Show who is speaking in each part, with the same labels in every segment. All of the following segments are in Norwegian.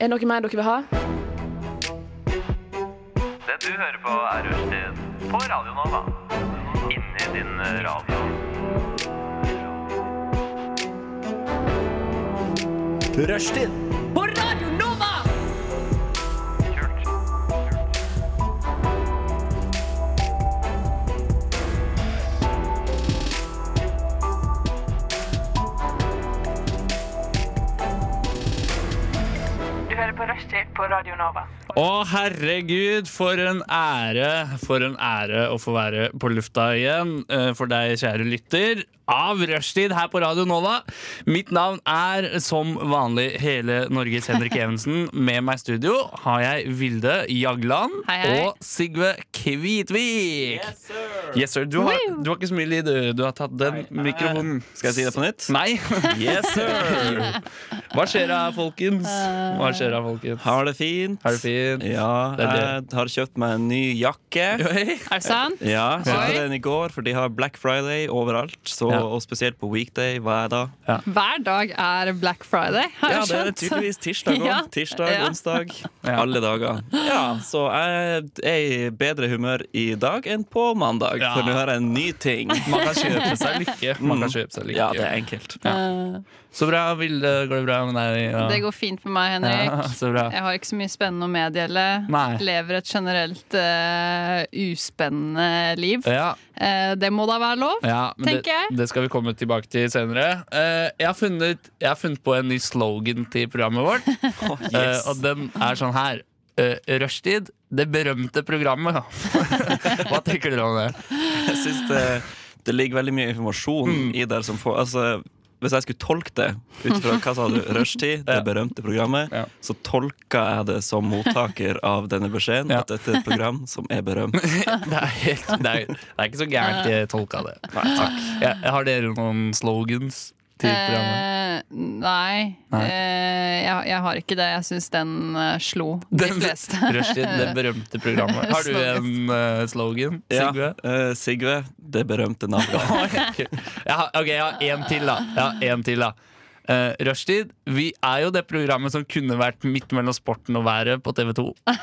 Speaker 1: Er det noe mer dere vil ha?
Speaker 2: Det du hører på er Rushtid på Radio Nova. Inni din eh, radio.
Speaker 3: Rushtid
Speaker 2: Kult.
Speaker 4: Du hører på Rushtid på Radio Nova.
Speaker 5: Å, herregud, for en ære For en ære å få være på lufta igjen eh, for deg, kjære lytter. Av rushtid her på Radio Nåla. Mitt navn er som vanlig hele Norges Henrik Evensen. Med meg i studio har jeg Vilde Jagland
Speaker 6: Hei, hei.
Speaker 5: og Sigve Kvitvik. Yes, sir. Du, har, du har ikke så mye lyd, du. Du har tatt den mikrofonen.
Speaker 3: Skal jeg si det på nytt?
Speaker 5: Nei. Yes, sir. Hva skjer da, folkens?
Speaker 6: Eh.
Speaker 5: Hva skjer da, folkens?
Speaker 3: Har det fint?
Speaker 5: Har det fint?
Speaker 3: Ja,
Speaker 5: Det er
Speaker 3: jeg har kjøpt meg en ny jakke.
Speaker 5: Hei.
Speaker 6: Er det sant?
Speaker 3: Ja,
Speaker 6: Oi.
Speaker 3: kjøpte den i går, for de har Black Friday overalt. Så,
Speaker 5: Ja.
Speaker 3: Og spesielt på weekday. Hva er da?
Speaker 6: Hver dag er Black Friday, har
Speaker 3: Ja,
Speaker 6: jeg
Speaker 3: det er det
Speaker 6: skjønt.
Speaker 3: tydeligvis tirsdag òg.
Speaker 6: Ja.
Speaker 3: Tirsdag,
Speaker 6: Ja.
Speaker 3: onsdag.
Speaker 5: Ja.
Speaker 3: Alle dager. Ja, så jeg er i bedre humør i dag enn på mandag,
Speaker 5: Ja.
Speaker 3: for nå har jeg en ny ting.
Speaker 5: Man kan kjøpe seg lykke. Man kan
Speaker 3: Mm.
Speaker 5: kjøpe seg lykke.
Speaker 3: Ja, det er enkelt.
Speaker 5: Så bra, Vilde. Går det bra med deg? Ja.
Speaker 6: Det går fint med meg, Henrik.
Speaker 5: Ja, så bra.
Speaker 6: Jeg har ikke så mye spennende å meddele.
Speaker 5: Nei.
Speaker 6: Lever et generelt eh, uspennende liv.
Speaker 5: Ja,
Speaker 6: Eh, det må da være lov?
Speaker 5: ja, men
Speaker 6: Tenker
Speaker 5: det,
Speaker 6: jeg.
Speaker 5: det skal vi komme tilbake til senere. Eh, jeg, har funnet, jeg har funnet på en ny slogan til programmet vårt,
Speaker 6: Oh,
Speaker 3: Å,
Speaker 5: eh,
Speaker 3: yes.
Speaker 5: og den er sånn her. Uh, Rushtid, det berømte programmet. Hva tenker dere om det?
Speaker 3: Jeg synes det, det ligger veldig mye informasjon i der som får altså, Hvis jeg skulle tolke det ut fra hva sa du, rushtid, det
Speaker 5: Ja.
Speaker 3: berømte programmet,
Speaker 5: Ja.
Speaker 3: så tolka jeg det som mottaker av denne beskjeden
Speaker 5: Ja.
Speaker 3: at dette er et program som er berømt.
Speaker 5: Det er, helt, det er, det er ikke så gærent jeg tolka det. Jeg, har dere noen slogans til programmet?
Speaker 6: Eh, nei,
Speaker 5: Nei.
Speaker 6: Eh, jeg, jeg har ikke det. Jeg syns den eh, slo de
Speaker 5: Den-
Speaker 6: fleste.
Speaker 5: Rushtid, det berømte programmet. Har du en eh, slogan, Sigve?
Speaker 3: Ja, eh, Sigve, det berømte navnet.
Speaker 5: Ok. Jeg har, ok, jeg har én til, da. Jeg har en til, da. Eh, Rushtid, vi er jo det programmet som kunne vært midt mellom sporten og været på TV2.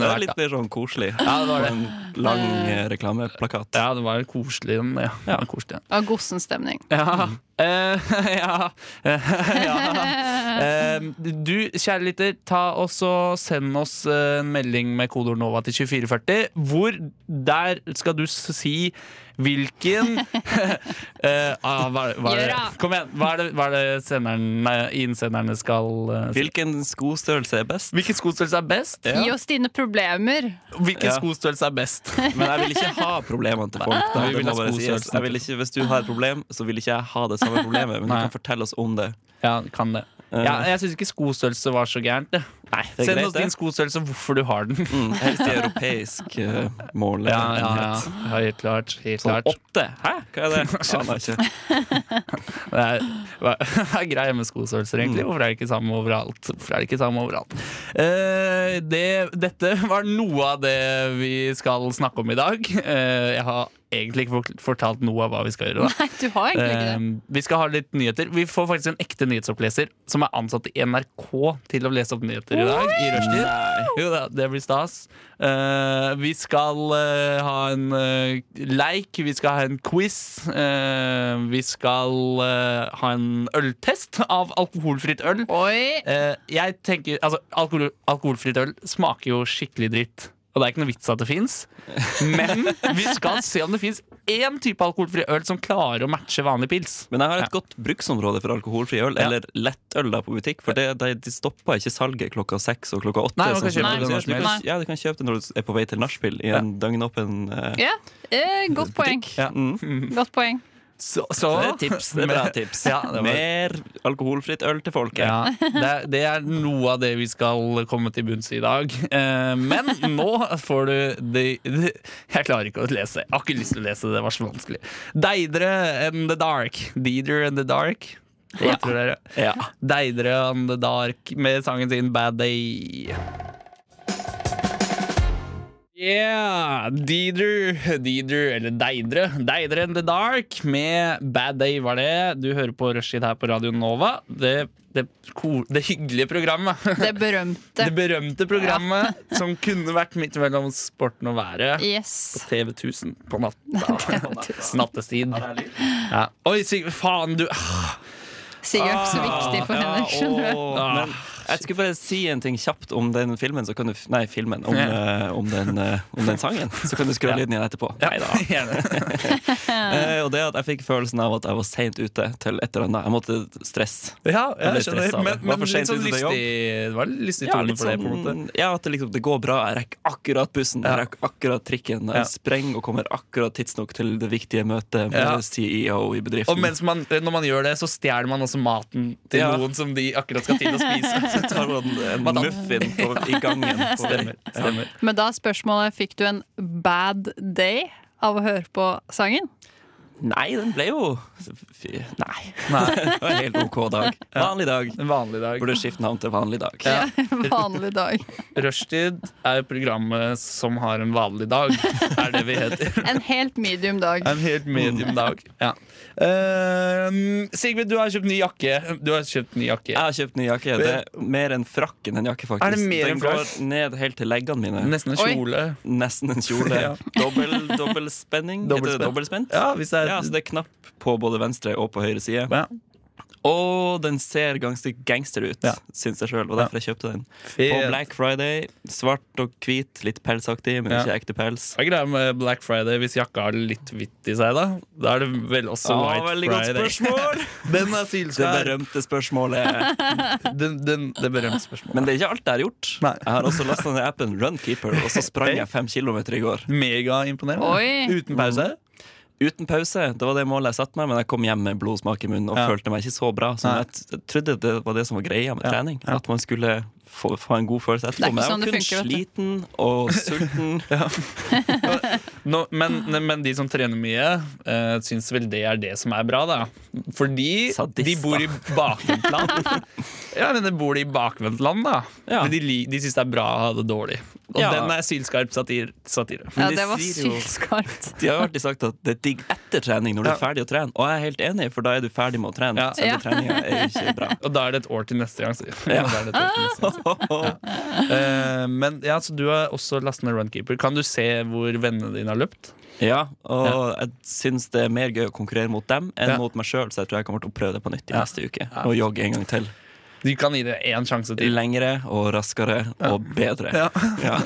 Speaker 3: Det var
Speaker 5: vært,
Speaker 3: litt
Speaker 5: da.
Speaker 3: mer sånn koselig.
Speaker 5: Ja, det var
Speaker 3: På
Speaker 5: det.
Speaker 3: en lang eh, reklameplakat.
Speaker 5: Ja, det var en koselig en. Ja. Det var en koselig en.
Speaker 6: Og godsenstemning.
Speaker 5: Ja. Eh, ja. ja. Eh, du, kjære lytter, ta oss og send oss eh, en melding med kodeord NOVA til 2440. Hvor der skal du s- si hvilken eh, ah, hva, er det- hva er det?
Speaker 6: Gjør det.
Speaker 5: Kom igjen. Hva er det, hva er det senderen, nei, innsenderne skal eh, si?
Speaker 3: Hvilken skostørrelse er best?
Speaker 5: Hvilken skostørrelse er best?
Speaker 6: Gi oss dine problemer.
Speaker 5: Hvilken
Speaker 3: Ja.
Speaker 5: skostørrelse er best?
Speaker 3: Men jeg vil ikke ha problemene til folk. Da.
Speaker 5: Vi
Speaker 3: Det
Speaker 5: vil
Speaker 3: må
Speaker 5: ha
Speaker 3: bare sies.
Speaker 5: skostørrelsen.
Speaker 3: Jeg vil ikke, hvis du har et problem, så vil ikke jeg ha det samme problemet. Men du
Speaker 5: Nei.
Speaker 3: kan fortelle oss om det.
Speaker 5: Ja, kan det. Ja, jeg syns ikke skostørrelse var så gærent. det.
Speaker 3: det er
Speaker 5: Send
Speaker 3: greit,
Speaker 5: oss
Speaker 3: det.
Speaker 5: din skostørrelse, hvorfor du har den.
Speaker 3: Mm, helst i europeisk eh, mål.
Speaker 5: Ja, ja, ja. ja helt klart. Helt
Speaker 3: Sånn
Speaker 5: klart.
Speaker 3: åtte? Hæ? Hva er det? Aner ikke.
Speaker 5: Det er, hva- hva er greia med skostørrelser, egentlig? Hvorfor er det ikke samme overalt? Hvorfor er det ikke samme overalt? Eh, det, dette var noe av det vi skal snakke om i dag. Eh, jeg har egentlig ikke fort- fortalt noe av hva vi skal gjøre. da
Speaker 6: Nei, du har egentlig ikke det.
Speaker 5: Eh, vi skal ha litt nyheter. Vi får faktisk en ekte nyhetsoppleser som er ansatt i NRK til å lese opp nyheter i dag. I rushtid. Jo da, det blir stas. Eh, vi skal eh, ha en eh, leik, vi skal ha en quiz. eh, vi skal eh, ha en øltest av alkoholfritt øl.
Speaker 6: Oi!
Speaker 5: Eh, jeg tenker, altså alkohol, Alkoholfritt øl smaker jo skikkelig dritt. Og det er ikke noe vits at det fins. Men vi skal se om det fins én type alkoholfri øl som klarer å matche vanlig pils.
Speaker 3: Men jeg har et godt bruksområde for alkoholfri øl,
Speaker 5: Ja.
Speaker 3: eller lettøl da på butikk. For det, de, de stopper ikke salget klokka seks og klokka åtte.
Speaker 5: Nei, man kan
Speaker 3: sånn som
Speaker 5: kjøpe
Speaker 3: du
Speaker 5: det
Speaker 3: sier.
Speaker 5: når som
Speaker 3: Du kan-
Speaker 6: helst.
Speaker 3: Ja, du kan kjøpe det når du er på vei til nachspiel i en døgnåpen eh,
Speaker 6: Ja, eh, godt poeng.
Speaker 5: Ja.
Speaker 6: Godt poeng.
Speaker 5: Så,
Speaker 3: Det er et tips. Det er bra tips.
Speaker 5: Ja, det var-
Speaker 3: Mer alkoholfritt øl til folket.
Speaker 5: Ja, det, er- det er noe av det vi skal komme til bunns i i dag. Eh, men nå får du de, de, Jeg klarer ikke å lese. Jeg har ikke lyst til å lese, det var så vanskelig. Deidre and the Dark. Deidre and the Dark. Hva tror dere?
Speaker 3: Ja.
Speaker 5: Deidre and the Dark med sangen sin Bad Day. Yeah! Deidre, Deidre, eller Deidre, Deidre and the Dark med Bad Day var det. Du hører på Rushtid her på Radio Nova. Det, det, ko- det hyggelige programmet.
Speaker 6: Det berømte.
Speaker 5: Det berømte programmet som kunne vært midt mellom sporten og været.
Speaker 6: Yes.
Speaker 5: TV 1000 på natta. Nattestid. Ja. Oi, Sigve, faen, du Ah,
Speaker 6: Sigurd er så viktig for henne, skjønner du.
Speaker 3: Åh,
Speaker 5: Ah,
Speaker 3: men jeg skulle bare si en ting kjapt om den filmen, så kan du, f- nei, filmen, om,
Speaker 5: Ja.
Speaker 3: eh, om, den, eh, om den sangen. Så kan du skru av lyden igjen etterpå. Neida. Eh, og det at jeg fikk følelsen av at jeg var seint ute til et eller annet. Jeg måtte stresse.
Speaker 5: Ja,
Speaker 3: Jeg ble
Speaker 5: jeg skjønner.
Speaker 3: stresset av det.
Speaker 5: Men,
Speaker 3: Var
Speaker 5: men
Speaker 3: for
Speaker 5: litt
Speaker 3: sent
Speaker 5: sånn
Speaker 3: ute til
Speaker 5: lystig Det var litt lystig
Speaker 3: Ja,
Speaker 5: tone
Speaker 3: litt
Speaker 5: for det, på en måte.
Speaker 3: sånn, ja, at det, liksom, det går bra. Jeg rekker akkurat bussen, jeg
Speaker 5: Ja.
Speaker 3: rekker akkurat trikken. Jeg
Speaker 5: Ja.
Speaker 3: sprenger og kommer akkurat tidsnok til det viktige møtet med
Speaker 5: Ja.
Speaker 3: CEO i bedriften.
Speaker 5: Og mens man, når man gjør det, så stjeler man også maten til
Speaker 3: Ja.
Speaker 5: noen som de akkurat skal til å spise.
Speaker 3: Så tar man en
Speaker 5: Madame.
Speaker 3: muffin på, i gangen. På,
Speaker 5: Stemmer. stemmer.
Speaker 6: Men da er spørsmålet fikk du en bad day av å høre på sangen.
Speaker 3: Nei, den ble jo fy- Nei. det var en helt OK dag. Vanlig dag.
Speaker 5: En vanlig dag.
Speaker 3: Burde skifte navn til vanlig dag.
Speaker 5: Ja.
Speaker 6: Vanlig dag.
Speaker 5: Rushtid er programmet som har en vanlig dag, er det vi heter.
Speaker 6: En helt medium dag.
Speaker 5: En helt medium dag. Ja. Ehm, Sigve, du har kjøpt ny jakke. Du har kjøpt ny jakke.
Speaker 3: Jeg har kjøpt ny jakke. Det er mer enn frakk enn en jakke, faktisk.
Speaker 5: Er det mer enn
Speaker 3: den
Speaker 5: frakk?
Speaker 3: går ned helt til leggene mine.
Speaker 5: Nesten en
Speaker 6: Oi.
Speaker 5: kjole.
Speaker 3: Nesten en kjole.
Speaker 5: Ja.
Speaker 3: Dobbel, dobbeltspenning. Heter det
Speaker 5: Dobbeltspent.
Speaker 3: dobbeltspent?
Speaker 5: Ja, hvis det er
Speaker 3: Ja, så det er knapp på både venstre og på høyre side.
Speaker 5: Ja.
Speaker 3: Og den ser ganske gangster ut,
Speaker 5: Ja.
Speaker 3: syns jeg sjøl. Og derfor jeg kjøpte den. På
Speaker 5: Fet.
Speaker 3: Black Friday. Svart og hvit, litt pelsaktig, men
Speaker 5: Ja.
Speaker 3: ikke ekte pels.
Speaker 5: Hva er greia med Black Friday hvis jakka har litt hvitt i seg? da? Da er det vel også
Speaker 3: Ah,
Speaker 5: White
Speaker 3: veldig godt
Speaker 5: Friday.
Speaker 3: spørsmål!
Speaker 5: Den er
Speaker 3: Det
Speaker 5: sylskar.
Speaker 3: berømte spørsmålet.
Speaker 5: Den, den, det berømte spørsmålet.
Speaker 3: Men det er ikke alt jeg har gjort.
Speaker 5: Nei.
Speaker 3: Jeg har også lasta ned appen Runkeeper, og så sprang jeg fem kilometer i går.
Speaker 5: Megaimponerende.
Speaker 6: Oi.
Speaker 5: Uten pause.
Speaker 3: Uten pause. Det var det målet jeg satte meg, men jeg kom hjem med blodsmak i munnen og
Speaker 5: Ja.
Speaker 3: følte meg ikke så bra. Så
Speaker 5: Nei.
Speaker 3: jeg t- jeg trodde det var det som var greia med
Speaker 5: Ja.
Speaker 3: trening. At man skulle få, få en god følelse
Speaker 6: Det er
Speaker 3: etterpå. Men
Speaker 6: ikke
Speaker 3: jeg
Speaker 6: sånn
Speaker 3: var
Speaker 6: det
Speaker 3: kun
Speaker 6: funker, vet
Speaker 3: sliten og sulten.
Speaker 5: Nå, men, men de som trener mye, uh, syns vel det er det som er bra, da. Fordi
Speaker 3: Sadister.
Speaker 5: de bor i bakvendtland. ja, men de bor i bakvendtland, da.
Speaker 3: Ja.
Speaker 5: Men de, lik- de syns det er bra å ha det dårlig. Og
Speaker 3: Ja.
Speaker 5: den er sylskarp satir, satire.
Speaker 6: Ja,
Speaker 3: de
Speaker 6: det var
Speaker 3: sier jo-
Speaker 6: sylskarpt.
Speaker 3: De har jo alltid sagt at det er digg etter trening når du
Speaker 5: Ja.
Speaker 3: er ferdig å trene. Og jeg er helt enig, for da er du ferdig med å trene.
Speaker 5: Ja.
Speaker 3: Selve
Speaker 6: Ja.
Speaker 3: treninga er ikke bra.
Speaker 5: Og da er det et år til neste gang. sier jeg. Da er det et år til neste gang. Eh, men ja, så du har også lastet ned Runkeeper. Kan du se hvor vennene dine har løpt?
Speaker 3: Ja, og jeg syns det er mer gøy å konkurrere mot dem enn
Speaker 5: Ja.
Speaker 3: mot meg sjøl, så jeg tror jeg kommer til å prøve det på nytt i
Speaker 5: Ja.
Speaker 3: neste uke.
Speaker 5: Ja.
Speaker 3: Og jogge en gang til.
Speaker 5: Du kan gi det én sjanse til.
Speaker 3: Lengre og raskere og bedre.
Speaker 5: Ja.
Speaker 3: Ja.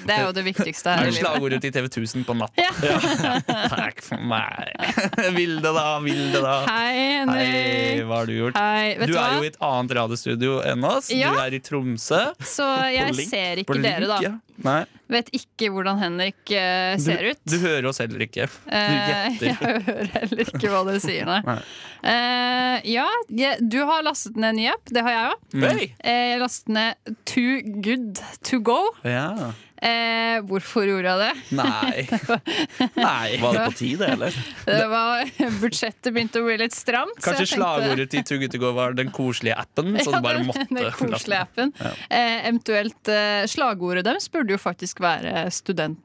Speaker 6: Det er jo det viktigste her
Speaker 5: Er
Speaker 6: i livet.
Speaker 5: slagordet til TV 1000 på natt.
Speaker 6: Ja.
Speaker 5: Takk for meg. Vil det da, vil det da.
Speaker 6: Hei,
Speaker 5: Hei,
Speaker 6: Henrik.
Speaker 5: hva har du gjort?
Speaker 6: Hei, vet
Speaker 5: Du
Speaker 6: du
Speaker 5: er jo
Speaker 6: hva?
Speaker 5: i et annet radiostudio enn oss. Du
Speaker 6: Ja.
Speaker 5: er i Tromsø.
Speaker 6: Så
Speaker 3: På
Speaker 6: jeg
Speaker 3: link-
Speaker 6: ser
Speaker 5: På
Speaker 6: ikke dere, da.
Speaker 5: link, ja. Nei.
Speaker 6: Vet ikke hvordan Henrik eh,
Speaker 5: Du,
Speaker 6: ser ut.
Speaker 5: du hører oss heller ikke. Du
Speaker 6: Eh, jeg
Speaker 5: gjetter.
Speaker 6: hører heller ikke hva dere sier, nei. Eh, ja, jeg- du har lastet ned en ny app. Det har jeg òg.
Speaker 5: Mm.
Speaker 3: Hey!
Speaker 6: Jeg lastet ned Eh, Too Good To Go.
Speaker 5: Ja.
Speaker 6: Eh, hvorfor gjorde jeg det?
Speaker 5: Nei. Nei.
Speaker 3: Var det på tide, eller?
Speaker 6: det var, budsjettet begynte å bli litt stramt. så
Speaker 5: Kanskje
Speaker 6: jeg tenkte-
Speaker 5: slagordet til Tuggetego var 'den koselige appen'? Så
Speaker 6: Ja,
Speaker 5: du bare
Speaker 6: den-
Speaker 5: måtte
Speaker 6: Den koselige
Speaker 5: laste
Speaker 6: appen. Eh, eventuelt eh, slagordet deres burde jo faktisk være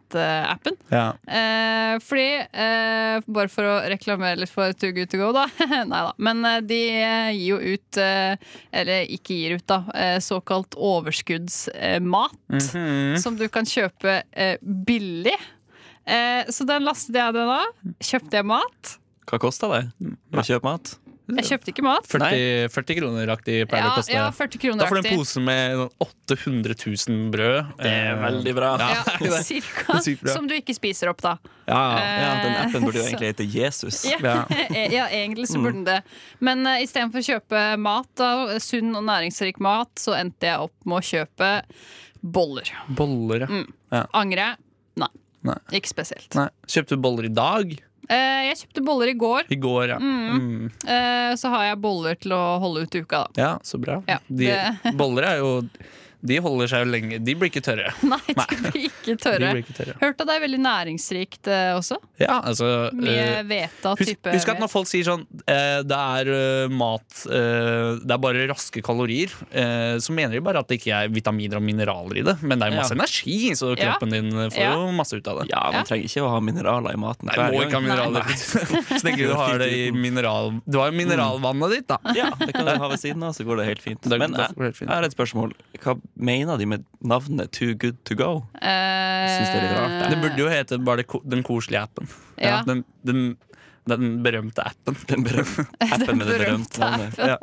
Speaker 6: studentappen.
Speaker 5: den. Ja.
Speaker 6: Eh, fordi, eh, bare for å reklamere litt for Too Good To Go, da. Nei da. Men eh, de eh, gir jo ut, eh, eller ikke gir ut, da, eh, såkalt overskuddsmat.
Speaker 5: Mm.
Speaker 6: Som du kan kjøpe eh, billig. Eh, så den lastet jeg ned da. Kjøpte jeg mat?
Speaker 3: Hva kosta det å kjøpe mat?
Speaker 6: Jeg kjøpte ikke mat.
Speaker 5: 40, 40 kroner aktig pleier det å
Speaker 6: Ja,
Speaker 5: koste.
Speaker 6: ja, 40 kroner.
Speaker 5: da får du en pose med sånn 800 000 brød.
Speaker 3: Det er veldig bra.
Speaker 5: Ja.
Speaker 6: Ja, cirka.
Speaker 5: er sykt bra.
Speaker 6: Som du ikke spiser opp, da.
Speaker 5: Eh, Ja,
Speaker 3: Ja, den appen burde jo
Speaker 6: Eh, så-
Speaker 3: egentlig hete Jesus.
Speaker 6: Ja, E, ja egentlig
Speaker 5: Mm.
Speaker 6: så burde den det. Men uh, istedenfor å kjøpe mat, da, sunn og næringsrik mat, så endte jeg opp med å kjøpe boller.
Speaker 5: Boller, ja.
Speaker 6: mm. Angre? Nei.
Speaker 5: Nei.
Speaker 6: Ikke spesielt.
Speaker 5: Nei. Kjøpte du boller i dag?
Speaker 6: Eh, jeg kjøpte boller i går,
Speaker 5: I går, ja. Mm.
Speaker 6: eh, så har jeg boller til å holde ut uka, da.
Speaker 5: Ja, så bra.
Speaker 6: Ja,
Speaker 5: De,
Speaker 6: det-
Speaker 5: boller er jo de holder seg jo lenge. De blir ikke tørre.
Speaker 6: Nei, de blir ikke
Speaker 5: De
Speaker 6: tørre.
Speaker 5: blir ikke tørre.
Speaker 6: Hørte at det er veldig næringsrikt eh, også.
Speaker 5: Ja, altså eh,
Speaker 6: Mye hvete av
Speaker 5: Husk,
Speaker 6: type
Speaker 5: husk at når folk sier sånn eh, Det er eh, mat eh, Det er bare raske kalorier, eh, så mener de bare at det ikke er vitaminer og mineraler i det. Men det er jo masse
Speaker 3: Ja.
Speaker 5: energi, så
Speaker 6: Ja.
Speaker 5: kroppen din eh, får
Speaker 6: Ja.
Speaker 5: jo masse ut av det.
Speaker 3: Ja, man trenger ikke å ha mineraler i maten
Speaker 5: Nei,
Speaker 3: hver
Speaker 5: må ikke ha
Speaker 3: gang.
Speaker 5: mineraler. Så lenge du har det i mineral... Du har jo mineralvannet ditt, da.
Speaker 3: Ja, det kan du ha ved siden av, så går det helt fint.
Speaker 5: Da-
Speaker 3: Men
Speaker 5: da
Speaker 3: jeg
Speaker 5: går det helt fint.
Speaker 3: jeg har et spørsmål. Hva mener de med navnet Too Good To Go?
Speaker 6: Eh,
Speaker 3: Syns det er litt rart,
Speaker 5: Det burde jo hete bare det ko- den koselige appen.
Speaker 6: Ja.
Speaker 5: Den, den, den berømte appen.
Speaker 3: Den berømte appen med det berømte
Speaker 6: berømte
Speaker 3: navnet.
Speaker 5: Ja.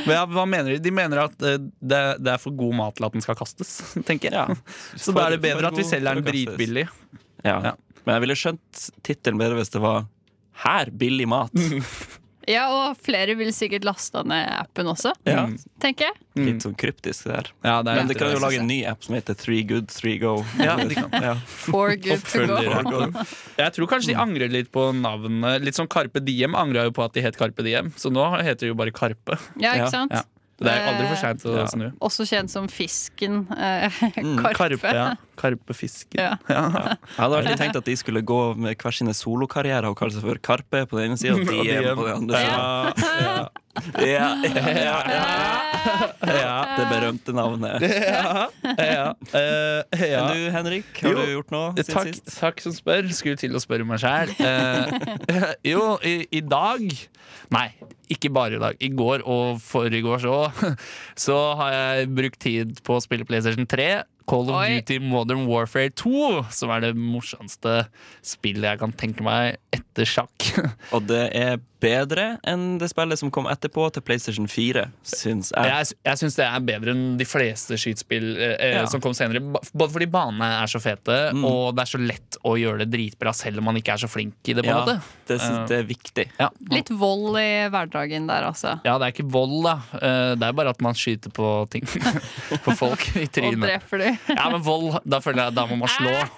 Speaker 5: Men ja, hva mener de? De mener at eh, det, det er for god mat til at den skal kastes, tenker jeg.
Speaker 3: Ja.
Speaker 5: Så da er det
Speaker 3: For- for
Speaker 5: bedre at vi
Speaker 3: god
Speaker 5: selger
Speaker 3: til
Speaker 5: den
Speaker 3: å kastes.
Speaker 5: dritbillig.
Speaker 3: Ja.
Speaker 5: Ja.
Speaker 3: Men jeg ville skjønt tittelen bedre hvis det var 'Her billig mat'.
Speaker 5: Mm.
Speaker 6: Ja, og flere vil sikkert laste ned appen også,
Speaker 3: Ja.
Speaker 6: tenker jeg.
Speaker 3: Litt sånn kryptisk det der.
Speaker 5: Ja, det er
Speaker 3: Men de kan jo
Speaker 5: litt-
Speaker 3: lage en ny app som heter Three Good Three Go.
Speaker 5: Ja, de kan.
Speaker 3: Ja.
Speaker 6: For good to
Speaker 5: Følgere
Speaker 6: go.
Speaker 5: går. Jeg tror
Speaker 3: Mm.
Speaker 5: kanskje de angrer litt på navnet. Litt som Karpe Diem angra jo på at de het Karpe Diem, så nå heter de jo bare Karpe.
Speaker 6: Ja,
Speaker 3: Ja,
Speaker 6: ikke sant?
Speaker 5: ja. Det er jo aldri for seint å
Speaker 3: Eh, Ja.
Speaker 5: snu.
Speaker 6: Også kjent som fisken. eh,
Speaker 5: Mm, Karpe,
Speaker 6: karpe.
Speaker 5: ja. Karpefisken.
Speaker 6: Ja.
Speaker 5: Ja.
Speaker 3: Jeg hadde alltid tenkt at de skulle gå med hver sine solokarrierer og kalle seg for Karpe på den ene sida og DM på den andre sida.
Speaker 5: Ja. Ja.
Speaker 3: Ja, ja, ja, ja.
Speaker 6: Eh,
Speaker 5: Ja.
Speaker 3: Det berømte navnet.
Speaker 5: Ja. Ja. Eh, ja.
Speaker 3: Men du, Henrik, har
Speaker 5: Jo.
Speaker 3: du gjort noe
Speaker 5: Eh,
Speaker 3: siden
Speaker 5: Takk,
Speaker 3: sist?
Speaker 5: takk som spør. Skulle til å spørre meg sjæl. Eh, jo, i, i dag Nei, ikke bare i dag. I går og forrige så Så har jeg brukt tid på å spille PlayStation 3. Call of
Speaker 6: Oi.
Speaker 5: Duty Modern Warfare 2, som er det morsomste spillet jeg kan tenke meg etter sjakk.
Speaker 3: Og det er bedre enn det spillet som kom etterpå, til PlayStation 4, syns jeg.
Speaker 5: Jeg, jeg syns det er bedre enn de fleste skytespill eh, eh,
Speaker 3: Ja. Mm.
Speaker 5: som kom senere. ba- Både fordi banene er så fete, og det er så lett å gjøre det dritbra selv om man ikke er så flink i det. på en
Speaker 3: Ja,
Speaker 5: måte
Speaker 3: det syns jeg er viktig.
Speaker 5: ja.
Speaker 6: Litt vold i hverdagen der, altså.
Speaker 5: Ja, det er ikke vold, da. Eh, Det er bare at man skyter på ting. På folk i
Speaker 6: Og
Speaker 5: trynet.
Speaker 6: dreper de.
Speaker 5: Ja, men vold, da føler jeg at da må man slå.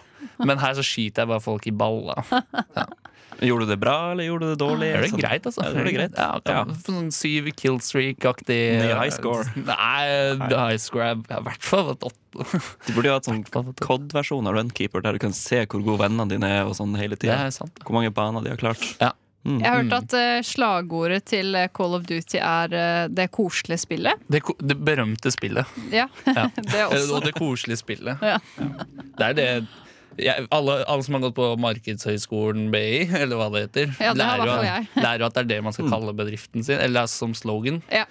Speaker 5: Men her så skyter jeg bare folk i ball, da.
Speaker 3: Gjorde du det bra, eller gjorde du det dårlig?
Speaker 5: Er det
Speaker 3: Sånn.
Speaker 5: greit, altså?
Speaker 3: Ja, det er greit.
Speaker 5: Ja, kan,
Speaker 3: Ja.
Speaker 5: Sånn syv killstreak-aktig
Speaker 3: Ny high score.
Speaker 5: Nei, high score er i hvert fall et åtte.
Speaker 3: Du burde jo hatt sånn
Speaker 5: Hvert fall på to.
Speaker 3: COD-versjon av Runkeeper, der du kan se hvor gode vennene dine er, og sånn hele
Speaker 5: Det
Speaker 3: tida.
Speaker 5: er sant.
Speaker 3: Hvor mange baner de har klart.
Speaker 5: Mm.
Speaker 6: Jeg hørte at eh, slagordet til eh, Call of Duty er eh, 'det koselige spillet'.
Speaker 5: Det, ko- det berømte spillet.
Speaker 6: Ja,
Speaker 5: Ja.
Speaker 6: det
Speaker 5: Eh,
Speaker 6: er også.
Speaker 5: Og det koselige spillet.
Speaker 6: Ja.
Speaker 5: Det er det jeg, alle, alle som har gått på Markedshøgskolen BI, eller hva det heter,
Speaker 6: Ja, det
Speaker 5: lærer,
Speaker 6: har
Speaker 5: jo
Speaker 6: hvertfall
Speaker 5: at, lærer jo at det er det man skal kalle bedriften sin. Eller som slogan.
Speaker 6: Ja.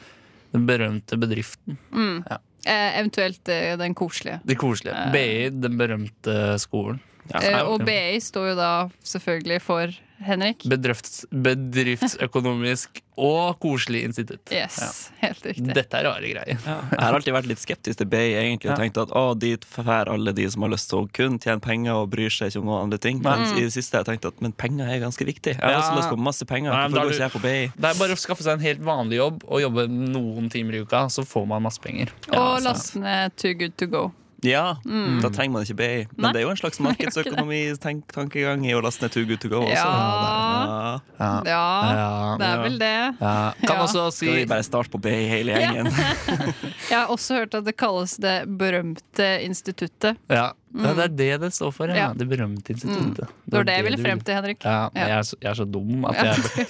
Speaker 5: Den berømte bedriften.
Speaker 6: Eh, eventuelt eh, den koselige.
Speaker 5: Det koselige. BI, den berømte skolen.
Speaker 6: Eh, og BI står jo da selvfølgelig for Henrik.
Speaker 5: Bedrifts, bedriftsøkonomisk og koselig institutt.
Speaker 6: Yes, helt riktig.
Speaker 5: Dette er rare greier.
Speaker 3: Jeg har alltid vært litt skeptisk til BI egentlig, og tenkt at å, dit fær alle de som har lyst til å kun tjene penger og bryr seg ikke om noen andre ting. Mens i det siste har jeg tenkt at men penger er ganske viktig. Jeg har
Speaker 5: Ja.
Speaker 3: også lyst på masse penger.
Speaker 5: Nei, men
Speaker 3: Hvorfor
Speaker 5: da er Mm.
Speaker 3: går ikke jeg på BI?
Speaker 5: Det er bare å skaffe seg en helt vanlig jobb og jobbe noen timer i uka, så får man masse penger.
Speaker 6: og laste ned Too Good To Go.
Speaker 3: Ja, da trenger man ikke BI. Men
Speaker 6: Nei.
Speaker 3: det er jo en slags markedsøkonomitankegang i å laste ned Too Good To Go også.
Speaker 6: Ja.
Speaker 3: Ja.
Speaker 5: Ja.
Speaker 6: Ja,
Speaker 5: Ja.
Speaker 6: det er vel det.
Speaker 5: Ja. Kan
Speaker 6: Ja.
Speaker 3: Skal
Speaker 5: også
Speaker 3: vi
Speaker 5: si
Speaker 3: bare starte på BI hele
Speaker 6: Ja.
Speaker 3: gjengen?
Speaker 6: Jeg har også hørt at det kalles det berømte instituttet.
Speaker 5: Ja, ja, det er det det står for. Ja.
Speaker 6: Mm. Ja. Mm.
Speaker 5: Det berømte instituttet.
Speaker 6: Det var det jeg
Speaker 5: du
Speaker 6: ville frem til, Henrik.
Speaker 5: Ja, men
Speaker 6: Ja.
Speaker 5: jeg, er så, jeg er så dum at
Speaker 6: Ja,
Speaker 5: jeg,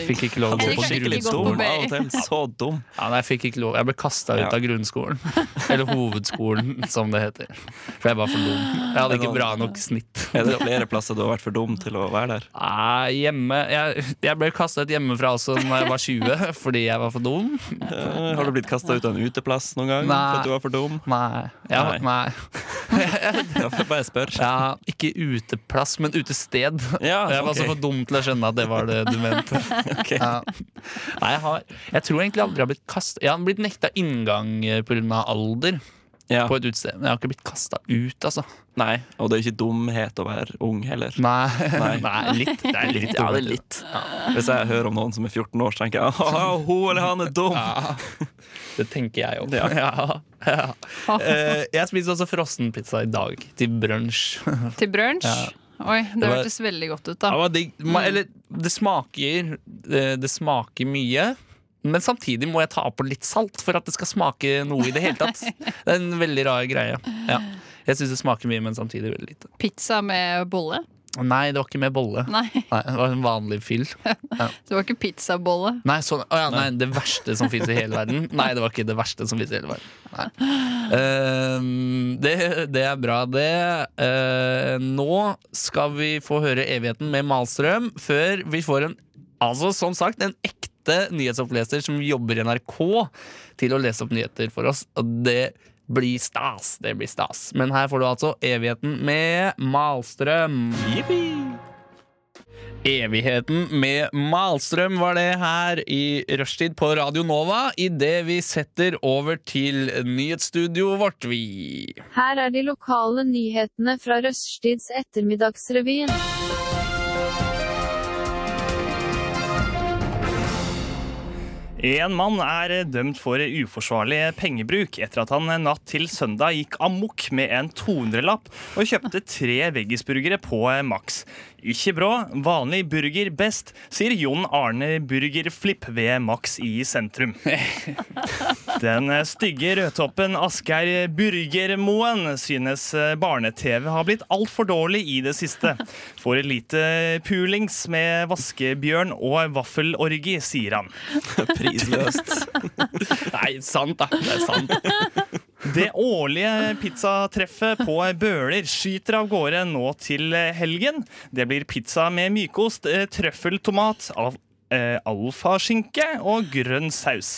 Speaker 5: jeg fikk ikke lov til
Speaker 6: Henrik
Speaker 5: på
Speaker 6: har ikke
Speaker 5: grunnskolen.
Speaker 6: gått på
Speaker 3: Dum
Speaker 6: BI.
Speaker 3: av og til. Så dum.
Speaker 5: Ja, nei, jeg, fikk ikke lov. jeg ble kasta ut
Speaker 3: Ja.
Speaker 5: av grunnskolen. Eller hovedskolen, som det heter. For jeg var for dum. Jeg hadde ikke bra nok snitt.
Speaker 3: Er det flere plasser du har vært for dum til å være der?
Speaker 5: Nei, hjemme Jeg, jeg ble kasta ut hjemmefra også da jeg var 20, fordi jeg var for dum.
Speaker 3: Eh, Har du blitt kasta ut av en uteplass noen gang
Speaker 5: Nei.
Speaker 3: for at du var for dum?
Speaker 5: Nei. Jeg,
Speaker 3: Nei.
Speaker 5: nei.
Speaker 3: Ja, får jeg bare spør.
Speaker 5: Ja, ikke uteplass, men utested.
Speaker 3: Ja,
Speaker 5: jeg var
Speaker 3: ok.
Speaker 5: så for dum til å skjønne at det var det du mente.
Speaker 3: Ok.
Speaker 5: Ja. Nei, jeg, har, jeg tror egentlig aldri jeg har blitt kastet Jeg har blitt nekta inngang eh, pga. alder
Speaker 3: Ja.
Speaker 5: på et utested. Men jeg har ikke blitt kasta ut, altså.
Speaker 3: Nei, og det er ikke dumhet å være ung heller.
Speaker 5: Nei,
Speaker 3: Nei.
Speaker 5: litt. Det er litt.
Speaker 3: Ja, det er litt. Hvis jeg hører om noen som er 14 år, så tenker jeg at hun eller han er dum.
Speaker 5: Ja. Det tenker jeg òg.
Speaker 3: Ja.
Speaker 5: Ja. Ja. Eh, Jeg spiste også frossenpizza i dag, til brunsj.
Speaker 6: Til brunsj? Oi, det
Speaker 5: var-
Speaker 6: hørtes veldig godt ut,
Speaker 5: Ja,
Speaker 6: da.
Speaker 5: men det, ma, eller, det smaker eh, Det smaker mye, Men samtidig må jeg ta på litt salt for at det skal smake noe i det hele tatt. Det er en veldig rar greie. Ja. Jeg syns det smaker mye, men samtidig veldig lite.
Speaker 6: Pizza med bolle?
Speaker 5: Nei, det var ikke med bolle.
Speaker 6: Nei,
Speaker 5: Nei, det var en vanlig fyll.
Speaker 6: det var ikke pizzabolle.
Speaker 5: Nei, sånn, å ja, nei, det verste som fins i hele verden. Nei, det var ikke det verste som fins i hele verden. Nei. Ehm, det, det er bra, det. Ehm, nå skal vi få høre Evigheten med Malstrøm før vi får en Altså, som sagt, en ekte nyhetsoppleser som jobber i NRK til å lese opp nyheter for oss. Og det blir stas. Det blir stas. Men her får du altså Evigheten med Malstrøm. Evigheten med Malstrøm var det her i rushtid på Radio Nova. Idet vi setter over til nyhetsstudioet vårt, vi.
Speaker 1: Her er de lokale nyhetene fra Røststids ettermiddagsrevyen.
Speaker 7: En mann er dømt for uforsvarlig pengebruk etter at han natt til søndag gikk amok med en 200-lapp og kjøpte tre veggisburgere på Max. Ikke brå, vanlig burger best, sier Jon Arne Burgerflipp ved Max i sentrum. Den stygge rødtoppen Asgeir Burgermoen synes barne-TV har blitt altfor dårlig i det siste. For lite pulings med vaskebjørn og vaffelorgi, sier han.
Speaker 3: Prisløst.
Speaker 5: Nei, sant, da. Det er sant.
Speaker 7: Det årlige pizzatreffet på Bøler skyter av gårde nå til helgen. Det blir pizza med mykost, eh, trøffeltomat, av eh, alfaskinke og grønn saus.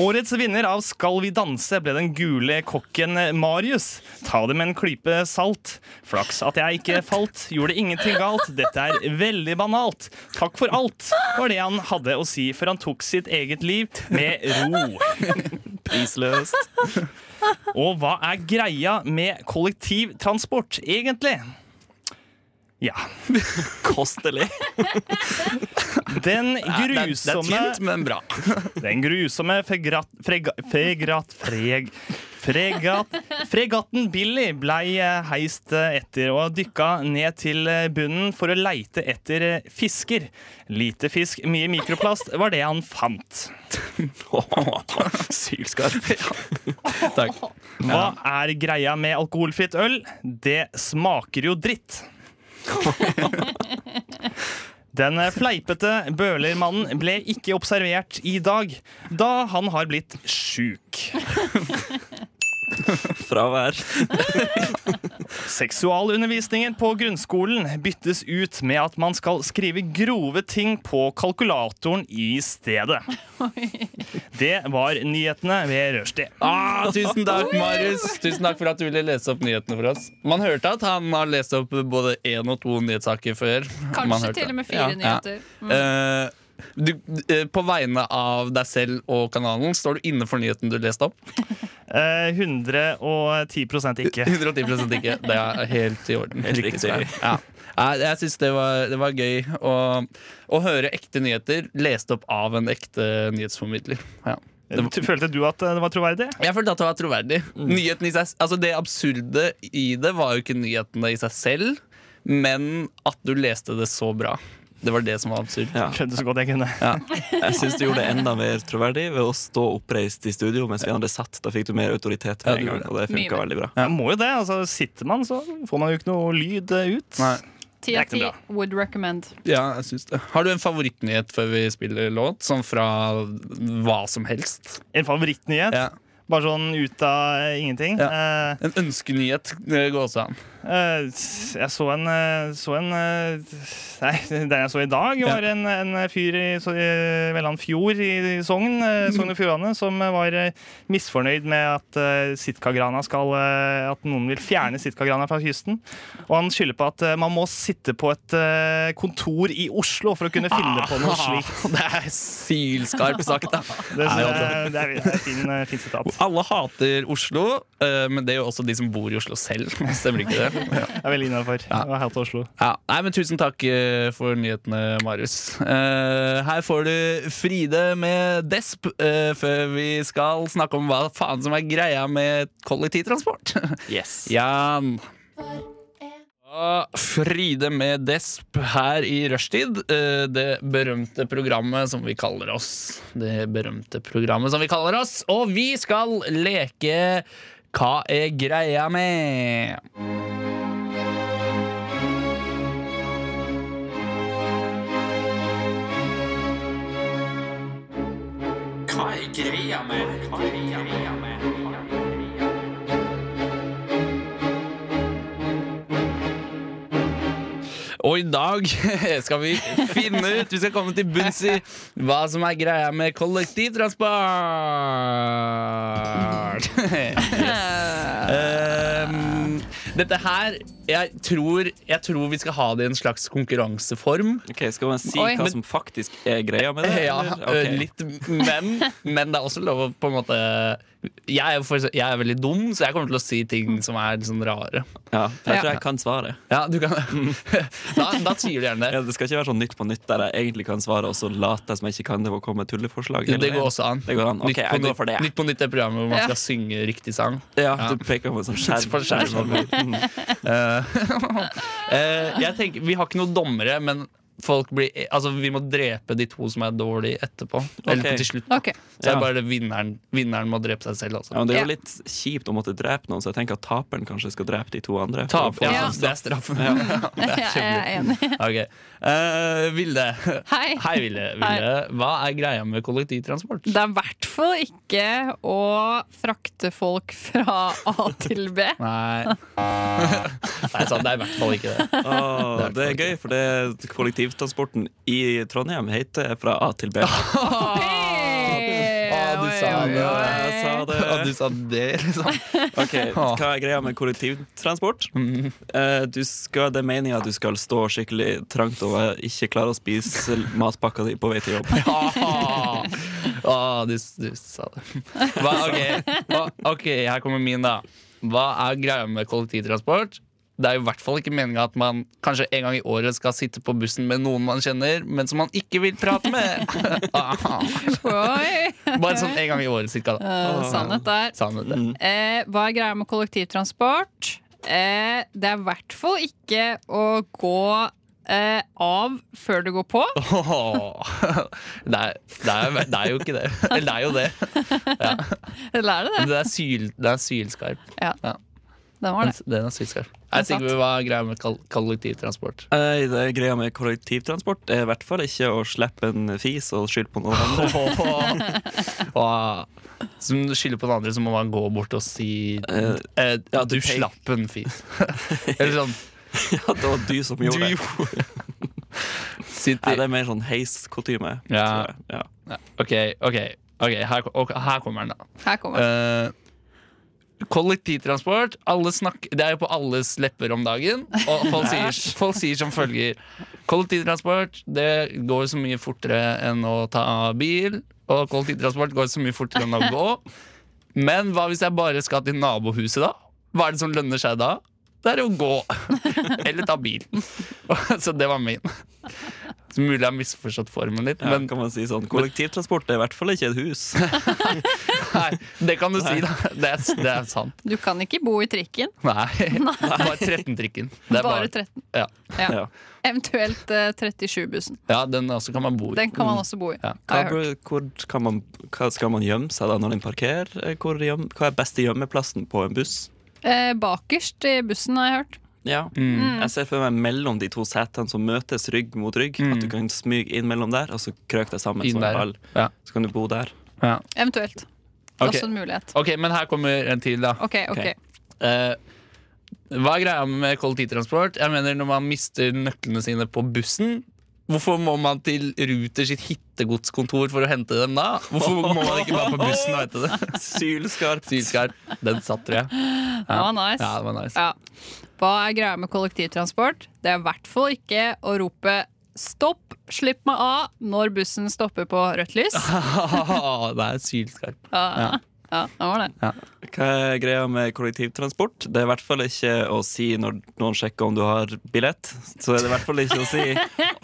Speaker 7: Årets vinner av Skal vi danse ble den gule kokken Marius. Ta det med en klype salt. Flaks at jeg ikke falt. Gjorde ingenting galt. Dette er veldig banalt. Takk for alt, var det han hadde å si før han tok sitt eget liv med ro.
Speaker 3: Prisløst.
Speaker 7: Og hva er greia med kollektivtransport, egentlig? Ja.
Speaker 3: Kostelig.
Speaker 7: Den
Speaker 5: Det er, det er
Speaker 7: grusomme
Speaker 5: tynt, men bra.
Speaker 7: Den grusomme fregrat, frega, fregrat, freg, fregat, fregatten Billy blei eh, heist eh, etter og dykka ned til eh, bunnen for å leite etter eh, fisker. Lite fisk, mye mikroplast var det han fant.
Speaker 3: Sykt skarp.
Speaker 5: Takk.
Speaker 7: Hva er greia med alkoholfritt øl? Det smaker jo dritt. Den fleipete bølermannen ble ikke observert i dag, da han har blitt sjuk.
Speaker 3: Fravær.
Speaker 7: Seksualundervisningen på grunnskolen byttes ut med at man skal skrive grove ting på kalkulatoren i stedet. Det var nyhetene ved Rushdie.
Speaker 5: Ah, tusen takk, Marius. Tusen takk for at du ville lese opp nyhetene for oss. Man hørte at han har lest opp både én og to nyhetssaker før. Man
Speaker 6: Kanskje
Speaker 5: hørte.
Speaker 6: til og med fire
Speaker 5: Ja, ja.
Speaker 6: nyheter. Mm.
Speaker 5: Eh, du, eh, på vegne av deg selv og kanalen, står du inne for nyheten du leste opp?
Speaker 7: Eh, 110 ikke.
Speaker 5: 110 ikke. Det er helt i orden.
Speaker 3: Helt
Speaker 5: Riktig
Speaker 3: riktig.
Speaker 5: svar. Ja. Nei, Jeg syns det, var- det var gøy å, å høre ekte nyheter lest opp av en ekte nyhetsformidler. Ja.
Speaker 7: Du- Følte du at det var troverdig?
Speaker 5: Jeg følte at det var troverdig. Nyheten i seg, altså Det absurde i det var jo ikke nyhetene i seg selv, men at du leste det så bra. Det var det som var absurd.
Speaker 3: Ja.
Speaker 7: Prøvde så godt jeg kunne.
Speaker 3: Jeg syns du gjorde det enda mer troverdig ved å stå oppreist i studio mens vi andre satt. Da fikk du mer autoritet
Speaker 5: Ja,
Speaker 3: med
Speaker 5: du
Speaker 3: en gang,
Speaker 5: gjorde
Speaker 3: og det
Speaker 6: Mye
Speaker 3: funka
Speaker 6: mer.
Speaker 3: veldig bra.
Speaker 7: Jeg må jo det. altså Sitter man, så får man jo ikke noe lyd eh, ut.
Speaker 5: Nei.
Speaker 6: Ti av
Speaker 7: Det
Speaker 6: ti
Speaker 7: er ikke
Speaker 6: would recommend.
Speaker 5: Ja, jeg syns det. Har du en favorittnyhet før vi spiller låt? Sånn fra hva som helst?
Speaker 7: En favorittnyhet.
Speaker 5: Ja.
Speaker 7: Bare sånn ut av eh, ingenting. Eh,
Speaker 5: En ønskenyhet, eh, gåsehudet.
Speaker 7: Eh, Jeg så en, eh, så en eh, Nei, den jeg så i dag, var en, en fyr i så- i Velland Fjord i Sogn,
Speaker 5: Mhm.
Speaker 7: eh, Sogn og Fjordane, som eh, var eh, misfornøyd med at eh, Sitkagrana skal eh, At noen vil fjerne Sitkagrana fra kysten. Og han skylder på at eh, man må sitte på et eh, kontor i Oslo for å kunne finne på noe slikt.
Speaker 5: Det er sylskarpt sagt, da.
Speaker 7: Det, synes
Speaker 5: altså.
Speaker 7: jeg- det er det er et fin, eh, fint sitat.
Speaker 5: Alle hater Oslo, eh, men det er jo også de som bor i Oslo selv. Stemmer ikke det? Ja.
Speaker 7: Jeg er veldig innafor. Jeg hater Oslo.
Speaker 5: Ja. Nei, men Tusen takk eh, for nyhetene, Marius. Eh, her får du Fride med Desp eh, før vi skal snakke om hva faen som er greia med kollektivtransport.
Speaker 3: Yes.
Speaker 5: Jan. Ah, Fride med Desp her i rushtid. Eh, Det berømte programmet som vi kaller oss. Det berømte programmet som vi kaller oss. Og vi skal leke Hva er greia med? Og i dag skal vi finne ut Vi skal komme til bunns i hva som er greia med kollektivtransport. Ehm, dette her jeg tror, jeg tror vi skal ha det i en slags konkurranseform.
Speaker 3: Ok, Skal man si
Speaker 6: Oi.
Speaker 3: hva som faktisk er greia med det?
Speaker 5: Ja,
Speaker 3: eller? Ok.
Speaker 5: øh, litt, men, men det er også lov å på en måte jeg er, jo for, jeg er veldig dum, så jeg kommer til å si ting som er litt sånn rare.
Speaker 3: Ja, for jeg
Speaker 6: Ja.
Speaker 3: tror jeg kan svaret.
Speaker 5: Ja, du kan Da, da sier du gjerne
Speaker 3: Ja,
Speaker 5: det.
Speaker 3: det skal ikke være sånn Nytt på nytt der jeg egentlig kan svare, og så later jeg som jeg ikke kan det og komme med tulleforslag.
Speaker 5: Det
Speaker 3: hele
Speaker 5: går
Speaker 3: veien.
Speaker 5: også an.
Speaker 3: Det går an. Ok,
Speaker 5: Nytt på
Speaker 3: jeg går
Speaker 5: nytt-
Speaker 3: for det.
Speaker 5: Nytt på nytt er programmet hvor man
Speaker 6: Ja.
Speaker 5: skal synge riktig sang.
Speaker 3: Ja,
Speaker 5: Ja.
Speaker 3: Du peker på en sånn
Speaker 5: For skjerm.
Speaker 3: skjerm.
Speaker 5: Eh, jeg tenker, Vi har ikke noen dommere, men folk blir, altså, vi må drepe de to som er dårlige etterpå. Eller
Speaker 3: Ok.
Speaker 5: til slutt.
Speaker 6: Ok.
Speaker 5: Så det
Speaker 3: Ja.
Speaker 5: er bare det vinneren, vinneren må drepe seg selv. Altså.
Speaker 3: Ja, men det er jo
Speaker 6: Ja.
Speaker 3: litt kjipt å måtte drepe noen, så jeg tenker at taperen kanskje skal drepe de to andre. for å
Speaker 5: Tap,
Speaker 3: få-
Speaker 5: ja,
Speaker 6: Ja.
Speaker 5: Det er straffen.
Speaker 6: Jeg er enig.
Speaker 5: Ok. Eh, Vilde.
Speaker 6: Hei.
Speaker 5: Hei, Vilde. Vilde. Hva er greia med kollektivtransport?
Speaker 6: Det er i hvert fall ikke å frakte folk fra A til B.
Speaker 5: Nei. Nei, sant, det er i hvert fall ikke det.
Speaker 3: Åh, Ah, det er gøy, for det kollektivtransporten i Trondheim heter fra A til B.
Speaker 6: Hey!
Speaker 5: Å, Ah, du sa
Speaker 6: Oi, oi,
Speaker 5: det.
Speaker 6: oi.
Speaker 3: Jeg sa det.
Speaker 5: At du sa det, liksom.
Speaker 3: Ok, Hva er greia med kollektivtransport?
Speaker 5: Mm.
Speaker 3: Eh, Du skal, det er meninga at du skal stå skikkelig trangt og eh, ikke klare å spise matpakka di på vei til jobb.
Speaker 5: Ah, ah, du, du sa det. Hva, ok. Hva, ok, her kommer min, da. Hva er greia med kollektivtransport? Det er jo i hvert fall ikke meninga at man kanskje en gang i året skal sitte på bussen med noen man kjenner, men som man ikke vil prate med. Ah,
Speaker 6: Oi.
Speaker 5: bare sånn en gang i året, cirka. Da.
Speaker 6: Eh, Sannhet der.
Speaker 5: Sannhet, det.
Speaker 3: Mm.
Speaker 6: Eh, hva er greia med kollektivtransport? Eh, det er i hvert fall ikke å gå eh, av før du går på.
Speaker 5: Ah. Åh, Det, er, det, er, det er jo ikke det. Eller det er jo det.
Speaker 6: Eller er det det?
Speaker 5: Men det er, syl, det er sylskarp.
Speaker 6: Den var
Speaker 5: Den,
Speaker 6: det.
Speaker 5: den er sylskarp. Jeg
Speaker 6: Det er
Speaker 5: tenker Hva er greia med kol- kollektivtransport?
Speaker 3: Eh, Det er greia med kollektivtransport er i hvert fall ikke å slippe en fis og skylde på noen andre.
Speaker 5: Åh, Som skylder på den andre, så må man gå bort og si
Speaker 3: Eh,
Speaker 5: eh,
Speaker 3: ja,
Speaker 5: Du
Speaker 3: du pek-
Speaker 5: slapp en fis. Eller sånn
Speaker 3: Ja, det var du som
Speaker 5: Du
Speaker 3: gjorde det.
Speaker 5: gjorde
Speaker 3: Nei,
Speaker 5: Sitter
Speaker 3: det er mer sånn heiskotyme.
Speaker 5: Ja.
Speaker 3: tror jeg. Ja.
Speaker 5: OK, ok, ok, her, ok, her kommer den, da.
Speaker 6: Her kommer den.
Speaker 5: Eh, kollektivtransport alle snakker, Det er jo på alles lepper om dagen. Og folk sier, folk sier som følger Kollektivtransport det går så mye fortere enn å ta bil. Og kollektivtransport går så mye fortere enn å gå. Men hva hvis jeg bare skal til nabohuset, da? Hva er det som lønner seg da? Det er å gå. Eller ta bil. Så det var min. Så mulig jeg har misforstått formen litt,
Speaker 3: Ja,
Speaker 5: men
Speaker 3: kan man si sånn Kollektivtransport er i hvert fall ikke et hus.
Speaker 5: nei, det kan du si, da. Det er, det er sant.
Speaker 6: Du kan ikke bo i trikken.
Speaker 5: Nei. Bare 13-trikken. Det er
Speaker 6: Bare 13.
Speaker 5: Ja.
Speaker 6: Ja.
Speaker 3: Ja.
Speaker 6: Eventuelt eh, 37-bussen.
Speaker 5: ja, den også kan man bo i.
Speaker 6: Den kan man også bo i.
Speaker 5: Mm. Ja.
Speaker 6: Har
Speaker 3: Hva,
Speaker 6: jeg hørt.
Speaker 3: bør- hvor kan man, hva skal man gjemme seg da når den parkerer? Eh, Hvor gjem, hva er beste gjemmeplassen på en buss?
Speaker 6: Eh, bakerst i bussen, har jeg hørt.
Speaker 3: Ja.
Speaker 5: Mm.
Speaker 3: Mm. Jeg ser for meg mellom de to setene som møtes rygg mot rygg. At du kan smyge inn mellom der, og så krøke deg sammen
Speaker 5: Mm. Inn
Speaker 3: som en
Speaker 5: der.
Speaker 3: ball.
Speaker 5: Ja.
Speaker 3: Så kan du bo der.
Speaker 5: Ja.
Speaker 6: Eventuelt.
Speaker 5: Ok.
Speaker 6: Også en mulighet.
Speaker 5: Ok, men her kommer en til, da.
Speaker 6: Ok, ok.
Speaker 3: Ok.
Speaker 5: Eh, hva er greia med kollektivtransport? Jeg mener Når man mister nøklene sine på bussen, hvorfor må man til Ruter sitt hittegodskontor for å hente dem da? Hvorfor må man ikke bare på bussen og hente det?
Speaker 3: Sylskarp.
Speaker 5: Sylskarp. Den satt, tror jeg.
Speaker 6: Det var nice.
Speaker 5: Ja, det var nice.
Speaker 6: Ja. Hva er greia med kollektivtransport? Det er i hvert fall ikke å rope 'stopp, slipp meg av' når bussen stopper på rødt lys.
Speaker 5: det er sylskarp.
Speaker 6: Ja, ja det var det.
Speaker 3: Hva er greia med kollektivtransport? Det er i hvert fall ikke å si når noen sjekker om du har billett. Så er det i hvert fall ikke å si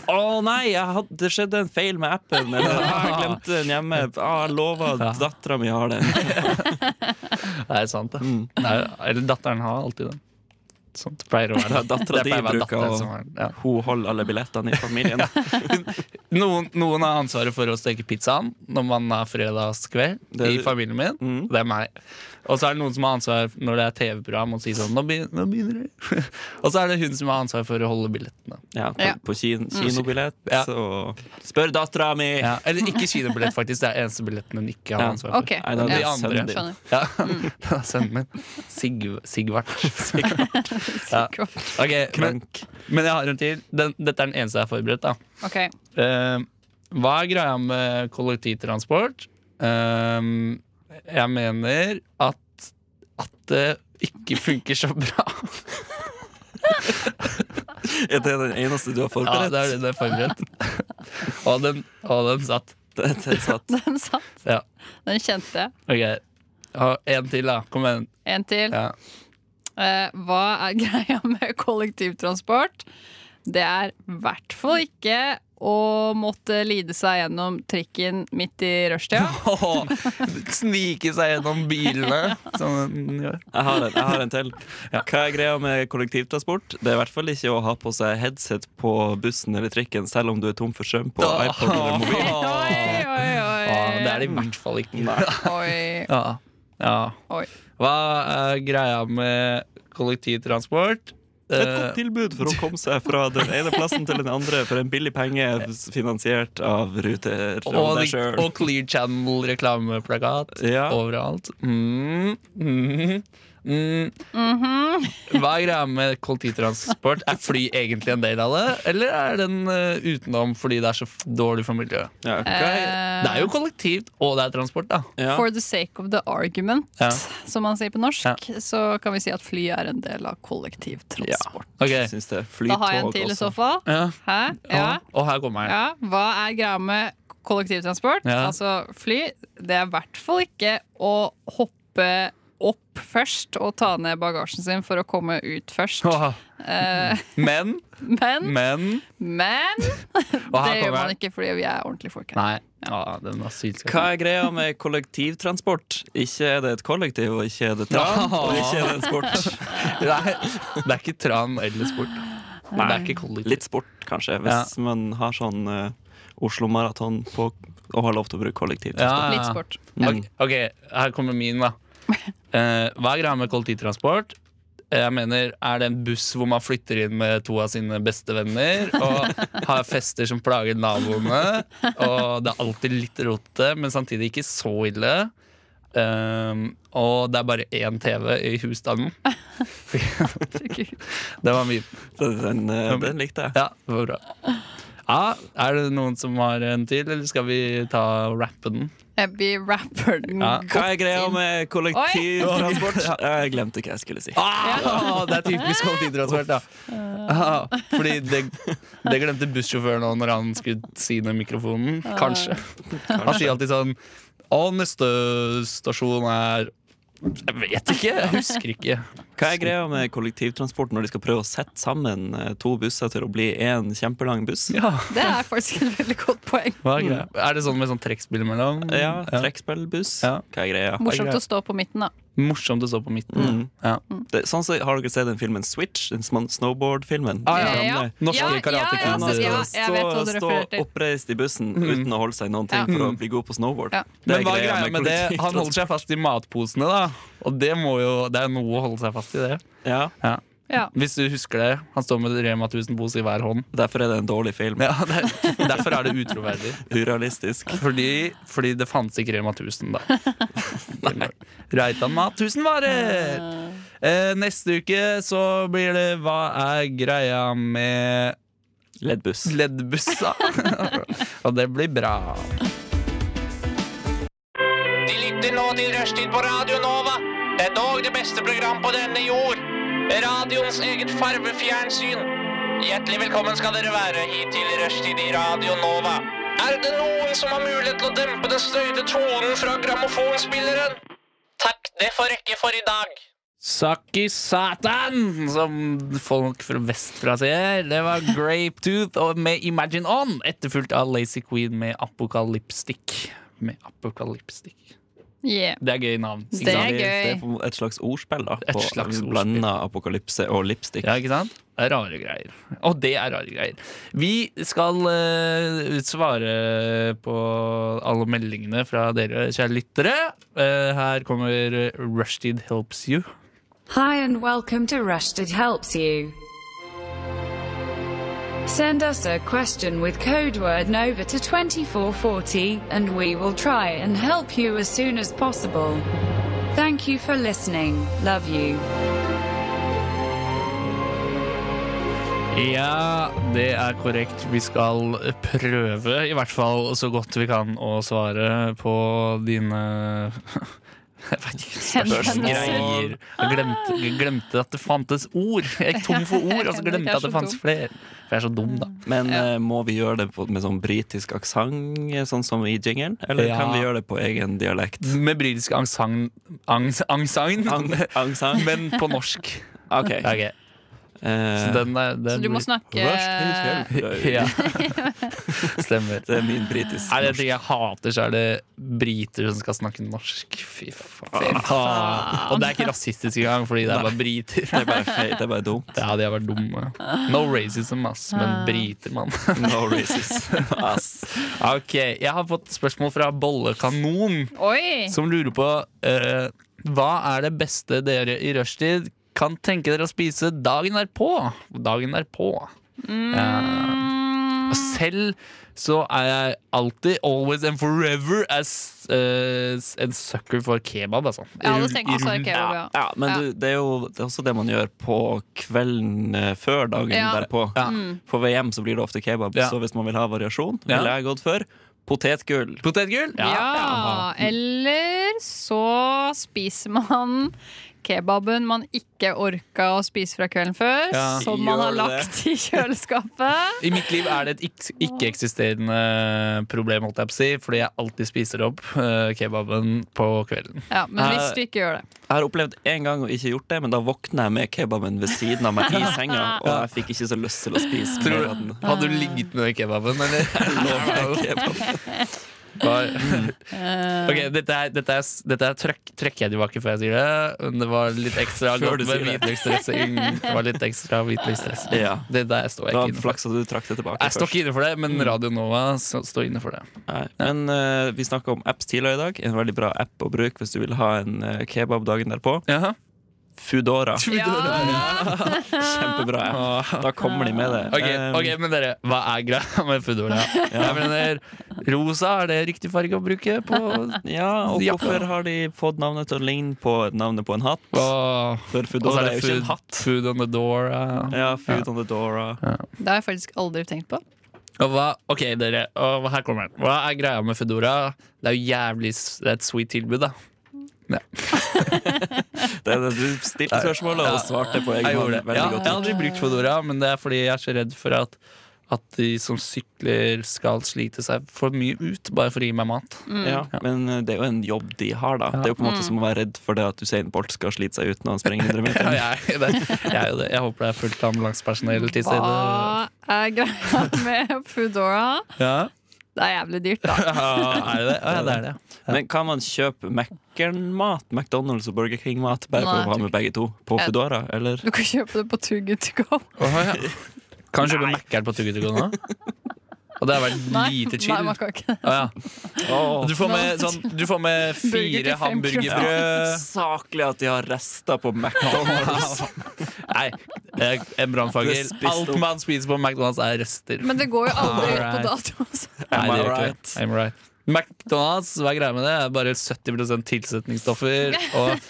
Speaker 3: 'Å nei, jeg hadde, det skjedde en feil med appen', eller 'Ah, 'Jeg glemte den hjemme', ah, 'Jeg lova
Speaker 5: Ja.
Speaker 3: dattera mi har den'. Mm.
Speaker 5: Det er sant, det. Nei, Eller datteren har alltid den. Sånt pleier å være.
Speaker 3: Dattera
Speaker 5: Det
Speaker 3: di
Speaker 5: pleier å være
Speaker 3: bruker
Speaker 5: datteren
Speaker 3: å-
Speaker 5: som er- ja.
Speaker 3: Hun holder alle billettene i familien.
Speaker 5: noen, noen har ansvaret for å steke pizzaen når man har fredagskveld
Speaker 3: Det- Mm.
Speaker 5: i familien min. Det er meg. Og så er det noen som har ansvar når det er TV-program og sier sånn nå begynner, nå begynner det. og så er det hun som har ansvar for å holde billettene.
Speaker 3: Ja, på,
Speaker 6: Ja. Mm.
Speaker 3: på kin kinobillett
Speaker 5: Ja.
Speaker 3: og Spør dattera mi!
Speaker 5: Ja. Eller ikke kinobillett, faktisk. Det er eneste billetten hun ikke har
Speaker 3: Ja.
Speaker 5: ansvar for.
Speaker 6: Ok,
Speaker 3: Nei, da,
Speaker 5: De
Speaker 3: det
Speaker 6: ja,
Speaker 3: er
Speaker 5: andre.
Speaker 3: sønnen din.
Speaker 6: skjønner.
Speaker 5: Ja, det er sønnen min. Sigv Sigvart. Ja.
Speaker 6: Sikkert.
Speaker 5: Ok, men,
Speaker 3: Krank.
Speaker 5: men jeg har en til. Den, dette er den eneste jeg har forberedt. da
Speaker 6: Ok,
Speaker 5: Eh, Hva er greia med kollektivtransport? Ehm, jeg mener at at det ikke funker så bra.
Speaker 3: Er det den eneste du har
Speaker 5: Ja,
Speaker 3: forberedt?
Speaker 5: det er det det er forberedt. og, den, og den satt.
Speaker 3: det, det er satt.
Speaker 6: den satt.
Speaker 5: Ja.
Speaker 6: Den kjente jeg.
Speaker 5: Ok, Og en til, da. Kom igjen.
Speaker 6: En til.
Speaker 5: Ja.
Speaker 6: Eh, hva er greia med kollektivtransport? Det er i hvert fall ikke å måtte lide seg gjennom trikken midt i rushtida.
Speaker 5: Åh, snike seg gjennom bilene, som den gjør.
Speaker 3: Jeg har en, jeg har en til. Hva er greia med kollektivtransport? Det er i hvert fall ikke å ha på seg headset på bussen eller trikken selv om du er tom for strøm på
Speaker 5: Åh.
Speaker 3: iPod eller mobil.
Speaker 6: Oi, oi, oi.
Speaker 5: Ja, det er det i hvert fall ikke.
Speaker 6: Oi,
Speaker 5: Ja. ja.
Speaker 6: oi.
Speaker 5: Hva er greia med kollektivtransport? Eh,
Speaker 3: Et godt tilbud for å komme seg fra den ene plassen til den andre for en billig penge finansiert av Ruter og
Speaker 5: og,
Speaker 3: deg sjøl.
Speaker 5: og Clear Channel-reklameplakat
Speaker 3: Ja.
Speaker 5: overalt. Mm, mm, mm.
Speaker 6: Mhm.
Speaker 5: Hva er greia med kollektivtransport? Er fly egentlig en del av det, eller er den eh, utenom fordi det er så f- dårlig for miljøet?
Speaker 3: Ja, hva er-
Speaker 5: Det er jo kollektivt, og det er transport, da.
Speaker 3: ja.
Speaker 6: Eh, For the sake of the argument,
Speaker 5: Ja.
Speaker 6: som man sier på norsk, så kan vi si at fly er en del av kollektivtransport.
Speaker 5: Ok.
Speaker 3: Syns det er
Speaker 6: Da har jeg en
Speaker 3: flytog
Speaker 6: til i så
Speaker 3: også.
Speaker 6: fall.
Speaker 5: Ja.
Speaker 6: Hæ? Ja.
Speaker 5: Ja. Og her kommer jeg.
Speaker 6: Ja, hva er greia med kollektivtransport?
Speaker 5: Ja.
Speaker 6: Altså fly. Det er i hvert fall ikke å hoppe opp først og ta ned bagasjen sin for å komme ut først.
Speaker 5: Åh.
Speaker 6: Eh,
Speaker 5: Men,
Speaker 6: men,
Speaker 5: men
Speaker 6: men
Speaker 5: Og
Speaker 6: det
Speaker 5: her
Speaker 6: gjør
Speaker 5: kommer
Speaker 6: man
Speaker 5: jeg.
Speaker 6: ikke fordi vi er ordentlige folk her.
Speaker 5: Nei. Åh, den var sykt
Speaker 3: Hva er greia med kollektivtransport? Ikke er det et kollektiv, og ikke er det tran,
Speaker 5: Ja.
Speaker 3: og ikke er det en sport.
Speaker 5: Nei, det er ikke tran eller sport. Det er ikke kollektivt.
Speaker 3: Litt sport, kanskje, hvis man har sånn eh, Oslo-maraton på og har lov til å bruke kollektivtransport.
Speaker 5: Ja, ja.
Speaker 6: Litt sport.
Speaker 3: Mm.
Speaker 5: Ok, her kommer min, da. Eh, hva er greia med kollektivtransport? Eh, Jeg mener, Er det en buss hvor man flytter inn med to av sine bestevenner og har fester som plager naboene, og det er alltid litt rotete, men samtidig ikke så ille? Ehm, og det er bare én TV i husstanden. det var min.
Speaker 3: Den, den, eh, den likte jeg.
Speaker 5: Ja, det var bra. Ja, er det noen som har en til, eller skal vi ta og rappe den?
Speaker 6: Jeg blir rapper.
Speaker 5: Ja.
Speaker 3: Hva er greia med kollektivtransport? Jeg glemte hva jeg skulle si.
Speaker 5: Ah, det er typisk kollektivtransport, da. Ah, fordi det, det glemte bussjåføren òg når han skulle si noe i mikrofonen. Kanskje. Han sier alltid sånn Å, neste stasjon er Jeg vet ikke. Jeg husker ikke.
Speaker 3: Hva er greia med kollektivtransport når de skal prøve å sette sammen eh, to busser til å bli én kjempelang buss?
Speaker 5: Ja,
Speaker 6: Det er faktisk et veldig godt poeng.
Speaker 5: hva er, greia? er det sånn med sånn trekkspill imellom?
Speaker 3: Ja, trekkspillbuss.
Speaker 5: Ja.
Speaker 3: Hva er greia?
Speaker 6: Morsomt å stå på midten, da.
Speaker 5: Morsomt å stå på midten.
Speaker 3: Mm.
Speaker 5: Ja.
Speaker 3: Det, sånn så har dere sett den filmen Switch, den sm- snowboard-filmen?
Speaker 5: Ah,
Speaker 3: Den
Speaker 5: ja.
Speaker 3: gamle.
Speaker 5: Norske
Speaker 6: ja,
Speaker 5: karatekvinner.
Speaker 6: Ja, ja, så- ja, jeg vet hva du
Speaker 3: stå
Speaker 6: refererer til.
Speaker 3: oppreist i bussen uten å holde seg i noen ting for å bli god på snowboard.
Speaker 6: Ja.
Speaker 5: Mhm. Men hva er greia med det? Han holder seg fast i matposene, da. Og det, må jo, det er noe å holde seg fast i, det.
Speaker 3: Ja,
Speaker 5: Ja.
Speaker 6: Ja.
Speaker 5: Hvis du husker det, han står med Rema 1000-pose i hver hånd.
Speaker 3: Derfor er det en dårlig film.
Speaker 5: Ja, det er, derfor er det utroverdig.
Speaker 3: Urealistisk.
Speaker 5: Fordi, fordi det fantes ikke Rema 1000 da. Reitan mat 1000 varer! Eh, neste uke så blir det Hva er greia med
Speaker 3: Leddbuss.
Speaker 5: leddbussa? Og det blir bra.
Speaker 8: De lytter nå til Rushtid på Radio Nova. Det er dog det beste program på denne jord. Radioens eget farvefjernsyn. Hjertelig velkommen skal dere være hit til Rushtid i Radio Nova. Er det noen som har mulighet til å dempe den støyte tonen fra grammofonspilleren? Takk, det får rekke for i dag.
Speaker 5: Saki Satan, som folk fra vestfra sier. Det var Grape Tooth og med Imagine On, etterfulgt av Lazy Queen med Apokalypstikk. Med Apokalypstikk.
Speaker 6: Yeah.
Speaker 5: Det er gøy navn.
Speaker 6: Det
Speaker 5: Ikke sant?
Speaker 6: er
Speaker 3: Det er
Speaker 6: gøy.
Speaker 3: på en måte et slags ordspill, da.
Speaker 5: Et
Speaker 3: På
Speaker 5: slags ordspill.
Speaker 3: blanda apokalypse og lipstick.
Speaker 5: Ja, ikke sant? Det er rare greier. Og det er rare greier. Vi skal eh, svare på alle meldingene fra dere, kjære lyttere. Eh, her kommer Rushtid Helps You.
Speaker 9: Hi and welcome to Rushdid Helps You. Send us a question with code word NOVA to 2440, and we will try and help you as soon as possible. Thank you for listening. Love you.
Speaker 5: Ja, det er korrekt. Vi skal prøve, i hvert fall så godt vi kan, å svare på dine Jeg vet ikke, spørsmål.
Speaker 6: Henvendelser.
Speaker 5: Jeg glemte, jeg glemte at det fantes ord. Jeg gikk tom for ord, og så glemte jeg at det fantes flere. For jeg er så dum, da.
Speaker 3: Men eh, må vi gjøre det på, med sånn britisk aksent, sånn som i jingelen? Eller
Speaker 5: Ja.
Speaker 3: kan vi gjøre det på egen dialekt?
Speaker 5: Med britisk angsagn
Speaker 3: Ang-
Speaker 5: Angsagn?
Speaker 3: Aksent?
Speaker 5: Men på norsk.
Speaker 3: OK.
Speaker 5: Ok,
Speaker 3: Eh,
Speaker 5: Så, den er, den
Speaker 6: Så du må snakke Eh,
Speaker 5: Ja. Stemmer.
Speaker 3: det er min britisk
Speaker 5: Er det ting jeg hater, så er det briter som skal snakke norsk. Fy faen. Ah. Og det er ikke rasistisk engang, fordi det er bare briter.
Speaker 3: Det er bare feil, det er bare dumt.
Speaker 5: Ja, de har vært dumme. No racism, ass. Men briter, mann.
Speaker 3: No racism.
Speaker 5: Ass. Ok, jeg har fått spørsmål fra Bollekanon,
Speaker 6: Oi!
Speaker 5: som lurer på eh, hva er det beste dere i rushtid kan tenke dere å spise dagen derpå? Dagen derpå.
Speaker 6: Mm,
Speaker 5: Og selv så er jeg alltid, always and forever, as, eh, en sucker for kebab, altså.
Speaker 6: Jeg hadde
Speaker 5: Rull-
Speaker 6: tenkt også
Speaker 5: rull-
Speaker 6: kebab, ja.
Speaker 5: ja.
Speaker 3: Ja, men Du, det er jo det er også det man gjør på kvelden eh, før dagen
Speaker 6: Ja. Mm.
Speaker 3: derpå.
Speaker 5: Ja.
Speaker 3: På vei hjem så blir det ofte kebab,
Speaker 5: Ja.
Speaker 3: så hvis man vil ha variasjon,
Speaker 5: Ja.
Speaker 3: ville jeg gått for potetgull.
Speaker 5: Potetgull?
Speaker 6: ja. eller så spiser man kebaben man ikke orka å spise fra kvelden før,
Speaker 5: Ja.
Speaker 6: som man har
Speaker 3: Gjør det.
Speaker 6: lagt i kjøleskapet.
Speaker 5: I mitt liv er det et ikk- ikke-eksisterende problem, holdt jeg på å si, fordi jeg alltid spiser opp eh, kebaben på kvelden.
Speaker 6: Ja, Men hvis du ikke gjør det.
Speaker 3: Jeg har opplevd en gang å ikke gjort det, men da våkna jeg med kebaben ved siden av meg i senga, og jeg fikk ikke så lyst til å spise
Speaker 5: Tror
Speaker 3: mer av
Speaker 5: du,
Speaker 3: den.
Speaker 5: hadde du ligget med kebaben, eller? Var- Mm. Ok, dette er, dette er, s- dette er trøkk, trekker jeg tilbake før jeg sier det. Men det var litt ekstra
Speaker 3: Før
Speaker 5: godt
Speaker 3: du
Speaker 5: med
Speaker 3: sier det.
Speaker 5: hvitløksdressing. Det var litt ekstra hvitløksdressing.
Speaker 3: Ja.
Speaker 5: Det der står
Speaker 3: Det var
Speaker 5: jeg ikke inne for.
Speaker 3: flaks at du trakk det tilbake
Speaker 5: Jeg står
Speaker 3: først.
Speaker 5: ikke inne for det, men Radio Nova så- står inne for det.
Speaker 3: Nei. Men eh, vi snakka om apps tidligere i dag. En veldig bra app å bruke hvis du vil ha en eh, kebab dagen derpå. Foodora.
Speaker 6: Ja!
Speaker 3: Kjempebra app. Da kommer de med det.
Speaker 5: Ah. Ok,
Speaker 3: Eh,
Speaker 5: ok, men dere, hva er greia med Foodora? Jeg mener, rosa, er det riktig farge å bruke på
Speaker 3: Ja, og
Speaker 5: Ja.
Speaker 3: hvorfor har de fått navnet til å ligne på navnet på en hatt?
Speaker 5: Åh,
Speaker 3: For
Speaker 5: Og så
Speaker 3: Foodora
Speaker 5: Altså, er
Speaker 3: er
Speaker 5: det
Speaker 3: jo ikke en
Speaker 5: food,
Speaker 3: hatt.
Speaker 5: food on the door. ja.
Speaker 3: Ja, Food on the Dora.
Speaker 6: Det har jeg faktisk aldri tenkt på.
Speaker 5: Og hva, ok dere, og her kommer den Hva er greia med Foodora? Det er jo jævlig s- det er et sweet tilbud da
Speaker 3: Det er det du stilte spørsmålet og svarte på egen
Speaker 5: Jeg gjorde
Speaker 3: hånd.
Speaker 5: det ja,
Speaker 3: Veldig
Speaker 5: Jeg
Speaker 3: godt.
Speaker 5: har aldri brukt Foodora, men det er fordi jeg er så redd for at At de som sykler skal slite seg for mye ut Bare for å gi meg mat
Speaker 3: Ja, men eh, det er jo en jobb de har, da. Det er jo på
Speaker 5: Mm.
Speaker 3: en måte som å være redd for det at Usain Bolt skal slite seg ut når han springer 100
Speaker 5: ja,
Speaker 3: meter.
Speaker 5: jeg, er jo det, jeg er jo det Jeg håper det er fullt av ambulansepersonell til stede
Speaker 6: Hva er greia med Foodora?
Speaker 5: ja.
Speaker 6: Det er jævlig dyrt, da.
Speaker 5: ja, er det det? Ja, det er det
Speaker 3: Men kan man kjøpe Mækkern-mat, McDonald's og Burger King-mat, bare for
Speaker 6: Nei,
Speaker 3: å ha med begge to på
Speaker 6: Jeg-
Speaker 3: Foodora, eller?
Speaker 6: Du kan kjøpe det på Too Good To Go.
Speaker 5: Åh, ja. Kan du kjøpe Mac-er på Tuggetugo nå? Og det har vært lite chill
Speaker 6: Nei, man kan ikke det.
Speaker 5: Å, ja. Du, får med, sånn, du får med
Speaker 6: Burger
Speaker 5: fire
Speaker 6: til fem
Speaker 5: hamburgerbrød.
Speaker 3: Saklig at de har rester på McDonald's.
Speaker 5: Nei, eh, en
Speaker 3: Det er
Speaker 5: brannfagel.
Speaker 3: spist
Speaker 5: Alt
Speaker 3: opp.
Speaker 5: man spiser på McDonald's, er rester.
Speaker 6: Men det går jo aldri ut på
Speaker 5: Alright.
Speaker 6: dato. altså.
Speaker 5: Nei, det
Speaker 3: I
Speaker 5: gjør ikke det.
Speaker 3: right?
Speaker 5: I'm right. McDonald's, hva er greia med det? Er bare 70 tilsetningsstoffer, og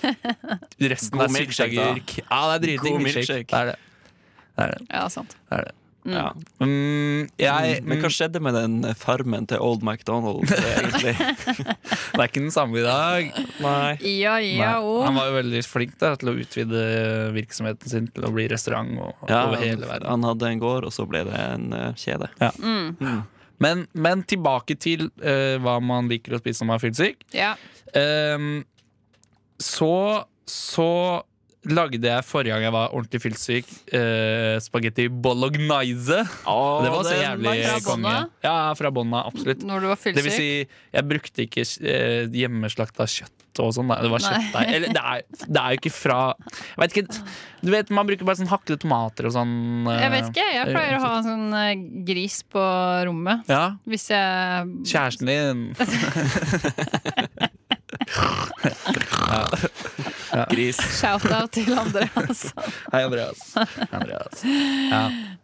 Speaker 5: resten
Speaker 3: God
Speaker 5: er
Speaker 3: milkshake, da.
Speaker 5: sylteagurk. Ja, det er dritdigg
Speaker 3: God
Speaker 5: milkshake.
Speaker 3: milkshake.
Speaker 5: Det er det. Det er det.
Speaker 6: Ja, sant.
Speaker 5: det, er det.
Speaker 3: Ja.
Speaker 5: Mm, jeg,
Speaker 3: Men hva
Speaker 5: mm,
Speaker 3: skjedde med den farmen til Old MacDonald, eh, egentlig?
Speaker 5: det er ikke den samme i dag.
Speaker 3: Nei.
Speaker 6: Ja, ja,
Speaker 5: mm.
Speaker 6: oh.
Speaker 5: Nei.
Speaker 6: og
Speaker 5: Han var jo veldig flink da, til å utvide virksomheten sin til å bli restaurant og, over hele verden.
Speaker 3: Han hadde en gård, og så ble det en eh, kjede.
Speaker 5: Men, men tilbake til eh, hva man liker å spise når man er fyllesyk.
Speaker 6: ja.
Speaker 5: Ehm, så så lagde jeg forrige gang jeg var ordentlig fyllesyk, eh, spagetti bolognese. det var så
Speaker 6: den
Speaker 5: jævlig
Speaker 6: var fra
Speaker 5: konge.
Speaker 6: bånda?
Speaker 5: Ja, fra bånda, absolutt.
Speaker 6: Når du var
Speaker 5: Det vil
Speaker 6: fyllesyk?
Speaker 5: si, jeg brukte ikke eh, hjemmeslakta kjøtt og sånn. da. Det var
Speaker 6: Nei.
Speaker 5: kjøttdeig. Eller det er, det er jo ikke fra jeg vet ikke, Du vet, man bruker bare sånn hakkede tomater og sånn. eh,
Speaker 6: Jeg vet ikke. Jeg pleier å ha
Speaker 5: eh,
Speaker 6: en sånn eh, gris på rommet.
Speaker 5: Ja,
Speaker 6: Hvis jeg
Speaker 5: kjæresten din.
Speaker 3: Gris.
Speaker 6: Shout-out til altså. Andreas.
Speaker 5: Hei, Andreas. Andreas.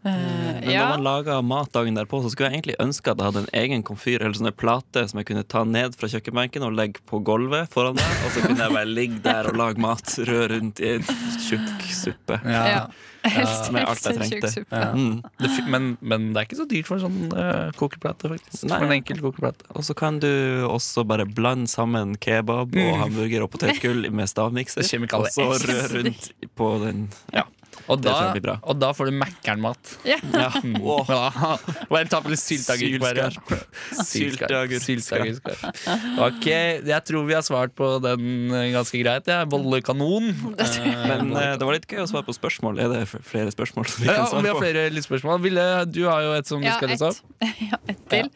Speaker 3: Men
Speaker 6: Ja.
Speaker 3: når man laga mat dagen derpå, så skulle jeg egentlig ønske at jeg hadde en egen komfyr eller sånne plate som jeg kunne ta ned fra kjøkkenbenken og legge på gulvet foran meg, og så kunne jeg bare ligge der og lage mat, rø rundt i en tjukk suppe.
Speaker 6: Ja. Helst,
Speaker 3: med alt
Speaker 6: helst
Speaker 3: jeg
Speaker 6: en tjukk
Speaker 3: trengte.
Speaker 6: suppe.
Speaker 3: Mm.
Speaker 5: Det, fi- men, men det er ikke så dyrt for en sånn eh, kokeplate, faktisk.
Speaker 3: Nei.
Speaker 5: For en enkel kokeplate.
Speaker 3: Og så kan du også bare blande sammen kebab og hamburger og potetgull med stavmikser, og
Speaker 5: Mm. Kjemikalier.
Speaker 3: så rø rundt på den. Ja.
Speaker 5: Og
Speaker 3: Det
Speaker 5: da,
Speaker 3: tror jeg blir bra.
Speaker 5: og da får du Mækkern-mat.
Speaker 6: Ja.
Speaker 5: Ja.
Speaker 3: Mm.
Speaker 5: Ja. Bare ta på litt sylteagurk. bare.
Speaker 3: Sylteagurk.
Speaker 5: Sylteagurk. Ok, jeg tror vi har svart på den eh, ganske greit. Jeg er bollekanon.
Speaker 3: Men eh, det var litt gøy å svare på spørsmål. Er det f- flere spørsmål som vi
Speaker 5: Ja,
Speaker 3: kan
Speaker 5: vi
Speaker 3: svare
Speaker 5: har
Speaker 3: på?
Speaker 5: flere lyttspørsmål. Ville, du har jo et som du
Speaker 6: Ja,
Speaker 5: skal
Speaker 6: ett
Speaker 5: lese opp.
Speaker 6: ja, ett til.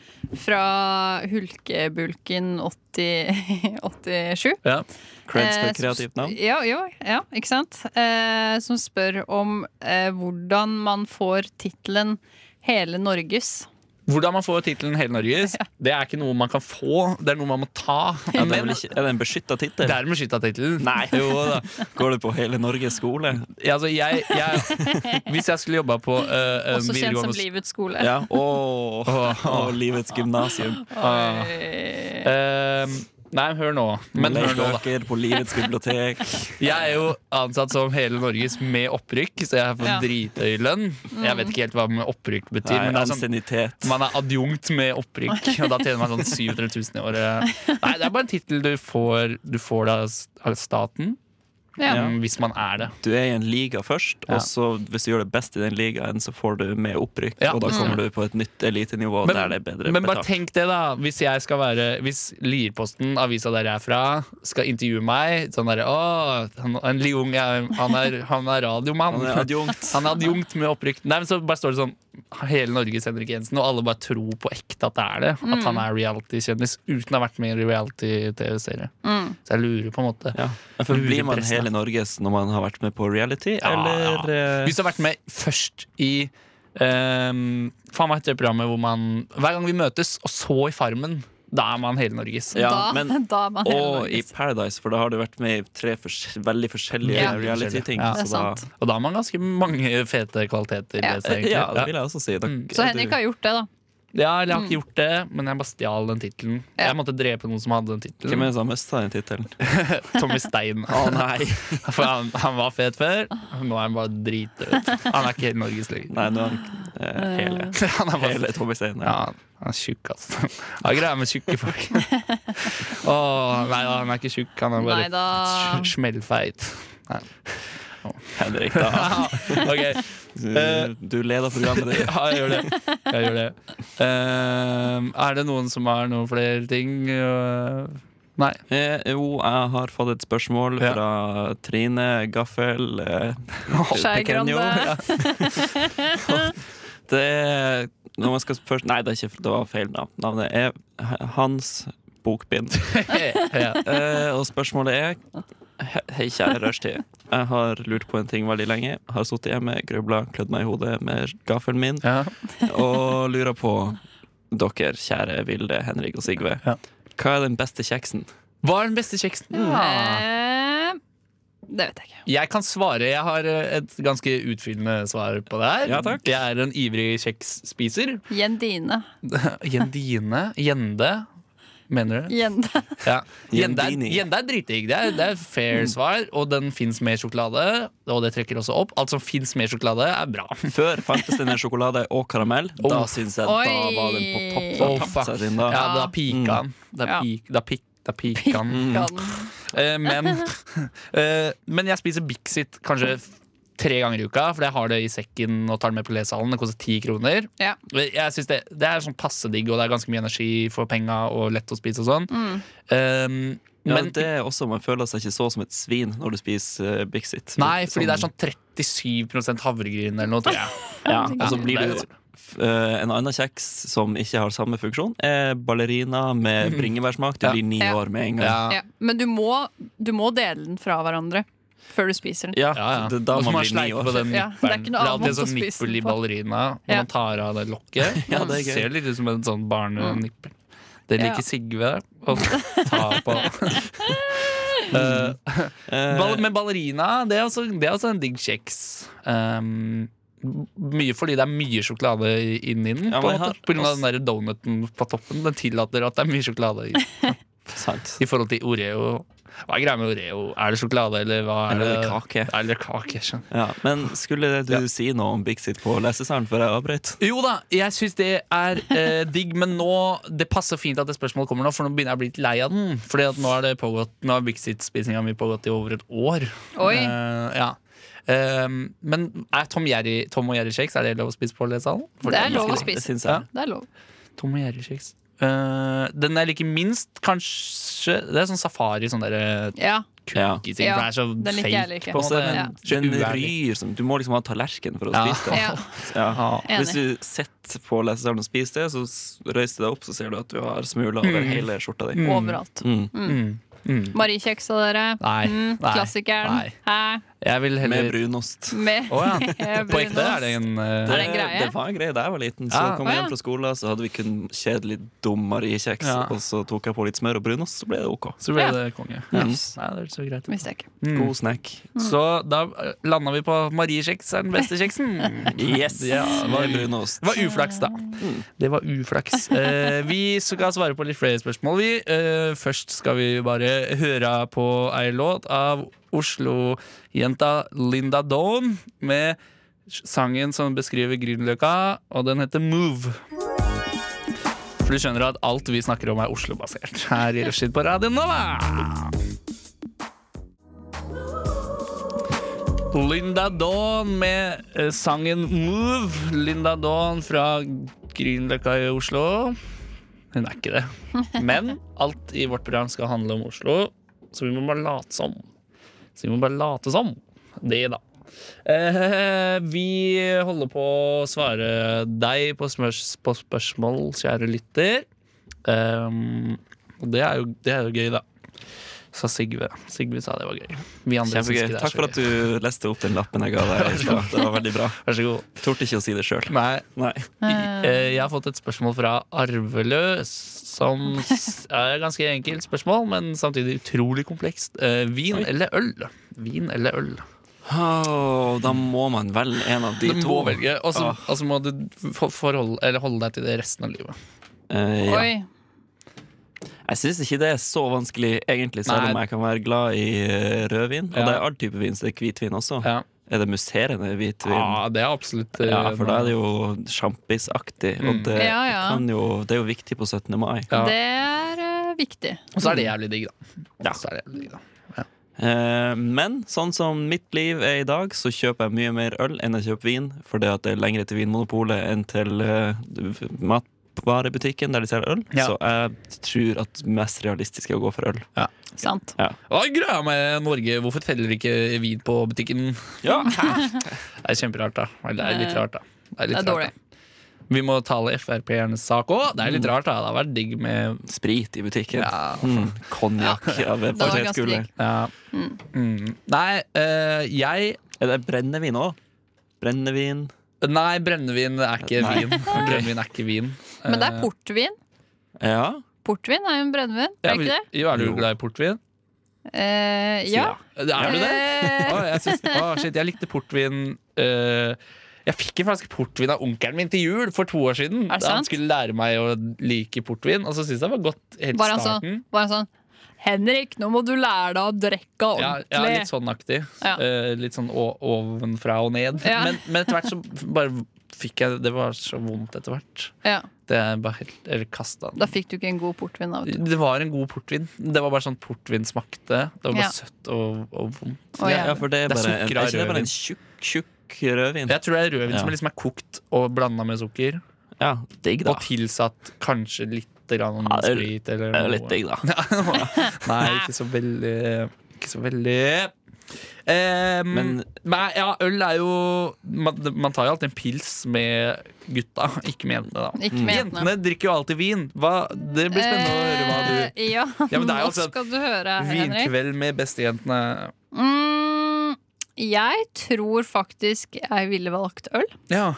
Speaker 6: Fra Hulkebulken 80, 87.
Speaker 5: Ja.
Speaker 3: Creds
Speaker 6: Eh,
Speaker 3: for
Speaker 6: som-
Speaker 3: kreativt navn.
Speaker 6: Ja, jo, ja ikke sant? Eh, som spør om eh, hvordan man får tittelen Hele Norges.
Speaker 5: Hvordan man får tittelen Hele Norges, det er ikke noe man kan få, det er noe man må ta.
Speaker 3: Ja, det er,
Speaker 5: Men
Speaker 3: vel ikke, er det en beskytta tittel?
Speaker 5: det er en beskytta tittel. Jo da.
Speaker 3: Går det på hele Norges skole?
Speaker 5: Ja, altså, jeg, jeg, hvis jeg skulle jobba på eh, en
Speaker 6: Også kjent som
Speaker 5: videregående
Speaker 6: Livets skole.
Speaker 3: Ja. Åh, og livets gymnasium.
Speaker 6: Eh,
Speaker 5: Eh, Nei, hør nå. Men hør nå, da.
Speaker 3: Leirdaker på livets bibliotek.
Speaker 5: Jeg er jo ansatt som hele Norges med opprykk, så jeg får
Speaker 6: Ja.
Speaker 5: drithøy lønn. Jeg vet ikke helt hva med opprykk betyr,
Speaker 3: Nei,
Speaker 5: men det er sånn,
Speaker 3: ansiennitet.
Speaker 5: man er adjunkt med opprykk, og da tjener man sånn 700 000 i året. Nei, det er bare en tittel du får, du får det av s- av staten,
Speaker 6: ja.
Speaker 5: mm, hvis man er det.
Speaker 3: Du er i en liga først,
Speaker 5: Ja.
Speaker 3: og så hvis du gjør det best i den ligaen, så får du med opprykk,
Speaker 5: Ja. Mm.
Speaker 3: og da kommer du på et nytt elitenivå
Speaker 5: Men-
Speaker 3: der det er bedre
Speaker 5: Men bare
Speaker 3: betalt.
Speaker 5: tenk det, da. Hvis jeg skal være Hvis Lierposten, avisa der jeg er fra, skal intervjue meg sånn derre Å, han, han Liung er, han er, han er radiomann.
Speaker 3: Han er adjunkt.
Speaker 5: Han er adjunkt med opprykk. Nei, men så bare står det sånn Hele Norges Henrik Jensen, og alle bare tror på ekte at det er det.
Speaker 3: Mm.
Speaker 5: At han er reality-kjendis uten å ha vært med i en reality-TV-serie. Så jeg lurer på en måte.
Speaker 3: Mm. Ja. Men For
Speaker 5: Lurer
Speaker 3: blir man
Speaker 5: pressen,
Speaker 3: hele Norges når man har vært med på reality,
Speaker 5: Ja,
Speaker 3: eller
Speaker 5: ja.
Speaker 3: eh,
Speaker 5: Hvis du har vært med først i ehm, Faen meg heter det programmet hvor man Hver gang vi møtes, og så i Farmen, da er man hele Norges.
Speaker 3: Ja,
Speaker 6: da,
Speaker 3: men-
Speaker 6: da er man Hele
Speaker 3: Og i
Speaker 6: Norges.
Speaker 3: Paradise, for da har du vært med i tre fors veldig forskjellige
Speaker 6: Ja.
Speaker 3: reality-ting.
Speaker 5: Ja.
Speaker 6: Det er
Speaker 3: så da,
Speaker 6: sant.
Speaker 5: Og da har man ganske mange fete kvaliteter.
Speaker 6: Ja.
Speaker 5: ved seg, egentlig.
Speaker 3: ja, det vil jeg også si. Da,
Speaker 5: Mm.
Speaker 6: Så Eh, Henrik har gjort det, da.
Speaker 5: ja, eller jeg har ikke gjort det, men jeg bare stjal den tittelen.
Speaker 6: Ja.
Speaker 5: Jeg måtte drepe noen som hadde den
Speaker 3: Hvem
Speaker 5: tittelen.
Speaker 3: er det som har mista den tittelen?
Speaker 5: Tommy Stein. For han, han var fet før, nå er han bare dritdød. Han er ikke helt Norges lenger.
Speaker 3: Nei, nå er han eh, hele.
Speaker 5: Han er bare
Speaker 3: Hele Tommy Stein.
Speaker 5: ja,
Speaker 3: Ja.
Speaker 5: han er tjukk, ass. Han er greia med tjukke folk. Åh, nei da, han er ikke tjukk, han er bare
Speaker 6: Neida.
Speaker 5: sj- smellfeit. Nei.
Speaker 3: Henrik, da.
Speaker 5: Ok,
Speaker 3: Du, du leder programmet ditt.
Speaker 5: ja, jeg gjør det. Jeg gjør det. Ehm, er det noen som har noen flere ting? Øh, Nei.
Speaker 3: Eh, jo, jeg har fått et spørsmål
Speaker 5: Ja.
Speaker 3: fra Trine Gaffel. Eh,
Speaker 6: Skei
Speaker 3: Pequeño.
Speaker 6: Grande.
Speaker 3: Ja. det Når man skal først Nei, det, er ikke, det var feil navn. Navnet er H- Hans Bokbind.
Speaker 5: ja.
Speaker 3: Eh, og spørsmålet er he- Hei, kjære rushtid. Jeg har lurt på en ting veldig lenge. Har sittet hjemme, grubla, klødd meg i hodet med gaffelen min
Speaker 5: Ja.
Speaker 3: og lurer på dere, kjære Vilde, Henrik og Sigve.
Speaker 5: Ja.
Speaker 3: Hva er den beste kjeksen?
Speaker 5: Hva er den beste kjeksen?
Speaker 6: Eh, det vet jeg ikke.
Speaker 5: Jeg kan svare. Jeg har eh, et ganske utfyllende svar på det her.
Speaker 3: Ja, takk.
Speaker 5: Jeg er en ivrig kjeksspiser.
Speaker 6: Gjendine.
Speaker 5: Gjendine. Gjende. Mener du?
Speaker 6: Gjende.
Speaker 5: Ja. Gjende er-
Speaker 3: Gjendini.
Speaker 5: gjende er dritdigg. Det er, det er fair
Speaker 3: Mm.
Speaker 5: svar. Og den fins med sjokolade. Og det trekker også opp. Alt som fins med sjokolade, er bra.
Speaker 3: Før fantes det en sjokolade og karamell. Da syns jeg da
Speaker 6: Oi.
Speaker 3: var den på topp. Da
Speaker 5: Oh,
Speaker 3: tapte
Speaker 5: fuck. Mm.
Speaker 3: seg den da.
Speaker 5: Ja, da pika han. Da,
Speaker 6: Ja.
Speaker 5: pik, da, pik, da pika
Speaker 3: Mm.
Speaker 5: han.
Speaker 6: Kan.
Speaker 5: Eh, men, eh, men jeg spiser Bixit kanskje f- tre ganger i uka, for jeg har det i sekken og tar det med på lesesalen. Det koster ti kroner.
Speaker 6: Ja.
Speaker 5: Jeg synes det,
Speaker 6: Mm.
Speaker 5: det er sånn passe digg, og det er ganske mye energi for penga og lett å spise og sånn. Eh,
Speaker 3: Ja,
Speaker 5: Men-
Speaker 3: det er også, Man føler seg ikke så som et svin når du spiser eh, Bixit.
Speaker 5: Nei, fordi det
Speaker 3: sånn-
Speaker 5: er sånn 37 havregryn eller noe, tror jeg.
Speaker 3: ja, Og så
Speaker 5: Ja,
Speaker 3: blir
Speaker 5: det
Speaker 3: du
Speaker 5: er
Speaker 3: f- eh, En annen kjeks som ikke har samme funksjon, er ballerina med bringebærsmak. Du
Speaker 5: Ja.
Speaker 3: blir ni
Speaker 6: Ja.
Speaker 3: år med en gang.
Speaker 5: Ja.
Speaker 6: Ja, men du må, du må dele den fra hverandre før du spiser den.
Speaker 3: Ja,
Speaker 5: Ja, ja.
Speaker 3: det- Da
Speaker 5: Og så
Speaker 3: man
Speaker 5: må man
Speaker 3: blir ni
Speaker 5: sleike på
Speaker 3: år.
Speaker 5: den
Speaker 6: Ja, det er ikke
Speaker 5: nipperen.
Speaker 6: noe
Speaker 5: Ja,
Speaker 6: annet
Speaker 5: det er
Speaker 6: måte å
Speaker 5: sånn
Speaker 6: spise den
Speaker 5: nippel i
Speaker 6: på.
Speaker 5: ballerina når
Speaker 6: Ja.
Speaker 5: man tar av det lokket.
Speaker 3: Ja, det er gøy.
Speaker 5: Ser litt ut som en sånn barnenippel. Det
Speaker 6: Mm. Ja.
Speaker 5: liker Sigve å ta på. Eh,
Speaker 3: Eh,
Speaker 5: ball, men ballerina, det er også, det er også en digg kjeks. Um, m- mye fordi det er mye sjokolade i- inni den.
Speaker 3: Ja,
Speaker 5: på,
Speaker 3: men
Speaker 5: en måte.
Speaker 3: her-
Speaker 5: på grunn av den der donuten på toppen. Den tillater at det er mye sjokolade i,
Speaker 3: sant.
Speaker 5: i forhold til Oreo. Hva er greia med Oreo? Er det sjokolade, eller hva er
Speaker 3: Eller
Speaker 5: det?
Speaker 3: kake.
Speaker 5: Eller kake, skjønner
Speaker 3: Ja, men skulle du si noe om Bixit på lesesalen før jeg avbrøt?
Speaker 5: Jo da, jeg syns det er eh, digg, men nå Det passer fint at det spørsmålet kommer nå, for nå begynner jeg å bli litt lei av den. Fordi at nå har det pågått Nå har Big Sit-spisinga mi pågått i over et år.
Speaker 6: Oi.
Speaker 5: Eh, ja. Eh, men er Tom, Jerry, Tom og Jerry-kjeks Er det lov å spise på lesesalen? For
Speaker 6: Det er lov å
Speaker 5: ganske digg.
Speaker 6: spise.
Speaker 3: Det syns
Speaker 5: Ja.
Speaker 3: jeg.
Speaker 6: Det er lov.
Speaker 5: Tom og Jerry-kjeks. Eh, den jeg liker minst, kanskje Det er sånn safari, sånn derre
Speaker 6: Ja.
Speaker 3: Ja.
Speaker 5: cookie-ting.
Speaker 6: Ja,
Speaker 5: for det er så
Speaker 6: den liker
Speaker 5: fake.
Speaker 6: jeg like.
Speaker 5: på en
Speaker 3: Og så
Speaker 5: måte.
Speaker 3: er
Speaker 5: Så
Speaker 3: den, den
Speaker 5: uærlig.
Speaker 3: ryr som Du må liksom ha tallerken for å
Speaker 5: Ja.
Speaker 3: spise det.
Speaker 6: ja.
Speaker 3: Ja.
Speaker 5: Ja.
Speaker 6: Enig.
Speaker 3: Hvis du sitter på lesesalen og spiser det, så s- røyser du deg opp, så ser du at du har smuler over
Speaker 5: Mm.
Speaker 3: hele skjorta di.
Speaker 6: Overalt.
Speaker 3: Mm.
Speaker 6: Mariekjeks av dere.
Speaker 5: Nei,
Speaker 6: Mm,
Speaker 5: nei,
Speaker 6: klassikeren.
Speaker 5: nei.
Speaker 6: Hæ?
Speaker 5: Jeg vil
Speaker 3: Med
Speaker 5: heller
Speaker 3: brunost.
Speaker 6: Med
Speaker 5: Å ja. På ekte er det en eh,
Speaker 6: Er det en greie?
Speaker 3: Det var en greie da jeg var liten. Så
Speaker 5: Ja.
Speaker 3: kom
Speaker 6: Å,
Speaker 3: jeg
Speaker 6: ja.
Speaker 3: hjem fra skolen, så hadde vi kun kjedelig dum mariekjeks.
Speaker 5: Ja.
Speaker 3: Og så tok jeg på litt smør og brunost, så ble det ok.
Speaker 5: Så ble
Speaker 6: Ja.
Speaker 5: det konge. Nei, det er så greit. Mm.
Speaker 6: Visste jeg ikke.
Speaker 3: God snack.
Speaker 5: Så da landa vi på Mariekjeks er den beste kjeksen.
Speaker 3: Yes!
Speaker 5: Ja, det var-
Speaker 3: Med brunost.
Speaker 5: Det var uflaks, da. Det var uflaks. Eh, vi skal svare på litt flere spørsmål, vi. Eh, først skal vi bare høre på ei låt av Oslo-jenta Linda Dawn med sangen som beskriver Grünerløkka, og den heter Move. For du skjønner at alt vi snakker om, er Oslo-basert her i Rushtid på Radio Nova. Linda Dawn med eh, sangen Move. Linda Dawn fra Grünerløkka i Oslo. Hun er ikke det. Men alt i vårt program skal handle om Oslo, så vi må bare late som. Så vi må bare late som. Det, da. Eh, vi holder på å svare deg på, smørs, på spørsmål, kjære lytter. Um, og det er, jo, det er jo gøy, da. Sa Sigve. Sigve sa det var gøy. Vi andre syns
Speaker 3: Kjempegøy.
Speaker 5: ikke det er
Speaker 3: Takk
Speaker 5: så
Speaker 3: for at du leste opp den lappen jeg ga deg. i stad. Det var veldig bra.
Speaker 5: Vær så god.
Speaker 3: Torde ikke å si det sjøl.
Speaker 5: Nei.
Speaker 3: Nei.
Speaker 5: Eh, Jeg har fått et spørsmål fra Arveløs, som s- er et ganske enkelt spørsmål, men samtidig utrolig komplekst. Eh, Vin eller øl? Vin eller øl?
Speaker 3: Åh, da må man velge en av de
Speaker 5: Du må
Speaker 3: to.
Speaker 5: velge, og så og så må du for- forholde, eller holde deg til det resten av livet.
Speaker 3: Eh, ja.
Speaker 6: Oi.
Speaker 3: Jeg syns ikke det er så vanskelig, egentlig, selv
Speaker 5: Nei.
Speaker 3: om jeg kan være glad i eh, rødvin. Og
Speaker 5: Ja.
Speaker 3: det er all type vin, så det er hvitvin også.
Speaker 5: Ja, Ah,
Speaker 3: Er det musserende hvitvin?
Speaker 5: ja det er absolutt eh, Mm.
Speaker 3: Ja, for da er det jo sjampisaktig, og det,
Speaker 6: Ja, ja.
Speaker 3: Kan jo, det er jo viktig på 17. mai.
Speaker 5: Ja. Altså,
Speaker 6: Det er eh, viktig.
Speaker 5: Og så er det jævlig digg, da. Så er det jævlig digg, da.
Speaker 3: Eh, men sånn som mitt liv er i dag, så kjøper jeg mye mer øl enn jeg kjøper vin, for det at det er lengre til Vinmonopolet enn til eh, matvarebutikken der de selger øl.
Speaker 5: Ja.
Speaker 3: Så jeg tror at mest realistisk er å gå for øl.
Speaker 6: Sant.
Speaker 5: Hva er greia med Norge? Hvorfor teller ikke vin på butikken?
Speaker 3: Ja,
Speaker 5: Det er kjemperart, da. Eller det er litt rart, da. litt
Speaker 6: Eh. Det er
Speaker 5: rart,
Speaker 6: dårlig.
Speaker 5: da. Vi må tale Frp-ernes sak òg. Det er litt rart, da. Det har vært digg med
Speaker 3: Sprit i butikken.
Speaker 5: Mm. Ja.
Speaker 3: Mm, Konjakk av
Speaker 6: Det var ganske
Speaker 3: potetskuler.
Speaker 6: digg.
Speaker 5: Ja. Mm. Nei, eh, jeg
Speaker 3: Er det brennevin òg? Brennevin
Speaker 5: Nei, brennevin er ikke
Speaker 3: Nei.
Speaker 5: vin. Brennevin er ikke vin.
Speaker 6: Men det er portvin.
Speaker 3: Ja.
Speaker 6: Portvin er jo en brennevin,
Speaker 5: Eh. Ja,
Speaker 6: er ikke det?
Speaker 5: vi- Jo, er du glad i portvin?
Speaker 6: Eh, ja.
Speaker 5: Er du det?
Speaker 6: Eh,
Speaker 5: Å, jeg, syns- å, shit, jeg likte portvin eh, Jeg fikk en flaske portvin av onkelen min til jul for to år siden.
Speaker 6: Er det
Speaker 5: Da han
Speaker 6: sant?
Speaker 5: skulle lære meg å like portvin, og så syntes jeg det var godt helt
Speaker 6: Var han sånn,
Speaker 5: starten.
Speaker 6: var han sånn Henrik, nå må du lære deg å drikke
Speaker 5: Ja, ja,
Speaker 6: ordentlig.
Speaker 5: litt sånn aktig.
Speaker 6: Ja.
Speaker 5: Eh, litt sånn o- ovenfra og ned.
Speaker 6: Ja.
Speaker 5: Men, men etter hvert så bare fikk jeg Det var så vondt etter hvert.
Speaker 6: Ja.
Speaker 5: Det er bare helt Eller kasta den.
Speaker 6: Da fikk du ikke en god portvin. Da, vet du.
Speaker 5: Det var en god portvin. Det var bare sånn portvin smakte. Det var bare
Speaker 6: Ja.
Speaker 5: søtt og, og vondt.
Speaker 6: Å,
Speaker 3: ja, ja,
Speaker 6: jævlig.
Speaker 3: for det er
Speaker 5: Det er
Speaker 3: bare, en-
Speaker 5: sukker av
Speaker 3: er ikke det bare en
Speaker 5: rødvin.
Speaker 3: tjukk, tjukk rødvin.
Speaker 5: Jeg tror det er rødvin
Speaker 3: Ja.
Speaker 5: som liksom er kokt og blanda med sukker.
Speaker 3: Ja, digg, da.
Speaker 5: Og tilsatt kanskje litt lite grann
Speaker 3: Ja, det er-
Speaker 5: sprit eller
Speaker 3: Det er jo
Speaker 5: noe.
Speaker 3: litt digg, da.
Speaker 5: Nei, ikke så veldig Ikke så veldig Ehm,
Speaker 3: Men-
Speaker 5: nei, ja, øl er jo man, man tar jo alltid en pils med gutta, ikke med jentene, da.
Speaker 6: Ikke med
Speaker 5: Jentene drikker jo alltid vin. Hva, det blir spennende å høre hva du
Speaker 6: Eh, Ja,
Speaker 5: Ja, men det er jo
Speaker 6: nå
Speaker 5: altså-
Speaker 6: skal du høre, Henrik.
Speaker 5: Vinkveld med bestejentene.
Speaker 6: Mm, jeg tror faktisk jeg ville valgt øl,
Speaker 5: Ja.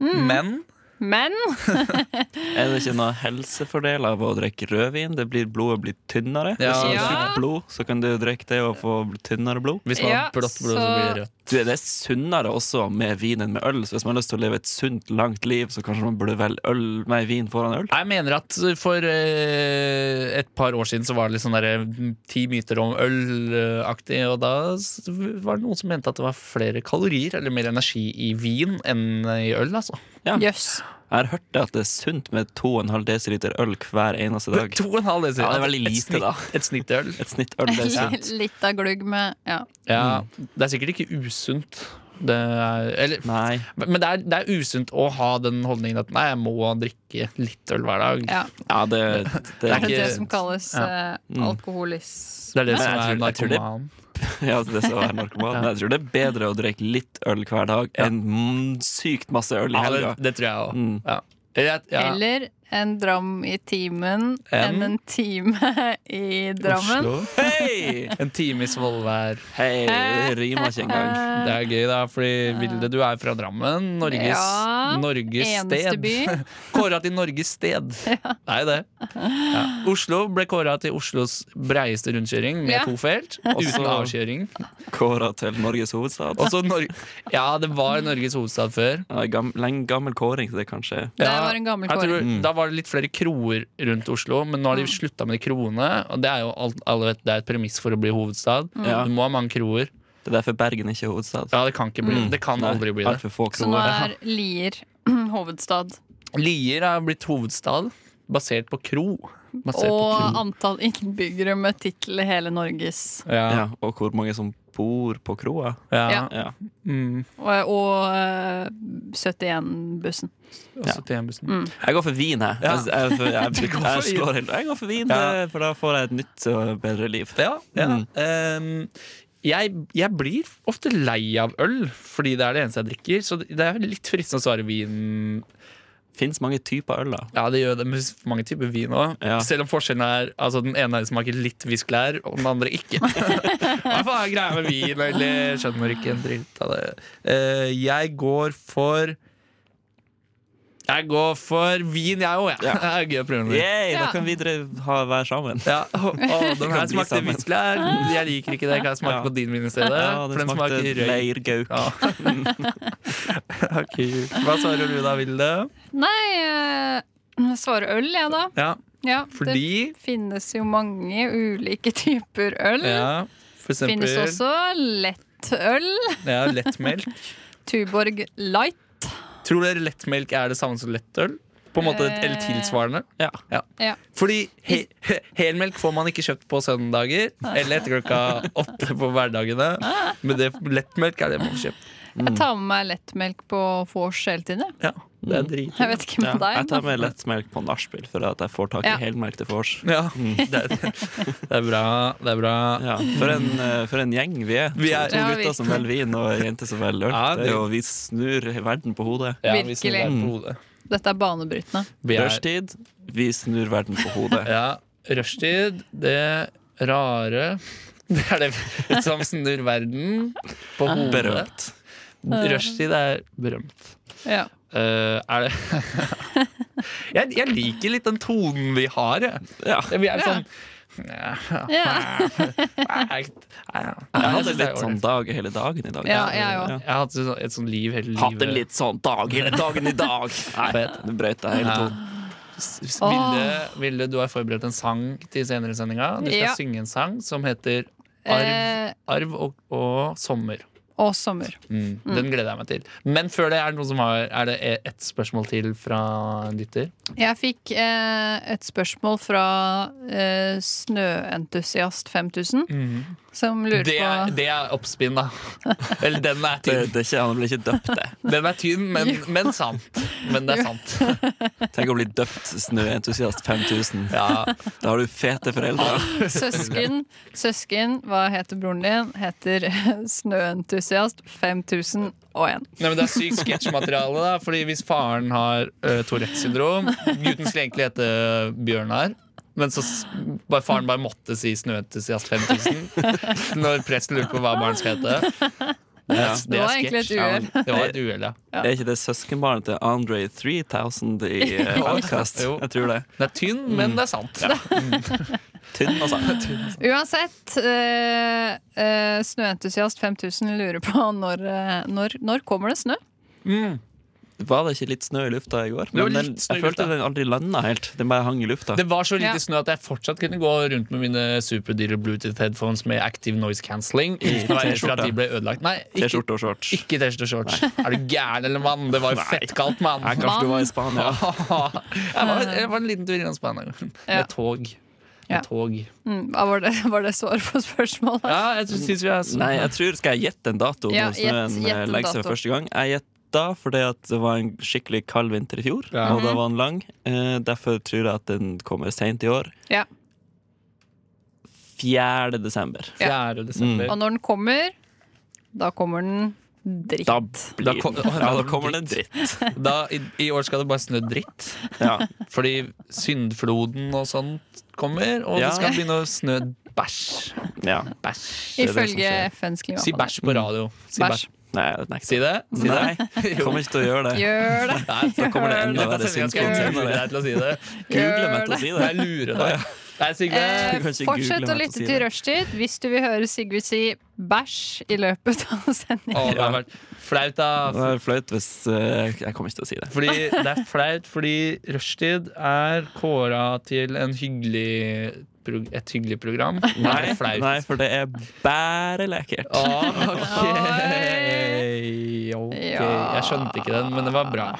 Speaker 6: Mm.
Speaker 5: Men
Speaker 6: men
Speaker 3: Er det ikke noen helsefordeler av å drikke rødvin? Det blir Blodet blir tynnere.
Speaker 5: Ja.
Speaker 3: Hvis du har
Speaker 6: Ja.
Speaker 3: tjukt blod, så kan du drikke det og få tynnere blod.
Speaker 5: hvis man
Speaker 6: Ja,
Speaker 5: har blått blod, så
Speaker 6: så-
Speaker 5: blir det rødt.
Speaker 3: Du, det er sunnere også med vin enn med øl. Så hvis man har lyst til å leve et sunt, langt liv, så kanskje man burde velge øl, nei, vin foran øl.
Speaker 5: Jeg mener at for eh, et par år siden så var det litt sånn derre ti myter om øl-aktig, og da s- var det noen som mente at det var flere kalorier eller mer energi i vin enn i øl, altså.
Speaker 6: jøss.
Speaker 3: Jeg har hørt det at det er sunt med 2,5 dl øl hver eneste dag.
Speaker 5: To og en halv desiliter.
Speaker 3: Ja, det er veldig lite,
Speaker 5: et snitt,
Speaker 3: da.
Speaker 5: Et snitt øl.
Speaker 3: Et snitt øl, det er sunt.
Speaker 6: Litt av glugg med ja.
Speaker 5: Ja,
Speaker 3: Mm.
Speaker 5: det er sikkert ikke usunt. Det er, eller,
Speaker 3: Nei.
Speaker 5: men det er, det er usunt å ha den holdningen at nei, jeg må drikke litt øl hver dag.
Speaker 6: ja.
Speaker 3: Ja, det, det
Speaker 5: er
Speaker 6: Er det
Speaker 5: ikke-
Speaker 6: det som kalles
Speaker 5: ja. Mm.
Speaker 6: eh, alkoholisme?
Speaker 5: Det er det
Speaker 3: Men
Speaker 5: som er
Speaker 3: jeg tror- jeg tror det-
Speaker 5: narkoman.
Speaker 3: Ja, det som er narkoman. Men jeg tror det er bedre å drikke litt øl hver dag enn mm, sykt masse øl i
Speaker 5: Ja, det,
Speaker 3: helga.
Speaker 5: det tror jeg òg.
Speaker 3: Mm.
Speaker 5: Ja. Eller, at- ja.
Speaker 6: Eller en dram i timen
Speaker 5: En?
Speaker 6: enn en time i Drammen.
Speaker 5: Oslo.
Speaker 3: Hei!
Speaker 5: En time i Svolvær.
Speaker 3: Hei, det rimer ikke engang.
Speaker 5: Det er gøy, da, fordi Vilde, du er fra Drammen. Norges,
Speaker 6: Ja,
Speaker 5: Norges
Speaker 6: eneste
Speaker 5: sted.
Speaker 6: by.
Speaker 5: Kåra til Norges sted. Det er jo det. Ja. Oslo ble kåra til Oslos breieste rundkjøring med
Speaker 6: Ja.
Speaker 5: to felt. Uten avkjøring.
Speaker 3: Kåra til Norges hovedstad.
Speaker 5: Også Nor ja, det var Norges hovedstad før.
Speaker 3: Ja, gam, lenge gammel kåring, så det kanskje
Speaker 6: Det
Speaker 5: Ja,
Speaker 6: var en gammel
Speaker 5: jeg tror,
Speaker 6: kåring.
Speaker 5: Da var det litt flere kroer rundt Oslo, men nå har de slutta med de kroene. Og det er jo alt, alle vet, det er et premiss for å bli hovedstad.
Speaker 3: Ja.
Speaker 5: Du må ha mange kroer.
Speaker 3: Det er derfor Bergen ikke er hovedstad.
Speaker 5: Ja, det kan ikke bli Det kan
Speaker 3: Nei,
Speaker 5: aldri bli
Speaker 3: har
Speaker 5: det.
Speaker 3: for få
Speaker 6: Så nå
Speaker 3: kroer.
Speaker 6: er Lier hovedstad.
Speaker 5: Lier er blitt hovedstad basert på kro. Basert på
Speaker 6: Og
Speaker 5: kro.
Speaker 6: antall innbyggere med tittel i hele Norges.
Speaker 3: Ja, og hvor mange som bor på kroa.
Speaker 5: ja.
Speaker 6: Ja.
Speaker 3: Ja.
Speaker 5: Mm.
Speaker 6: Og, og eh, 71-bussen.
Speaker 5: Og 71-bussen.
Speaker 3: Jeg går for vin, jeg.
Speaker 5: Ja.
Speaker 3: Jeg, jeg, jeg, jeg,
Speaker 5: Du går for vin.
Speaker 3: slår helt- jeg går for vin,
Speaker 5: Ja.
Speaker 3: det- for da får jeg et nytt og bedre liv.
Speaker 5: Ja, ja. Ehm, jeg, jeg blir ofte lei av øl, fordi det er det eneste jeg drikker. Så det er litt fristende å svare vin.
Speaker 3: Fins mange typer øl, da.
Speaker 5: Ja, det gjør det med mange typer vin òg.
Speaker 3: Ja.
Speaker 5: Selv om forskjellen er altså den ene smaker litt visklær, og den andre ikke. Hva faen er greia med vin? Eller skjønner ikke en dritt av det. Eh, jeg går for Jeg går for vin, jeg òg, jeg.
Speaker 3: Ja.
Speaker 5: Det er gøy å prøve noe.
Speaker 3: Yay, Da
Speaker 6: Ja.
Speaker 3: kan vi dre- ha, være sammen.
Speaker 5: Ja, å, å, den her
Speaker 3: bli
Speaker 5: smakte
Speaker 3: sammen.
Speaker 5: visklær. Jeg liker ikke det. Kan jeg smake
Speaker 3: Ja.
Speaker 5: på din vin i stedet?
Speaker 3: Ja,
Speaker 5: For
Speaker 3: det
Speaker 5: den
Speaker 3: smakte
Speaker 5: smaker røyk.
Speaker 3: leirgauk.
Speaker 5: Ja. Ok. Hva svarer du da, Vilde?
Speaker 6: Nei, eh, jeg svarer øl, jeg, da.
Speaker 5: Ja,
Speaker 6: Ja, Det
Speaker 5: fordi
Speaker 6: finnes jo mange ulike typer øl.
Speaker 5: ja, For
Speaker 6: Det finnes
Speaker 5: eksempel
Speaker 6: også lettøl.
Speaker 5: ja, lettmelk.
Speaker 6: Tuborg Light.
Speaker 5: Tror dere lettmelk er det samme som lettøl? På en måte, Eller tilsvarende?
Speaker 3: Ja.
Speaker 6: Ja.
Speaker 5: Fordi he he helmelk får man ikke kjøpt på søndager eller etter klokka åtte på hverdagene. Men det, lettmelk er det man får kjøpt.
Speaker 6: Jeg tar med meg lettmelk på vors hele tiden. jeg.
Speaker 5: Ja, det er drit.
Speaker 6: Jeg vet ikke
Speaker 3: Ja.
Speaker 6: med deg.
Speaker 3: Jeg tar
Speaker 6: men-
Speaker 3: med lettmelk på nachspiel for at jeg får tak i
Speaker 6: Ja.
Speaker 3: helmelk til vors.
Speaker 5: Ja, det, er, det er bra. Det er bra.
Speaker 3: Ja, for en, eh, for en gjeng vi er.
Speaker 5: Vi er-
Speaker 3: to
Speaker 6: Ja,
Speaker 3: gutter som
Speaker 6: virkelig.
Speaker 3: velger vin, og ei jente som velger øl.
Speaker 5: Ja,
Speaker 3: det er jo, vi snur verden på hodet.
Speaker 5: Ja,
Speaker 6: Virkelig.
Speaker 5: hvis noe er på hodet.
Speaker 6: Dette er banebrytende.
Speaker 5: Vi er,
Speaker 3: Rushtid, vi snur verden på hodet.
Speaker 5: ja, rushtid, det rare Det er det som snur verden på hodet.
Speaker 3: Berømt.
Speaker 5: Rushtid er berømt.
Speaker 6: Ja.
Speaker 5: Eh, er det jeg, jeg liker litt den tonen vi har, jeg.
Speaker 3: Ja.
Speaker 5: Vi er sånn Ah,
Speaker 6: Ja.
Speaker 5: Jeg,
Speaker 3: Jeg hadde litt sånn dag hele dagen i dag.
Speaker 6: Ja, jeg òg.
Speaker 5: Jeg har hatt et sånn- et sånn liv hele livet.
Speaker 3: Hadde litt sånn dag hele dagen i dag. Nei,
Speaker 5: Fett.
Speaker 3: du brøt deg hele
Speaker 5: Ja.
Speaker 3: tiden.
Speaker 5: S- s- Vilde, Vilde, du har forberedt en sang til senere i sendinga. Du skal
Speaker 6: Ja.
Speaker 5: synge en sang som heter Arv,
Speaker 6: Eh,
Speaker 5: arv og, og sommer.
Speaker 6: Og sommer.
Speaker 5: Mm. Den gleder jeg meg til. Men før det, er det, noen som har, er det ett spørsmål til fra en lytter?
Speaker 6: Jeg fikk eh, et spørsmål fra eh, Snøentusiast5000, som lurer
Speaker 5: Mm. Det er,
Speaker 6: på
Speaker 5: det er oppspinn, da. Eller den er
Speaker 3: Det,
Speaker 5: tynn.
Speaker 3: det er ikke, han blir ikke døpt, det.
Speaker 5: Den er tynn, men, men sant. Men det er sant.
Speaker 3: Tenk å bli døpt snøentusiast 5000.
Speaker 5: Ja.
Speaker 3: Da har du fete foreldre.
Speaker 6: søsken. Søsken, hva heter broren din? Heter Snøentusiast5001.
Speaker 5: Nei, men det er sykt sketsjmateriale, da. Fordi hvis faren har uh, Tourettes syndrom Gutten skulle egentlig hete Bjørnar. Men så s- bare faren bare måtte si Snøentusiast 5000 når presten lurte på hva barnet skal hete. Det, er-
Speaker 6: Det var
Speaker 5: sketsj.
Speaker 6: egentlig et uhell.
Speaker 5: Ja, men Det var et uhell, ja.
Speaker 3: Er ikke det søskenbarnet til Andre 3000 i eh, Outcast?
Speaker 5: Jo.
Speaker 3: Jeg tror det.
Speaker 5: Det er tynn, men det er sant.
Speaker 3: Tynn altså. og sant.
Speaker 6: Mm. Uansett, eh, eh, Snøentusiast5000 lurer på når, eh, når, når kommer det snø?
Speaker 3: Var det ikke litt snø i lufta i går?
Speaker 5: var
Speaker 3: Men den,
Speaker 5: litt snø i
Speaker 3: jeg følte
Speaker 5: lufta.
Speaker 3: den aldri landa helt. Den bare hang i lufta.
Speaker 5: Det var så lite
Speaker 6: Ja.
Speaker 5: snø at jeg fortsatt kunne gå rundt med mine superdyre Bluetooth headphones med active noise cancelling. Uten å være redd for at de ble ødelagt. Nei, ikke
Speaker 3: Mm. T-skjorte og shorts.
Speaker 5: ikke T-skjorte og shorts. Er du gæren, eller mann? Det var jo fettkaldt, mann.
Speaker 3: Nei, kanskje du var i Spania.
Speaker 5: jeg, var, jeg var en liten tur innom Spania
Speaker 6: Ja.
Speaker 5: med tog.
Speaker 6: Ja.
Speaker 5: Med tog.
Speaker 6: Mm, hva var, det, var det svaret på spørsmålet?
Speaker 5: Ja, jeg syns vi er
Speaker 3: Nei, jeg tror Skal jeg gjette en dato
Speaker 6: Ja,
Speaker 3: når snøen
Speaker 6: gjett- gjett
Speaker 3: eh,
Speaker 6: en
Speaker 3: legger seg
Speaker 6: dato.
Speaker 3: for første gang? Jeg gjetta fordi at det var en skikkelig kald vinter i fjor,
Speaker 5: Ja.
Speaker 6: Mhm.
Speaker 3: og da var den lang. Eh, Derfor tror jeg at den kommer seint i år.
Speaker 6: Ja.
Speaker 3: 4. desember.
Speaker 5: 4. desember.
Speaker 6: Og når den kommer, da kommer den dritt.
Speaker 3: Da blir
Speaker 5: Da ko-
Speaker 3: den Ja, da kommer den dritt.
Speaker 5: Da, i, I år skal det bare snø dritt.
Speaker 3: Ja.
Speaker 5: Fordi syndfloden og sånt kommer, og
Speaker 3: Ja.
Speaker 5: det skal begynne å snø bæsj.
Speaker 3: ja.
Speaker 5: Bæsj.
Speaker 3: det som
Speaker 6: Ifølge
Speaker 3: skjer.
Speaker 6: FNs
Speaker 5: Si
Speaker 6: klimapanel.
Speaker 5: bæsj på radio. Si bæsj.
Speaker 3: Nei, jeg nekter.
Speaker 5: Si det. Si det.
Speaker 3: Nei, jeg kommer ikke til å gjøre det.
Speaker 6: Gjør det!
Speaker 5: Nei, da
Speaker 3: kommer det enda
Speaker 5: Dette
Speaker 3: verre
Speaker 5: sendingen skal
Speaker 3: synskontroll.
Speaker 5: jeg lure deg til å si det.
Speaker 3: Google meg til å si det.
Speaker 5: Jeg lurer deg. Nei, Sigve.
Speaker 6: Eh,
Speaker 3: kan ikke
Speaker 6: fortsett
Speaker 3: google
Speaker 6: å
Speaker 3: meg til å
Speaker 6: lytte
Speaker 3: si
Speaker 6: til
Speaker 3: det.
Speaker 6: Rushtid hvis du vil høre Sigrid si bæsj i løpet av
Speaker 5: Å,
Speaker 6: sendingen.
Speaker 5: det har vært flaut,
Speaker 3: Det
Speaker 5: da.
Speaker 3: er flaut hvis eh, Jeg kommer ikke til å si det.
Speaker 5: Fordi det er flaut, fordi rushtid er kåra til en hyggelig prog- et hyggelig program. Nei, det er flaut.
Speaker 3: Nei, for det er bare lekkert.
Speaker 5: Å,
Speaker 6: Oi.
Speaker 5: ok. ok. Jeg skjønte ikke den, men det var bra.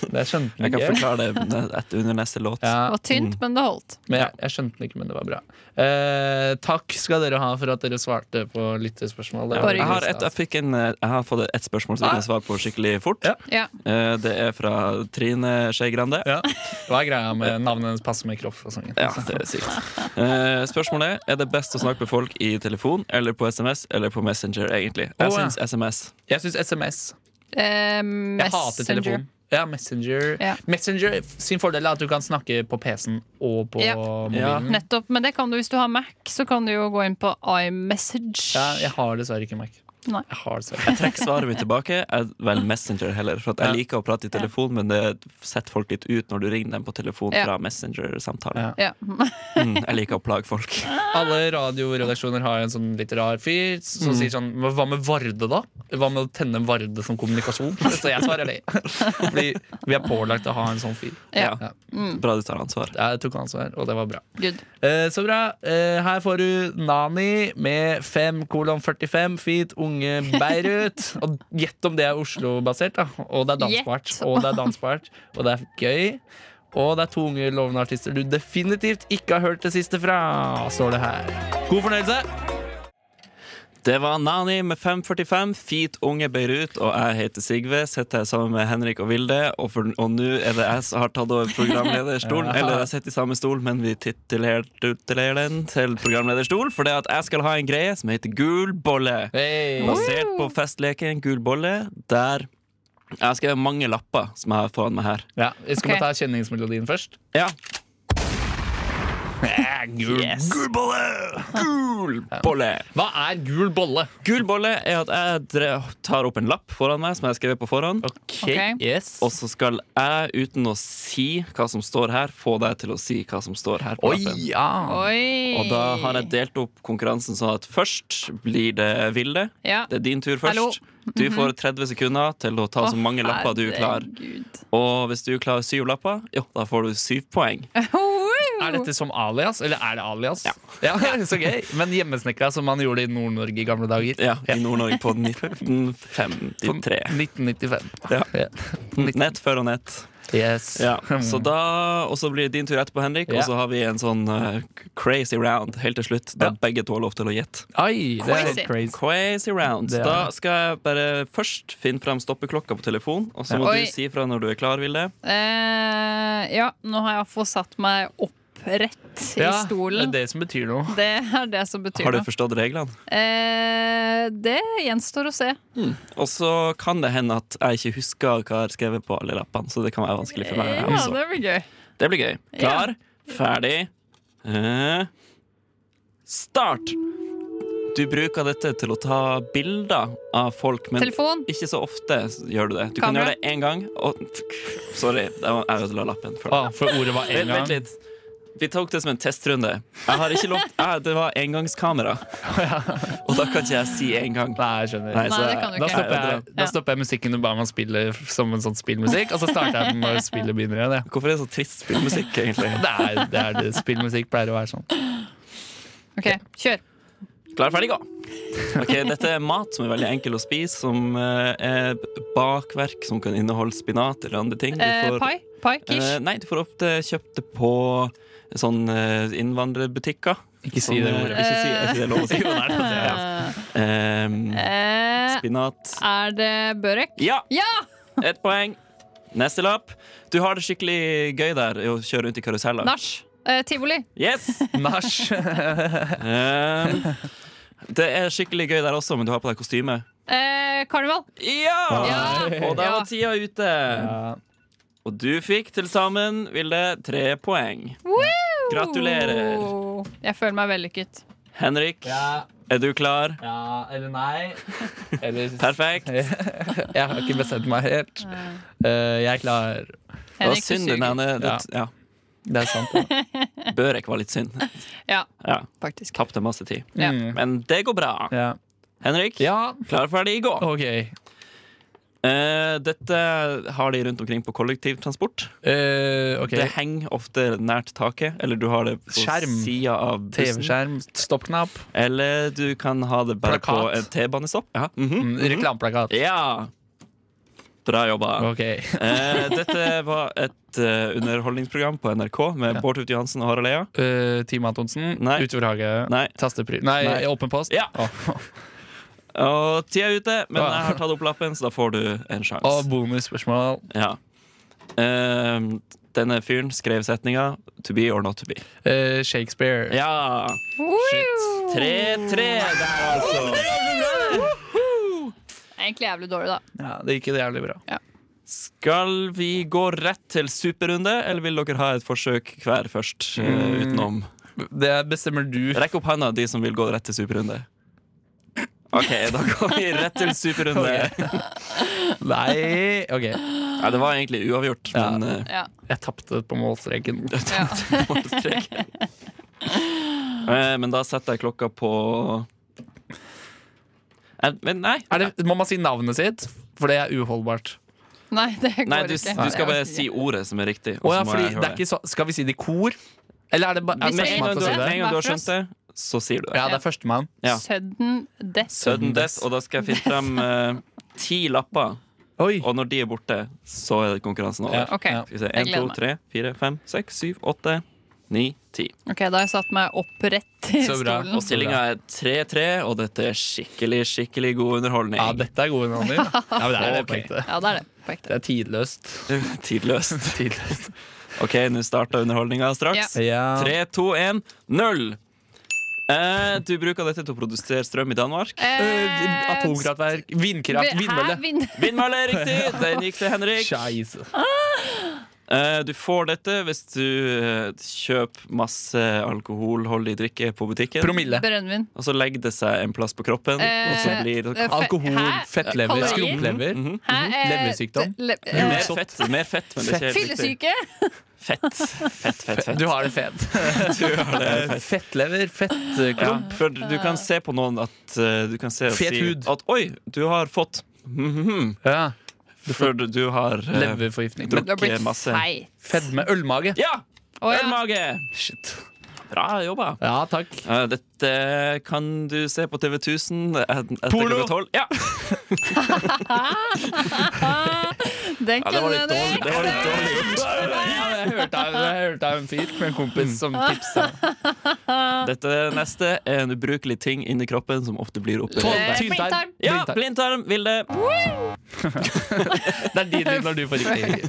Speaker 5: Det skjønte
Speaker 3: Jeg
Speaker 5: den
Speaker 3: kan
Speaker 5: ikke.
Speaker 3: forklare det ne- etter- under neste låt.
Speaker 5: Ja,
Speaker 6: Det var tynt,
Speaker 3: Mm.
Speaker 6: men det holdt.
Speaker 5: men jeg, jeg skjønte den ikke, men det var bra. Eh, takk skal dere ha for at dere svarte på lyttespørsmål. Det var
Speaker 6: Bare
Speaker 3: Jeg har,
Speaker 5: veldig
Speaker 3: et,
Speaker 5: stas.
Speaker 3: jeg, fikk en, eh, jeg har fått et spørsmål som vi kan svare på skikkelig fort.
Speaker 5: Ah. Ja.
Speaker 6: Ja.
Speaker 3: Eh, Det er fra Trine Skei Grande.
Speaker 5: Ja. Hva er greia med navnet hennes passer med sånn? kroppsfasongen?
Speaker 3: Ja, det er sykt. Eh, Spørsmålet er er det best å snakke med folk i telefon eller på SMS eller på Messenger. egentlig Jeg
Speaker 5: Å, ja.
Speaker 3: syns SMS.
Speaker 5: Jeg syns SMS.
Speaker 6: Eh,
Speaker 5: Jeg hater
Speaker 6: Messenger.
Speaker 5: telefon. Ja, Messenger.
Speaker 6: Ja.
Speaker 5: Messenger sin fordel er at du kan snakke på PC-en og på
Speaker 6: Ja.
Speaker 5: mobilen. Ja.
Speaker 6: Nettopp. Men det kan du hvis du har Mac, så kan du jo gå inn på iMessage.
Speaker 5: jeg har dessverre ikke Mac.
Speaker 6: Nei.
Speaker 5: Jeg har dessverre.
Speaker 3: Trekk svaret mitt tilbake. Jeg, vel, Messenger heller. For at jeg liker å prate i telefon, men det setter folk litt ut når du ringer dem på telefon
Speaker 6: Ja.
Speaker 3: fra Messenger-samtalen.
Speaker 5: Ja.
Speaker 6: Ja.
Speaker 3: Mm, jeg liker å plage folk.
Speaker 5: Alle radioredaksjoner har en sånn litt rar fyr som sier sånn "Men Hva med Varde, da? Hva med å tenne Varde som kommunikasjon? Så jeg svarer det. Fordi vi er pålagt å ha en sånn fyr.
Speaker 6: Ja.
Speaker 5: Ja.
Speaker 3: Bra du tar ansvar.
Speaker 5: Jeg tok ansvar, og det var bra.
Speaker 6: Good.
Speaker 5: Eh, Så bra. Eh, Her får du Nani med 5 kolon 45 feet unge Beirut. Og gjett om det er Oslo-basert, da. Og det er dansbart.
Speaker 6: Gjett.
Speaker 5: Og det er dansbart. Og det er gøy. Og det er to unge lovende artister du definitivt ikke har hørt det siste fra, står det her. God fornøyelse.
Speaker 3: Det var Nani med 545, Fit unge Beirut, og jeg heter Sigve. Sitter her sammen med Henrik og Vilde, og, for- og nå er det jeg som har tatt over programlederstolen. Eller jeg sitter i samme stol, men vi titulerer titulerer den til programlederstol, fordi at jeg skal ha en greie som heter Gul bolle.
Speaker 5: Hey.
Speaker 3: Basert på festleken Gul bolle, der jeg har skrevet mange lapper som jeg har foran meg her.
Speaker 5: Ja, vi skal
Speaker 6: Ok.
Speaker 5: bare ta kjenningsmelodien først.
Speaker 3: Ja.
Speaker 5: Eh, Gul.
Speaker 3: Gul bolle! Gul bolle!
Speaker 5: Hva er gul bolle?
Speaker 3: Gul bolle er at jeg dre- tar opp en lapp foran meg som jeg har skrevet på forhånd.
Speaker 6: Ok.
Speaker 5: Yes.
Speaker 3: Og så skal jeg, uten å si hva som står her, få deg til å si hva som står her. på
Speaker 5: Oi,
Speaker 3: lappen.
Speaker 5: ja.
Speaker 6: Oi!
Speaker 3: Og da har jeg delt opp konkurransen sånn at først blir det Vilde.
Speaker 6: Ja.
Speaker 3: Det er din tur først.
Speaker 6: Hallo. Mhm.
Speaker 3: Du får 30 sekunder til å ta så mange lapper du klarer.
Speaker 6: Herregud.
Speaker 3: Og hvis du klarer syv lapper, jo, da får du syv poeng.
Speaker 5: Er dette som alias, eller er det alias? Ja, Så gøy. Men hjemmesnekra som man gjorde i Nord-Norge i gamle dager.
Speaker 3: Ja, I Nord-Norge på 1953.
Speaker 5: 1995.
Speaker 3: Ja.
Speaker 5: Ja.
Speaker 3: Nett før og nett.
Speaker 5: Yes.
Speaker 3: Ja. Så da, og så blir det din tur etterpå, Henrik,
Speaker 5: Ja.
Speaker 3: og så har vi en sånn eh, crazy round helt til slutt. Der
Speaker 5: Ja.
Speaker 3: begge to har lov til å gjette.
Speaker 5: Ai, det er helt
Speaker 6: Crazy.
Speaker 5: crazy.
Speaker 3: Crazy round.
Speaker 5: Det er
Speaker 3: Da
Speaker 5: det.
Speaker 3: skal jeg bare først finne frem stoppeklokka på telefon, og så må
Speaker 6: Oi.
Speaker 3: du si fra når du er klar, Vilde.
Speaker 6: Eh, ja, nå har jeg fått satt meg opprett i
Speaker 5: Ja,
Speaker 6: stolen.
Speaker 5: Det er det som betyr noe.
Speaker 6: Det er det som betyr
Speaker 3: Har du
Speaker 6: noe.
Speaker 3: forstått reglene?
Speaker 6: Eh, det gjenstår å se.
Speaker 3: Og så kan det hende at jeg ikke husker hva jeg har skrevet på alle lappene, så det kan være vanskelig for meg.
Speaker 6: Ja,
Speaker 3: også.
Speaker 6: det blir gøy.
Speaker 3: Det blir gøy. Klar, ferdig eh, Start! Du bruker dette til å ta bilder av folk, men
Speaker 6: Telefon.
Speaker 3: ikke så ofte gjør du det. Du kan
Speaker 6: Kamera.
Speaker 3: gjøre det én gang og Sorry, det var- jeg ødela lappen. For deg.
Speaker 5: Å, for ordet var Ah, en
Speaker 3: Vent,
Speaker 5: gang.
Speaker 3: vent litt. Vi tok det som en testrunde. Jeg har ikke lov eh, Det var engangskamera. Og da kan ikke jeg si en gang.
Speaker 5: Nei, jeg
Speaker 3: Nei,
Speaker 5: skjønner.
Speaker 6: Nei,
Speaker 3: så-
Speaker 6: det kan du
Speaker 5: Da
Speaker 6: ikke.
Speaker 5: stopper,
Speaker 3: Nei,
Speaker 5: jeg,
Speaker 3: det
Speaker 5: da
Speaker 6: Ja.
Speaker 5: stopper jeg musikken du ba meg spille f- som en sånn spillmusikk, og så starter jeg den når spillet begynner igjen. Ja.
Speaker 3: Hvorfor er det så trist spillmusikk, egentlig?
Speaker 5: Det er, det er det spillmusikk pleier å være sånn.
Speaker 6: OK, kjør.
Speaker 3: Klar, ferdig, gå! Ok, Dette er mat som er veldig enkel å spise, som eh, er bakverk som kan inneholde spinat eller andre ting. Du
Speaker 6: Eh,
Speaker 3: får-
Speaker 6: pai? Pai? Kish?
Speaker 3: Eh, nei, du får ofte kjøpt det på sånn eh, innvandrerbutikker.
Speaker 5: Ikke si
Speaker 3: Sånn,
Speaker 5: det
Speaker 3: eh,
Speaker 5: ordet.
Speaker 3: Ikke si, er ikke det lov å si? Eh, Ehm,
Speaker 6: Eh,
Speaker 3: spinat
Speaker 6: er det børek?
Speaker 3: Ja!
Speaker 6: Ja!
Speaker 3: Ett poeng. Neste lapp. Du har det skikkelig gøy der i å kjøre rundt i karuseller.
Speaker 6: Nach. Eh, tivoli.
Speaker 3: Yes!
Speaker 5: Nach.
Speaker 3: Ehm, det er skikkelig gøy der også, men du har på deg kostyme.
Speaker 6: Eh, karneval.
Speaker 3: Ja!
Speaker 6: Ja!
Speaker 3: Og der Ah. var tida ute.
Speaker 5: Ja.
Speaker 3: Og du fikk til sammen, Vilde, tre poeng. Gratulerer.
Speaker 6: Jeg føler meg vellykket.
Speaker 3: Henrik,
Speaker 5: Ja,
Speaker 3: er du klar?
Speaker 5: ja, eller nei. Eller
Speaker 3: Perfekt.
Speaker 5: Jeg har ikke bestemt meg helt. Eh, jeg er klar.
Speaker 3: Det var
Speaker 6: Henrik, du
Speaker 3: synd, den
Speaker 6: suger.
Speaker 3: ene det- ja.
Speaker 5: Det er sant. da.
Speaker 3: Børek var litt synd.
Speaker 6: Ja,
Speaker 3: Ja,
Speaker 6: faktisk.
Speaker 3: Tapte masse tid.
Speaker 6: Ja.
Speaker 5: Mm.
Speaker 3: Men det går bra.
Speaker 5: Ja.
Speaker 3: Henrik,
Speaker 5: ja,
Speaker 3: klar, ferdig, gå!
Speaker 5: OK.
Speaker 3: Eh, dette har de rundt omkring på kollektivtransport.
Speaker 5: Eh, ok.
Speaker 3: Det henger ofte nært taket, eller du har det på
Speaker 5: Skjerm.
Speaker 3: sida av bussen.
Speaker 5: TV-skjerm, stoppknapp,
Speaker 3: Eller du kan ha det bare på
Speaker 5: Plakat.
Speaker 3: en T-banestopp. Ja. mhm.
Speaker 5: mm, reklameplakat.
Speaker 3: ja! Bra jobba.
Speaker 5: Ok.
Speaker 3: Eh, dette var et eh, underholdningsprogram på NRK med Bård Tufte Johansen og Harald Eia.
Speaker 5: Uh, Team Antonsen,
Speaker 3: Nei.
Speaker 5: Utoverhage,
Speaker 3: Nei.
Speaker 5: Tastepry... Nei,
Speaker 3: Nei.
Speaker 5: Åpen post.
Speaker 3: Ja.
Speaker 5: Å.
Speaker 3: Og tida er ute, men
Speaker 5: Å, ja.
Speaker 3: jeg har tatt opp lappen, så da får du en sjanse.
Speaker 5: Og bonusspørsmål.
Speaker 3: Ja. Ehm, denne fyren skrev setninga 'to be or not to be'.
Speaker 5: Eh, Shakespeare.
Speaker 3: Ja!
Speaker 5: Shit.
Speaker 3: 3-3 der, altså.
Speaker 6: Egentlig jævlig dårlig, da.
Speaker 5: Ja, det gikk jo jævlig bra.
Speaker 3: Skal vi gå rett til superrunde, eller vil dere ha et forsøk hver først? eh,
Speaker 5: Mm.
Speaker 3: utenom
Speaker 5: Det bestemmer du.
Speaker 3: Rekk opp handa, de som vil gå rett til superrunde. OK, da går vi rett til superrunde.
Speaker 5: Nei! Ok,
Speaker 3: Ja, det var egentlig uavgjort,
Speaker 5: Ja.
Speaker 3: men eh,
Speaker 6: Ja.
Speaker 5: jeg tapte på målstreken.
Speaker 6: Ja.
Speaker 3: målstreken. Eh, Men da setter jeg klokka på Eh, Men nei.
Speaker 5: Er det, må man si navnet sitt? For det er uholdbart.
Speaker 6: Nei, det går
Speaker 3: Nei, du,
Speaker 6: ikke.
Speaker 3: du skal bare
Speaker 6: Det er
Speaker 3: si ordet som er riktig. og
Speaker 5: Å
Speaker 3: så
Speaker 5: ja,
Speaker 3: må
Speaker 5: fordi
Speaker 3: jeg høre
Speaker 5: det er ikke så, skal vi si det i kor? Eller er det bare
Speaker 6: Vi
Speaker 5: er
Speaker 3: Med en
Speaker 5: førstemann
Speaker 3: gang
Speaker 5: til
Speaker 3: du,
Speaker 5: å si
Speaker 3: med
Speaker 5: det?
Speaker 3: en gang du har
Speaker 6: Hver for oss.
Speaker 3: skjønt det, så sier du det.
Speaker 5: Ja, det er førstemann.
Speaker 3: Ja.
Speaker 6: Sudden death.
Speaker 3: Sudden death, og da skal jeg finne frem eh, ti lapper.
Speaker 5: Oi!
Speaker 3: Og når de er borte, så er konkurransen
Speaker 5: Ja,
Speaker 3: over.
Speaker 6: Ok.
Speaker 5: ja.
Speaker 3: Skal vi se. Én,
Speaker 6: Jeg
Speaker 3: to,
Speaker 6: gleder meg.
Speaker 3: tre, fire, fem, seks, syv, åtte, ni, ti.
Speaker 6: Ok, da har jeg satt meg opprett i
Speaker 5: Så bra.
Speaker 6: stolen.
Speaker 3: Og stillinga er 3-3, og dette er skikkelig, skikkelig god underholdning.
Speaker 5: ja, dette er gode navn. Ja, men det er det på
Speaker 3: Ok.
Speaker 5: ekte.
Speaker 6: Ja, det er det. På ekte.
Speaker 5: Det er tidløst.
Speaker 3: Tidløst.
Speaker 5: tidløst.
Speaker 3: OK, nå starter underholdninga straks.
Speaker 5: Ja.
Speaker 3: Tre, to, én, null! Eh, du bruker dette til å produsere strøm i Danmark.
Speaker 5: Eh, Atomkraftverk, vindkraft,
Speaker 6: Hæ?
Speaker 5: vindmølle.
Speaker 6: Vind...
Speaker 3: Vindmølle er riktig! Den gikk til Henrik.
Speaker 5: Scheisse.
Speaker 3: Eh, Du får dette hvis du eh, kjøper masse alkoholholdig drikke på butikken.
Speaker 5: Promille.
Speaker 6: Brønnvin.
Speaker 3: Og så legger det seg en plass på kroppen. og så
Speaker 6: Eh,
Speaker 3: blir det
Speaker 6: eh,
Speaker 5: Alkohol,
Speaker 6: Hæ?
Speaker 5: fettlever,
Speaker 6: Kalorier?
Speaker 5: skrumplever.
Speaker 6: Hæ?
Speaker 3: Mhm.
Speaker 6: Eh,
Speaker 5: Leversykdom?
Speaker 6: le- eh,
Speaker 3: mer fett, mer fett, men det er ikke helt riktig.
Speaker 6: Fyllesyke?
Speaker 3: Fett. Fett, fett, fett.
Speaker 5: Du har det fett. Fettlever, fettklump.
Speaker 3: Klump, for du kan se på noen at eh, Du kan se og
Speaker 5: Fet
Speaker 3: si
Speaker 5: hud.
Speaker 3: at oi, du har fått mhm,
Speaker 5: Ja.
Speaker 3: For du har eh,
Speaker 5: Leverforgiftning.
Speaker 3: Drukk.
Speaker 6: Du har blitt
Speaker 3: Masse.
Speaker 6: feit.
Speaker 5: Fedme. Ølmage.
Speaker 3: Ja!
Speaker 6: Å, ja.
Speaker 3: Ølmage! Shit. Bra jobba.
Speaker 5: Ja, takk.
Speaker 3: Eh, dette kan du se på TV 1000 et- etter
Speaker 5: Porno!
Speaker 3: klokka tolv. Ja.
Speaker 6: Den
Speaker 3: ja, det var
Speaker 6: kunne
Speaker 3: litt
Speaker 6: du.
Speaker 3: dårlig. Det var litt dårlig gjort.
Speaker 5: Jeg hørte av, jeg hørte av en fyr med en kompis som tipsa.
Speaker 3: Dette neste er en ubrukelig ting inni kroppen som ofte blir
Speaker 6: Eh,
Speaker 3: operert.
Speaker 6: blindtarm.
Speaker 3: Ja, blindtarm, Vilde.
Speaker 5: Det er din lyd når du får riktig.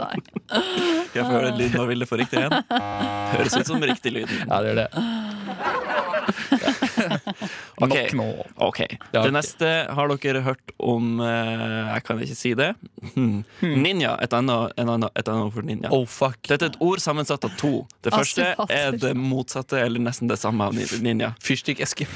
Speaker 6: Nei.
Speaker 3: Skal jeg
Speaker 6: Ah.
Speaker 3: få høre lyden av Vilde for riktig igjen? Høres ut som riktig lyd.
Speaker 5: Ja, det gjør det.
Speaker 3: Ok.
Speaker 5: Nok nå.
Speaker 3: Ok,
Speaker 5: Ja, ok.
Speaker 3: Det neste har dere hørt om eh, Jeg kan ikke si det. Hmm. Ninja. Et annet, en annen- et annet ord for ninja.
Speaker 5: Oh, fuck.
Speaker 3: Dette er et ord sammensatt av to. Det første er
Speaker 6: Asiater.
Speaker 3: det motsatte, eller nesten det samme av nin- ninja.
Speaker 5: Fyrstikkeske.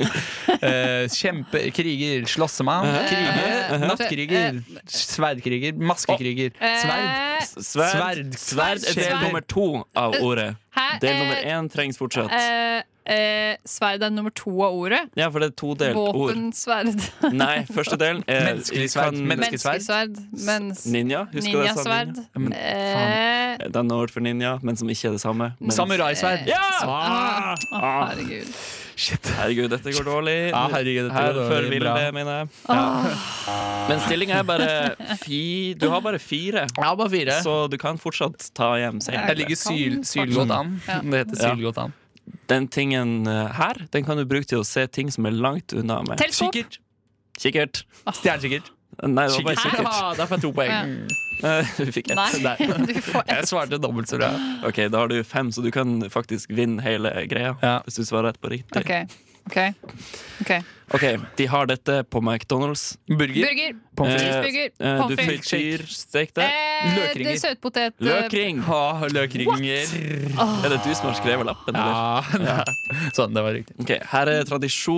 Speaker 5: Eh, Kjempe... Kriger. Slåssemann. Kriger.
Speaker 6: Eh,
Speaker 5: Nattkriger. Sverdkriger. Maskekriger. Sverd.
Speaker 6: Eh,
Speaker 5: Sverd.
Speaker 3: Sverd er del
Speaker 6: Sverd.
Speaker 3: nummer to av ordet.
Speaker 6: Hæ?
Speaker 3: Del
Speaker 6: Eh,
Speaker 3: nummer én trengs fortsatt.
Speaker 6: eh, eh, sverd er nummer to av ordet.
Speaker 3: Ja, for det er todelt ord.
Speaker 6: Våpensverd.
Speaker 3: Nei, første delen er
Speaker 5: Menneskelig sverd.
Speaker 3: kan-
Speaker 5: Menneske-
Speaker 6: Menneskesverd. Mens
Speaker 3: Ninja. Husker du det sa
Speaker 6: ninjasverd.
Speaker 3: ninja?
Speaker 5: Men
Speaker 6: Eh,
Speaker 3: Det er noe ord for ninja, men som ikke er det samme. Men-
Speaker 5: Samuraisverd.
Speaker 3: Ja!
Speaker 5: Ah,
Speaker 6: å, herregud.
Speaker 3: Herregud, dette går dårlig.
Speaker 5: Ja, herregud, dette
Speaker 3: Her
Speaker 5: går dårlig.
Speaker 3: før Vilde,
Speaker 5: Bra.
Speaker 3: mener jeg.
Speaker 6: Ah.
Speaker 3: Ja. Men stillinga er bare fi... Du har bare fire,
Speaker 5: Ja, bare fire.
Speaker 3: så du kan fortsatt ta hjem
Speaker 5: Jeg
Speaker 3: seieren.
Speaker 5: ligger syl, sylgodt an.
Speaker 6: Ja.
Speaker 5: Det heter
Speaker 3: Ja.
Speaker 5: sylgodt an.
Speaker 3: Den tingen eh, her Den kan du bruke til å se ting som er langt unna med.
Speaker 6: Teleskop.
Speaker 5: Kikkert.
Speaker 3: Kikkert.
Speaker 5: Stjernekikkert.
Speaker 3: Nei, det var bare kikkert.
Speaker 5: Kikkert. Ah, der får jeg to poeng.
Speaker 6: Ah. Ja.
Speaker 3: Eh, Du fikk ett.
Speaker 6: Ah. Nei, du får
Speaker 5: Jeg svarte dobbelt så bra.
Speaker 3: Ok, Da har du fem, så du kan faktisk vinne hele greia.
Speaker 5: Ja.
Speaker 3: Hvis du svarer rett på riktig.
Speaker 6: OK. ok, ok
Speaker 3: ok, De har dette på McDonald's.
Speaker 5: Burger.
Speaker 6: Burger.
Speaker 5: Pommes frites.
Speaker 3: Eh,
Speaker 6: Cheeseburger.
Speaker 3: eh, du
Speaker 6: Pommes frites.
Speaker 3: frityrstek det.
Speaker 6: Eh,
Speaker 5: løkringer.
Speaker 6: det er Søtpotet. eh,
Speaker 3: Løkring!
Speaker 5: Ha løkringer.
Speaker 3: Er det du som har skrevet lappen? eller?
Speaker 5: Ja, ja. Sånn, det var riktig.
Speaker 3: Ok, Her er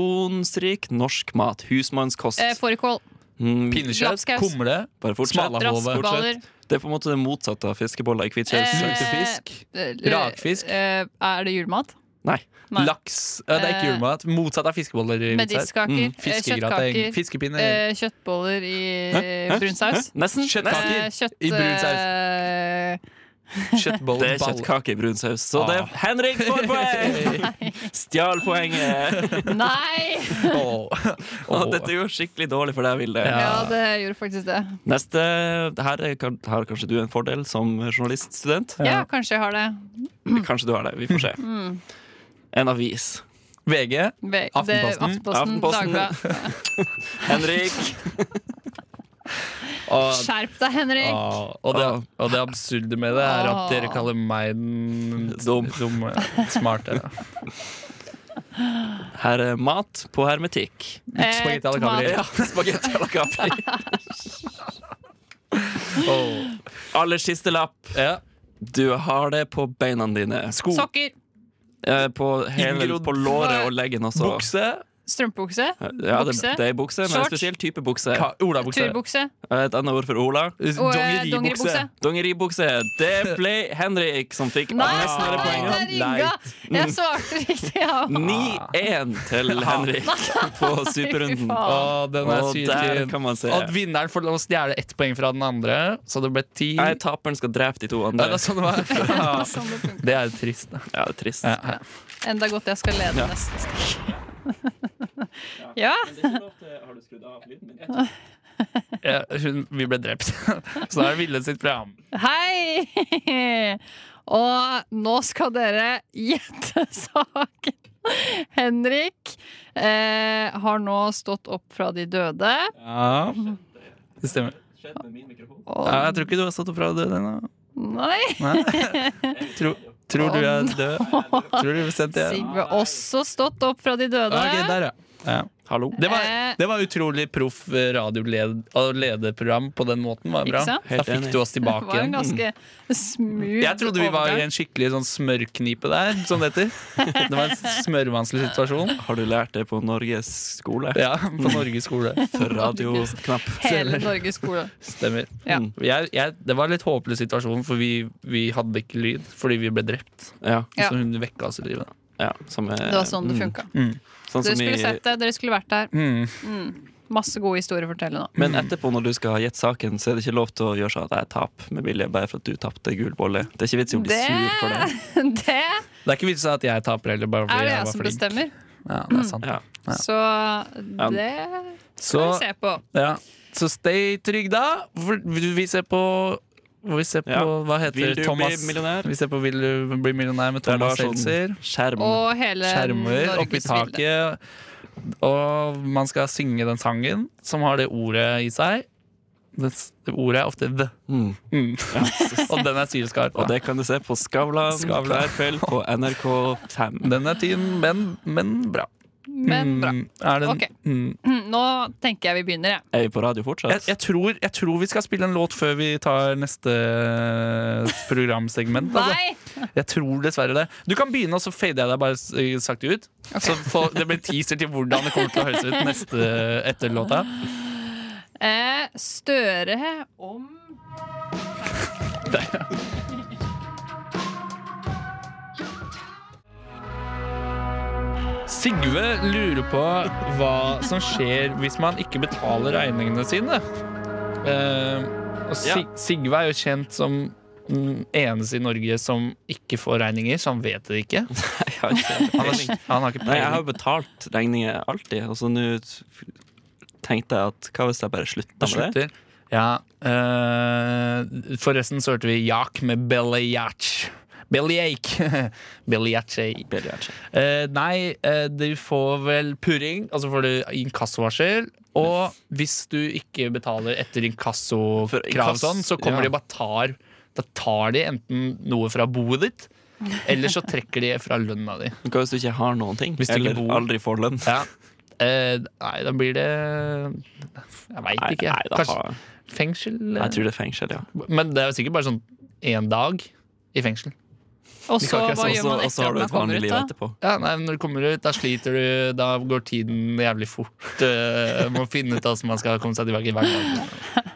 Speaker 3: tradisjonsrik norsk mat. Husmannskost.
Speaker 6: eh, Fårikål.
Speaker 3: Mm,
Speaker 5: Pinnekjøtt.
Speaker 6: Lapskaus.
Speaker 5: Humle.
Speaker 3: bare fortsett.
Speaker 5: Smala. Lahove.
Speaker 6: Raskballer.
Speaker 3: Det er på en måte det motsatte av fiskeboller i
Speaker 6: Eh,
Speaker 3: hvitskjell.
Speaker 5: Lutefisk.
Speaker 6: eh,
Speaker 5: Rakfisk.
Speaker 6: eh, Er det julemat?
Speaker 3: Nei.
Speaker 6: Nei.
Speaker 5: Laks. Ja, det er ikke
Speaker 6: Eh,
Speaker 5: julemat. Motsatt av fiskeboller. i Hvitserg.
Speaker 6: Medisterkaker.
Speaker 3: Mm,
Speaker 6: eh,
Speaker 5: Fiskegrateng.
Speaker 6: Kjøttkaker.
Speaker 5: Fiskepinner.
Speaker 6: eh, Kjøttboller
Speaker 3: Hæ?
Speaker 6: i
Speaker 3: Hæ?
Speaker 6: eh, brun saus.
Speaker 3: Nesten.
Speaker 5: Kjøttkaker.
Speaker 6: Eh,
Speaker 5: Kaker
Speaker 6: Kjøtt
Speaker 5: i brun saus.
Speaker 6: eh,
Speaker 3: Det er
Speaker 5: Kjøttboller.
Speaker 3: kjøttkake i brun saus. Så det
Speaker 5: Ah.
Speaker 3: er Henrik får poeng! Stjal poenget.
Speaker 6: Nei!
Speaker 5: Åh.
Speaker 3: Å, dette gjorde skikkelig dårlig for deg, Vilde.
Speaker 5: Ja.
Speaker 6: Ja, det gjorde faktisk det.
Speaker 3: Neste, her er, kan- har kanskje du en fordel som journaliststudent.
Speaker 6: Ja, kanskje jeg har det.
Speaker 3: Kanskje du har det. Vi får se.
Speaker 6: Mm.
Speaker 3: En avis.
Speaker 5: VG.
Speaker 6: Ve- Det,
Speaker 5: Aftenposten.
Speaker 6: Aftenposten,
Speaker 3: Aftenposten.
Speaker 6: Dagbladet.
Speaker 3: Henrik.
Speaker 5: Og,
Speaker 6: Skjerp deg, Henrik!
Speaker 5: og, og, det, og det absurde med det er at dere kaller meg den
Speaker 3: Dum.
Speaker 5: dumme. Smarte.
Speaker 3: Her er mat på hermetikk.
Speaker 6: Eh,
Speaker 5: Spagetti alla
Speaker 6: tomat.
Speaker 5: Gabriel.
Speaker 3: Spagetti à la Capri.
Speaker 5: Åh.
Speaker 3: Aller siste lapp.
Speaker 5: Ja.
Speaker 3: Du har det på beina dine.
Speaker 5: Sko.
Speaker 6: Sokker.
Speaker 3: Eh, på, hele,
Speaker 5: Inngrodd.
Speaker 3: på låret og leggen også.
Speaker 5: Bukse.
Speaker 6: Strømpebukse.
Speaker 3: Ja, det,
Speaker 6: Bukse.
Speaker 3: det er bukse, men en
Speaker 6: Shorts.
Speaker 3: spesiell type bukse.
Speaker 5: Ka- Olabukse.
Speaker 6: Turbukse.
Speaker 3: Et annet ord for Ola.
Speaker 6: Og eh, dongeribukse.
Speaker 3: Dongeribukse. Det ble Henrik som fikk
Speaker 6: Nei, Ah.
Speaker 3: resten av det
Speaker 6: det er
Speaker 3: poenget.
Speaker 6: rigga! Jeg svarte riktig, ja.
Speaker 3: 9-1 til Henrik på superrunden.
Speaker 5: Å,
Speaker 6: faen.
Speaker 5: den er
Speaker 3: Og der
Speaker 5: syrlig.
Speaker 3: kan man se.
Speaker 5: Og at vinneren får lov å stjele ett poeng fra den andre, så det ble ti.
Speaker 3: Nei, taperen skal drepe de to
Speaker 5: Ja, det
Speaker 3: andre.
Speaker 5: er sånn det var.
Speaker 6: Det er sånn det funker.
Speaker 5: Det er jo trist. Da.
Speaker 3: Ja, det er trist.
Speaker 5: Ja, ja.
Speaker 6: Enda godt jeg skal lede neste stikk. ja.
Speaker 5: Ja, hun, vi ble drept. Så da er det Ville sitt program.
Speaker 6: Hei! Og nå skal dere gjette saken. Henrik eh, har nå stått opp fra de døde.
Speaker 5: Ja, det stemmer.
Speaker 6: Og
Speaker 5: Ja, jeg tror ikke du har stått opp fra å dø ennå.
Speaker 6: nei,
Speaker 5: Tro, tror du jeg er død? Tror du er sendt igjen?
Speaker 6: Sigve også stått opp fra de døde.
Speaker 5: Ja, ok, der, ja. ja.
Speaker 3: Hallo.
Speaker 5: Det var,
Speaker 6: Eh.
Speaker 5: det var utrolig proff eh, radiolederprogram på den måten. Var bra.
Speaker 6: Ikke sant?
Speaker 5: Da
Speaker 3: Helt
Speaker 5: fikk
Speaker 3: enig.
Speaker 5: du oss
Speaker 6: Det
Speaker 5: tilbake
Speaker 6: var en
Speaker 5: igjen.
Speaker 6: ganske smooth
Speaker 5: Mm. Jeg trodde vi var i en skikkelig sånn smørknipe der, som det heter. Det var en smørvanskelig situasjon.
Speaker 3: Har du lært det på Norges skole?
Speaker 5: Ja, på Norges skole.
Speaker 3: For radioknapp.
Speaker 6: Hele Norges skole.
Speaker 5: Stemmer.
Speaker 6: Ja.
Speaker 5: Mm. Jeg, jeg, det var en litt håpløs situasjon, for vi, vi hadde ikke lyd fordi vi ble drept.
Speaker 3: Ja,
Speaker 6: Ja.
Speaker 5: Så hun vekka oss i livet.
Speaker 3: ja, som er,
Speaker 6: Det var sånn det
Speaker 3: mm,
Speaker 6: funka.
Speaker 3: Sånn
Speaker 6: Dere
Speaker 3: som i
Speaker 6: skulle sett det, dere skulle vært der.
Speaker 5: Mm.
Speaker 6: Mm. Masse gode historier å fortelle nå.
Speaker 3: Men etterpå, når du skal ha gitt saken, så er det ikke lov til å gjøre sånn at jeg taper med vilje bare for at du tapte gul bolle. Det er ikke vits i å bli sur for det.
Speaker 6: det
Speaker 5: Det er ikke vits i at jeg taper heller, bare
Speaker 6: er
Speaker 5: fordi
Speaker 6: det
Speaker 5: jeg
Speaker 6: jeg
Speaker 5: var
Speaker 6: som
Speaker 5: flink.
Speaker 6: bestemmer.
Speaker 5: Ja, det er sant.
Speaker 3: Ja.
Speaker 6: Så det
Speaker 5: Så,
Speaker 6: Mm. skal vi se på.
Speaker 5: ja. så stay trygg, da. For Vi ser på vi ser på,
Speaker 3: Ja.
Speaker 5: Hva heter
Speaker 3: Vil du bli
Speaker 5: Thomas?
Speaker 3: millionær?
Speaker 5: Vi ser på Vil du bli millionær med
Speaker 3: Der det var
Speaker 5: Thomas
Speaker 3: sånn
Speaker 5: Seltzer.
Speaker 3: skjerm.
Speaker 6: Og hele
Speaker 5: Mm. Skjermer oppi
Speaker 6: Norgesbildet.
Speaker 5: taket. Og man skal synge den sangen som har det ordet i seg. Det, s- det ordet er ofte the.
Speaker 3: Mm.
Speaker 5: Mm. og den er sylskarp.
Speaker 3: Og det kan du se på Skavlan
Speaker 5: Skavlan.
Speaker 3: hver kveld på NRK5.
Speaker 5: Den er tynn, men, men bra.
Speaker 6: Men bra.
Speaker 5: Mm, Er den,
Speaker 6: Ok.
Speaker 5: mm.
Speaker 6: Nå tenker jeg vi begynner, jeg.
Speaker 3: Er vi på radio fortsatt?
Speaker 5: jeg, jeg, tror, jeg tror vi skal spille en låt før vi tar neste eh, programsegment. altså.
Speaker 6: Nei!
Speaker 5: Jeg tror dessverre det. Du kan begynne, og så fader jeg deg bare eh, sakte ut. Så få, det blir teaser til hvordan det kommer til å høres ut neste etter låta.
Speaker 6: Eh, Støre om
Speaker 5: Sigve lurer på hva som skjer hvis man ikke betaler regningene sine. Eh, og Sig
Speaker 3: Ja.
Speaker 5: Sigve er jo kjent som den eneste i Norge som ikke får regninger, så han vet det ikke.
Speaker 3: Jeg har ikke
Speaker 5: Han har, han har ikke
Speaker 3: Nei, jeg har
Speaker 5: peiling.
Speaker 3: jo betalt regninger alltid, og så nå tenkte jeg at hva hvis jeg bare
Speaker 5: Han
Speaker 3: slutter med det?
Speaker 5: slutter. Ja, eh, forresten så hørte vi Jak med Bellyac. Bellyac. Bellyac.
Speaker 3: Billiardskjerm.
Speaker 5: Eh, nei, eh, du får vel purring, og så får du inkassovarsel. Og hvis du ikke betaler etter
Speaker 3: For
Speaker 5: inkassokrav,
Speaker 3: inkass-
Speaker 5: sånn, så kommer
Speaker 3: ja.
Speaker 5: de og bare tar Da tar de enten noe fra boet ditt, eller så trekker de fra lønna di.
Speaker 3: Men Hva hvis du ikke har noen ting?
Speaker 5: Hvis du ikke
Speaker 3: Eller
Speaker 5: bor-
Speaker 3: aldri får lønn?
Speaker 5: Ja. Eh, nei, da blir det Jeg veit
Speaker 3: Nei,
Speaker 5: ikke.
Speaker 3: nei, da
Speaker 5: Kanskje
Speaker 3: har,
Speaker 5: fengsel?
Speaker 3: jeg tror det er fengsel, ja.
Speaker 5: Men det er jo sikkert bare sånn én dag i fengsel.
Speaker 6: Og
Speaker 5: Vi
Speaker 6: så
Speaker 5: kan ikke-
Speaker 6: hva
Speaker 3: Og
Speaker 6: gjør
Speaker 3: så og
Speaker 6: man
Speaker 3: så
Speaker 6: etter
Speaker 3: har
Speaker 6: at
Speaker 3: du
Speaker 6: man
Speaker 3: et vanlig
Speaker 6: kommer ut,
Speaker 3: liv
Speaker 6: da?
Speaker 3: etterpå.
Speaker 5: Ja, nei, når du kommer ut, da sliter du Da går tiden jævlig fort. eh, må finne ut hvordan man skal komme seg tilbake i hverdagen.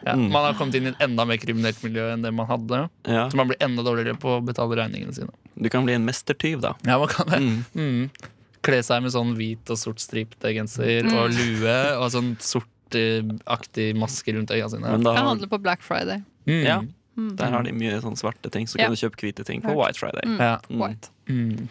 Speaker 5: Ja,
Speaker 3: Mm.
Speaker 5: Man har kommet inn i et enda mer kriminelt miljø enn det man hadde.
Speaker 3: Ja.
Speaker 5: Så man blir enda dårligere på å betale regningene sine.
Speaker 3: Du kan bli en mestertyv, da.
Speaker 5: Ja, man kan det
Speaker 3: Mm.
Speaker 5: mm. Kle seg med sånn hvit og sort stripete genser og lue og sånn sortaktig maske rundt øya sine.
Speaker 3: Men da,
Speaker 6: Kan handle på Black Friday.
Speaker 5: Mm.
Speaker 3: ja, der har de mye sånn svarte ting, så
Speaker 6: Ja.
Speaker 3: kan du kjøpe hvite ting på White Friday.
Speaker 5: Ja.
Speaker 6: White.
Speaker 5: Mm.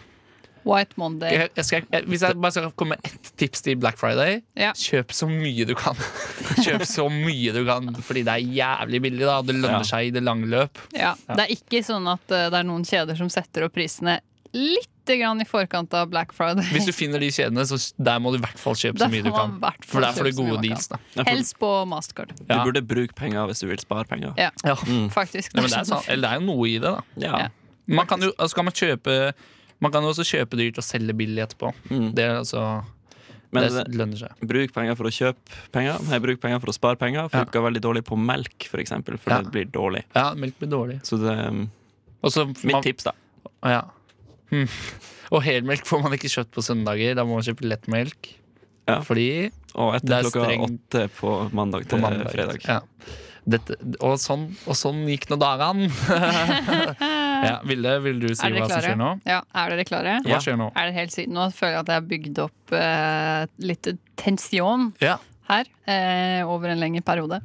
Speaker 6: White Monday.
Speaker 5: Jeg, jeg skal, jeg, hvis jeg bare skal komme med ett tips til Black Friday
Speaker 6: Ja.
Speaker 5: Kjøp så mye du kan. Kjøp så mye du kan Fordi det er jævlig billig. da Det lønner
Speaker 3: Ja.
Speaker 5: seg i det lange løp.
Speaker 6: Ja. Det er ikke sånn at eh, det er noen kjeder som setter opp prisene litt grann i forkant av Black Friday.
Speaker 5: Hvis du finner de kjedene, så der må du i hvert fall kjøpe
Speaker 6: Da
Speaker 5: så mye du
Speaker 6: får
Speaker 5: kan.
Speaker 6: man i hvert fall
Speaker 5: For der får
Speaker 6: kjøpe
Speaker 5: du
Speaker 6: så mye
Speaker 5: gode
Speaker 6: man kan.
Speaker 5: deals. da
Speaker 3: Ja, for
Speaker 6: Helst på Mastercard.
Speaker 5: Ja.
Speaker 3: Du burde bruke penger hvis du vil spare penger.
Speaker 6: Ja,
Speaker 5: Ja.
Speaker 3: Mm.
Speaker 6: faktisk.
Speaker 5: Mm. Nei, men det, er sant. Eller det er jo noe i det, da.
Speaker 3: Ja.
Speaker 6: Ja.
Speaker 5: Man kan jo altså kan man kjøpe Man kan jo også kjøpe dyrt og selge billig etterpå.
Speaker 3: Mm.
Speaker 5: Det, er altså,
Speaker 3: Men
Speaker 5: det
Speaker 3: det,
Speaker 5: lønner seg.
Speaker 3: bruk penger for å kjøpe penger. Nei, bruk penger for å spare penger.
Speaker 5: Ja.
Speaker 3: Funker veldig dårlig på melk, for eksempel, for
Speaker 5: Ja.
Speaker 3: det blir dårlig.
Speaker 5: Ja, melk blir dårlig.
Speaker 3: Så det um,
Speaker 5: Og så
Speaker 3: Mitt
Speaker 5: man-
Speaker 3: tips, da.
Speaker 5: Ja. Hm. Og helmelk får man ikke kjøtt på søndager. Da må man kjøpe lettmelk.
Speaker 3: Ja.
Speaker 5: Fordi
Speaker 3: Og
Speaker 5: Det
Speaker 3: etter
Speaker 5: er
Speaker 3: klokka
Speaker 5: streng-
Speaker 3: åtte på mandag
Speaker 5: på
Speaker 3: til
Speaker 5: mandag.
Speaker 3: fredag.
Speaker 5: Ja. Dette, og, sånn, og sånn gikk nå dagene. ja, Vilde, vil du si
Speaker 6: Er dere
Speaker 5: hva som skjer nå?
Speaker 6: klare? Ja, er dere klare?
Speaker 5: Hva
Speaker 3: Ja.
Speaker 5: skjer nå?
Speaker 6: Er det helt sykt? Nå føler jeg at jeg har bygd opp eh, litt tension
Speaker 5: Ja.
Speaker 6: her eh, over en lengre periode.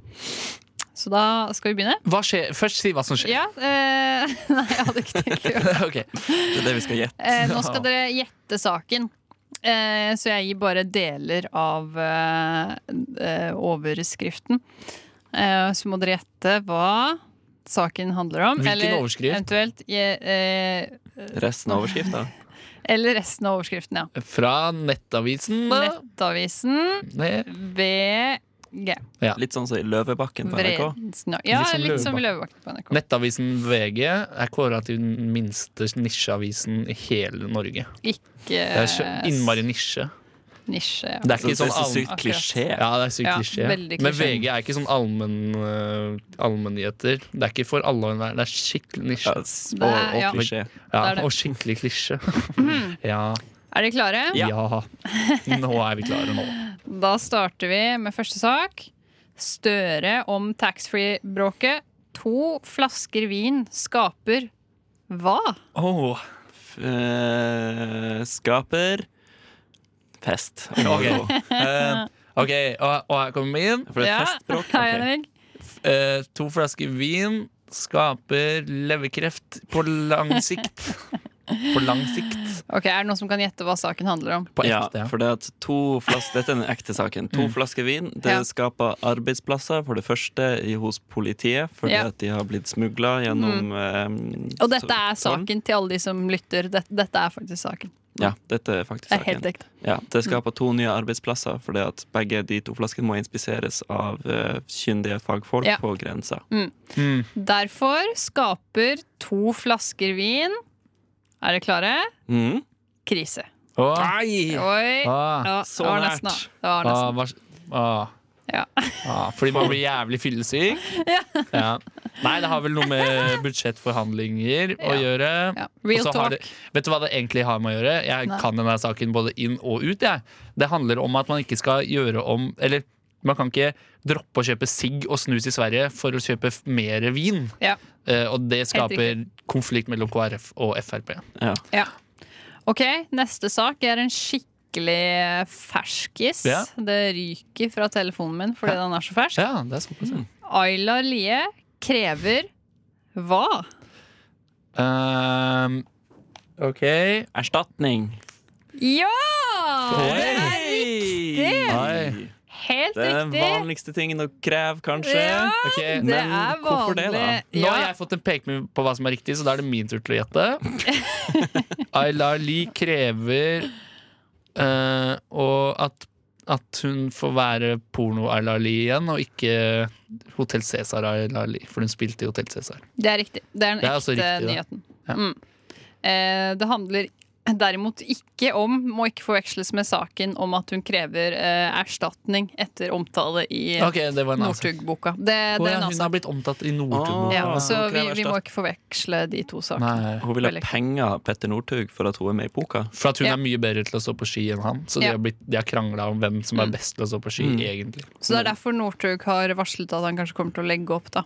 Speaker 6: Så da skal vi begynne.
Speaker 5: Hva skjer? Først si hva som skjer.
Speaker 6: Ja, eh, Nei, jeg hadde ikke tenkt å gjøre det.
Speaker 5: Ok.
Speaker 3: Det er det vi skal gjette.
Speaker 6: Eh, nå skal dere gjette saken. Eh, så jeg gir bare deler av eh, eh, overskriften. Eh, så må dere gjette hva saken handler om.
Speaker 5: Hvilken overskrift?
Speaker 6: Eventuelt, eh,
Speaker 3: Resten av overskrifta.
Speaker 6: eller resten av overskriften, ja.
Speaker 5: Fra Nettavisen. da.
Speaker 6: Nettavisen
Speaker 5: Ned.
Speaker 6: VG.
Speaker 3: Litt sånn som i Løvebakken på NRK.
Speaker 6: Vredens Nød. Ja,
Speaker 5: Litt som
Speaker 6: litt som i Løvebakken på NRK.
Speaker 5: Nettavisen VG er kåra til den minste nisjeavisen i hele Norge.
Speaker 6: Ikke eh,
Speaker 5: Det er så innmari nisje.
Speaker 6: nisje.
Speaker 5: Det er
Speaker 3: Så det
Speaker 5: ikke
Speaker 3: er
Speaker 5: sånn
Speaker 3: så
Speaker 5: allmenn-
Speaker 3: sykt klisjé.
Speaker 5: Ja, det er sykt
Speaker 6: Ja,
Speaker 5: klisjé.
Speaker 6: veldig
Speaker 5: Men
Speaker 6: klisjé.
Speaker 5: VG er ikke sånn allmenn eh, allmennyheter. Det er ikke for alle og enhver. Det er skikkelig nisje.
Speaker 3: Ja, s-
Speaker 6: Det
Speaker 3: Og,
Speaker 6: er-
Speaker 3: og
Speaker 6: ja.
Speaker 3: klisjé.
Speaker 5: Ja,
Speaker 6: det Mhm. er det.
Speaker 5: og skikkelig klisjé. ja,
Speaker 6: Er dere klare?
Speaker 5: ja. Nå er vi klare nå.
Speaker 6: Da starter vi med første sak. Støre om taxfree-bråket. To flasker vin skaper hva?
Speaker 5: Oh,
Speaker 3: F- eh, skaper fest.
Speaker 5: Ok. Eh, Ok, og, og her kommer min.
Speaker 3: For det er
Speaker 6: Ja.
Speaker 3: festspråk.
Speaker 6: Hei,
Speaker 3: Ok.
Speaker 6: Henrik.
Speaker 5: Eh, to flasker vin skaper leverkreft på lang sikt. På lang sikt.
Speaker 6: Ok, Er det noen som kan gjette hva saken handler om?
Speaker 5: På
Speaker 3: Ja,
Speaker 5: ekte. Ja,
Speaker 3: for det at to flas dette er den ekte saken. To flasker vin det
Speaker 6: Mm. Ja.
Speaker 3: skaper arbeidsplasser, for det første i, hos politiet, fordi
Speaker 6: Ja. Mm.
Speaker 3: at de har blitt smugla gjennom eh,
Speaker 6: Og dette er
Speaker 3: tårn.
Speaker 6: saken til alle de som lytter. Dette, dette er faktisk saken.
Speaker 3: Ja, dette er faktisk
Speaker 6: Det er helt
Speaker 3: saken.
Speaker 6: ekte. Mm.
Speaker 3: Ja, det skaper to nye arbeidsplasser, fordi at begge de to flaskene må inspiseres av eh, kyndige fagfolk
Speaker 6: Ja.
Speaker 3: på grensa.
Speaker 6: Derfor skaper to flasker vin Er dere klare?
Speaker 3: Mm.
Speaker 6: Krise.
Speaker 5: Åh,
Speaker 3: Nei!
Speaker 6: Oi!
Speaker 5: åh,
Speaker 6: Ja,
Speaker 3: så
Speaker 6: det var nesten, da.
Speaker 3: nært.
Speaker 6: Det var
Speaker 5: åh,
Speaker 6: nesten.
Speaker 5: Ah, hva s- åh,
Speaker 6: Ja.
Speaker 5: åh, fordi man blir jævlig fyllesyk. Ja. Nei, det har vel noe med budsjettforhandlinger å gjøre.
Speaker 6: Ja.
Speaker 5: Og
Speaker 6: Real
Speaker 5: så har
Speaker 6: talk.
Speaker 5: det, vet du hva det egentlig har med å gjøre? Jeg
Speaker 6: Nei.
Speaker 5: kan denne saken både inn og ut. Jeg. Det handler om at man ikke skal gjøre om Eller man kan ikke droppe å kjøpe sigg og snus i Sverige for å kjøpe f- mer vin.
Speaker 6: Ja.
Speaker 5: Eh, og det
Speaker 6: Helt
Speaker 5: skaper konflikt mellom KrF og Frp.
Speaker 3: Ja.
Speaker 6: Ok, neste sak er en skikkelig ferskis.
Speaker 5: Ja.
Speaker 6: Det ryker fra telefonen min fordi den er så fersk.
Speaker 5: Ja, det er såpass. ja.
Speaker 6: Ayla Lie krever hva?
Speaker 5: Ehm, OK.
Speaker 3: Erstatning.
Speaker 6: Ja! Det er
Speaker 3: Oi!
Speaker 6: helt
Speaker 3: Det er den
Speaker 6: riktig!
Speaker 3: vanligste tingen å kreve, kanskje.
Speaker 6: Ja,
Speaker 5: ok,
Speaker 6: det
Speaker 3: men
Speaker 6: er
Speaker 3: hvorfor det, da?
Speaker 6: vanlig.
Speaker 5: Nå
Speaker 6: Ja.
Speaker 5: har jeg fått en pekepinn på hva som er riktig, så da er det min tur til å gjette. Aylar Lie krever eh, og at, at hun får være porno-Aylar Lie igjen, og ikke Hotell Cæsar-Aylar Lie, for hun spilte i Hotell Cæsar.
Speaker 6: Det er riktig. Det er den
Speaker 5: Det er
Speaker 6: ekte
Speaker 5: også riktig, det.
Speaker 6: nyheten.
Speaker 5: Ja.
Speaker 6: Mm. Eh, det handler derimot ikke om, må ikke forveksles med saken om at hun krever eh, erstatning etter omtale i
Speaker 5: Ok, altså- det var en annen sak.
Speaker 6: Northug-boka. Det,
Speaker 5: Å,
Speaker 6: det er
Speaker 5: ja,
Speaker 6: en annen
Speaker 5: hun har
Speaker 6: sak.
Speaker 5: blitt omtalt i Northug.
Speaker 6: Ja,
Speaker 3: Ah,
Speaker 6: så
Speaker 3: hun
Speaker 6: vi,
Speaker 3: krever
Speaker 6: vi må ikke forveksle de to sakene.
Speaker 5: Nei.
Speaker 3: Hun vil ha
Speaker 6: Veldig.
Speaker 3: penger av Petter Northug for at hun er med i poker.
Speaker 5: For at hun
Speaker 6: Ja.
Speaker 5: er mye bedre til å stå på ski enn han. Så de
Speaker 6: Ja. Mm.
Speaker 5: har, blitt- de har krangla om hvem som er best til å stå på ski, egentlig.
Speaker 6: Så det er derfor Northug har varslet at han kanskje kommer til å legge opp da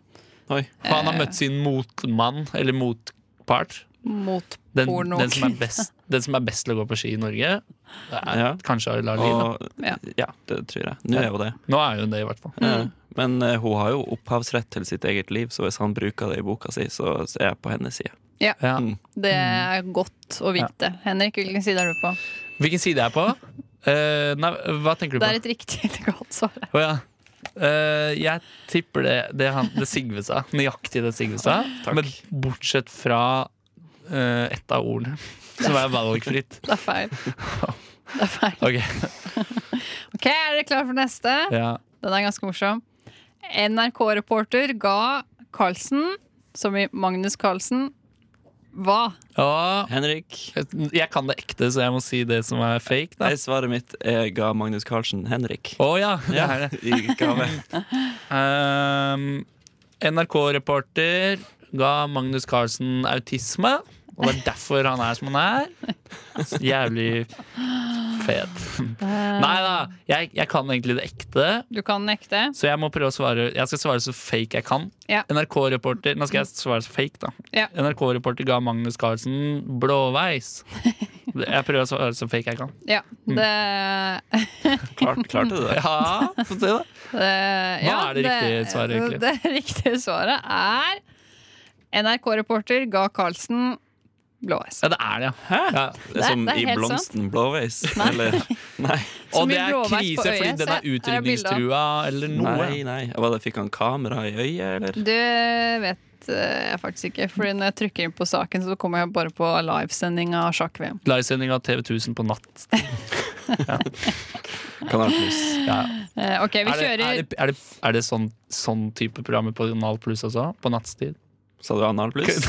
Speaker 3: Oi.
Speaker 6: Eh.
Speaker 5: Og han har møtt sin motmann, eller motpart.
Speaker 6: mot
Speaker 5: den,
Speaker 6: porno.
Speaker 5: den, som er best, den som er best til å gå på ski i Norge, det er
Speaker 3: Ja.
Speaker 5: kanskje Aylar Lie. da.
Speaker 3: Og,
Speaker 6: Ja. Mm.
Speaker 3: ja. det tror jeg. Nå er hun det.
Speaker 5: Nå er hun det, i hvert fall.
Speaker 3: Eh, Men eh, hun har jo opphavsrett til sitt eget liv, så hvis han bruker det i boka si, så så er jeg på hennes side.
Speaker 5: Ja.
Speaker 6: Det
Speaker 5: Mm.
Speaker 6: er godt å vite. Henrik, hvilken side er du på?
Speaker 5: Hvilken side er jeg på? Eh, nei, hva tenker du
Speaker 6: Det
Speaker 5: på?
Speaker 6: er et riktig eller galt svar.
Speaker 5: Å, ja. Eh, jeg tipper det, det, han, det Sigve sa. Nøyaktig det Sigve sa. Men bortsett fra eh, ett av ordene, som er valgfritt.
Speaker 6: Det er feil. Det er feil.
Speaker 5: Ok,
Speaker 6: Ok, Er dere klare for neste?
Speaker 5: ja.
Speaker 6: Den er ganske morsom. NRK-reporter ga Carlsen, som i Magnus Carlsen, hva?
Speaker 5: Og,
Speaker 3: Henrik.
Speaker 5: jeg kan det ekte, så jeg må si det som er fake. Da.
Speaker 3: Nei, svaret mitt er ga Magnus Carlsen Henrik.
Speaker 5: Å ja, det
Speaker 3: Ja,
Speaker 5: er det.
Speaker 3: i gave.
Speaker 5: Ehm, NRK-reporter ga Magnus Carlsen autisme. Og det er derfor han er som han er. Jævlig fet. Nei da, jeg, jeg kan egentlig det ekte.
Speaker 6: Du kan nekte.
Speaker 5: Så jeg må prøve å svare Jeg skal svare så fake jeg kan.
Speaker 6: Ja.
Speaker 5: NRK-reporter Nå skal jeg svare så fake, da.
Speaker 6: Ja.
Speaker 5: NRK-reporter ga Magnus Carlsen blåveis. Jeg prøver å svare så fake jeg kan.
Speaker 6: Ja,
Speaker 5: Mm.
Speaker 6: det,
Speaker 3: Klart, klarte du det?
Speaker 5: Ja, få se, da.
Speaker 6: det ja,
Speaker 5: er det riktige svaret, egentlig?
Speaker 6: Det riktige svaret er NRK-reporter ga Carlsen blåveis.
Speaker 5: Ja, det er det, ja. ja.
Speaker 3: Det er som
Speaker 6: det er
Speaker 3: i
Speaker 6: helt
Speaker 3: Blomsten blåveis. Eller Nei,
Speaker 6: Så
Speaker 5: Og det
Speaker 6: mye
Speaker 5: er
Speaker 6: blåveis på
Speaker 5: krise fordi den
Speaker 6: øyet, se,
Speaker 5: er
Speaker 6: her er bildet.
Speaker 5: utrydningstrua eller noe.
Speaker 3: nei. nei. Hva da, fikk han kamera i øyet, eller?
Speaker 6: Du vet eh, jeg faktisk ikke, Fordi når jeg trykker inn på saken, så kommer jeg bare på livesending av sjakk-VM.
Speaker 5: Livesending av TV 1000 på natt.
Speaker 3: Kanal Pluss.
Speaker 6: Eh, OK, vi
Speaker 5: Er det,
Speaker 6: kjører
Speaker 5: er det, er det, er det sånn, sånn type programmer på Kanal Pluss også? På nattstid?
Speaker 3: Sa du Anal Pluss?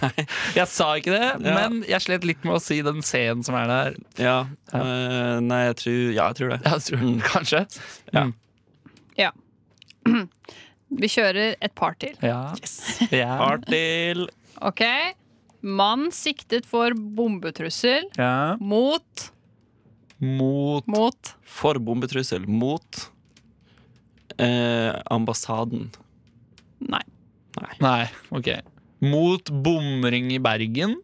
Speaker 5: Jeg sa ikke det, men jeg slet litt med å si den C-en som er der.
Speaker 3: Ja. eh, nei, jeg tror Ja, jeg tror det.
Speaker 5: Jeg tror,
Speaker 3: Mm.
Speaker 5: Kanskje.
Speaker 3: Ja.
Speaker 5: Mm.
Speaker 6: Vi kjører et par til.
Speaker 5: Ja. Ja.
Speaker 3: Artil.
Speaker 6: OK? Mann siktet for bombetrussel
Speaker 5: ja.
Speaker 6: mot
Speaker 5: Mot
Speaker 6: Mot
Speaker 3: for bombetrussel mot eh, ambassaden.
Speaker 6: Nei.
Speaker 5: Nei, ok. Mot bomring i Bergen.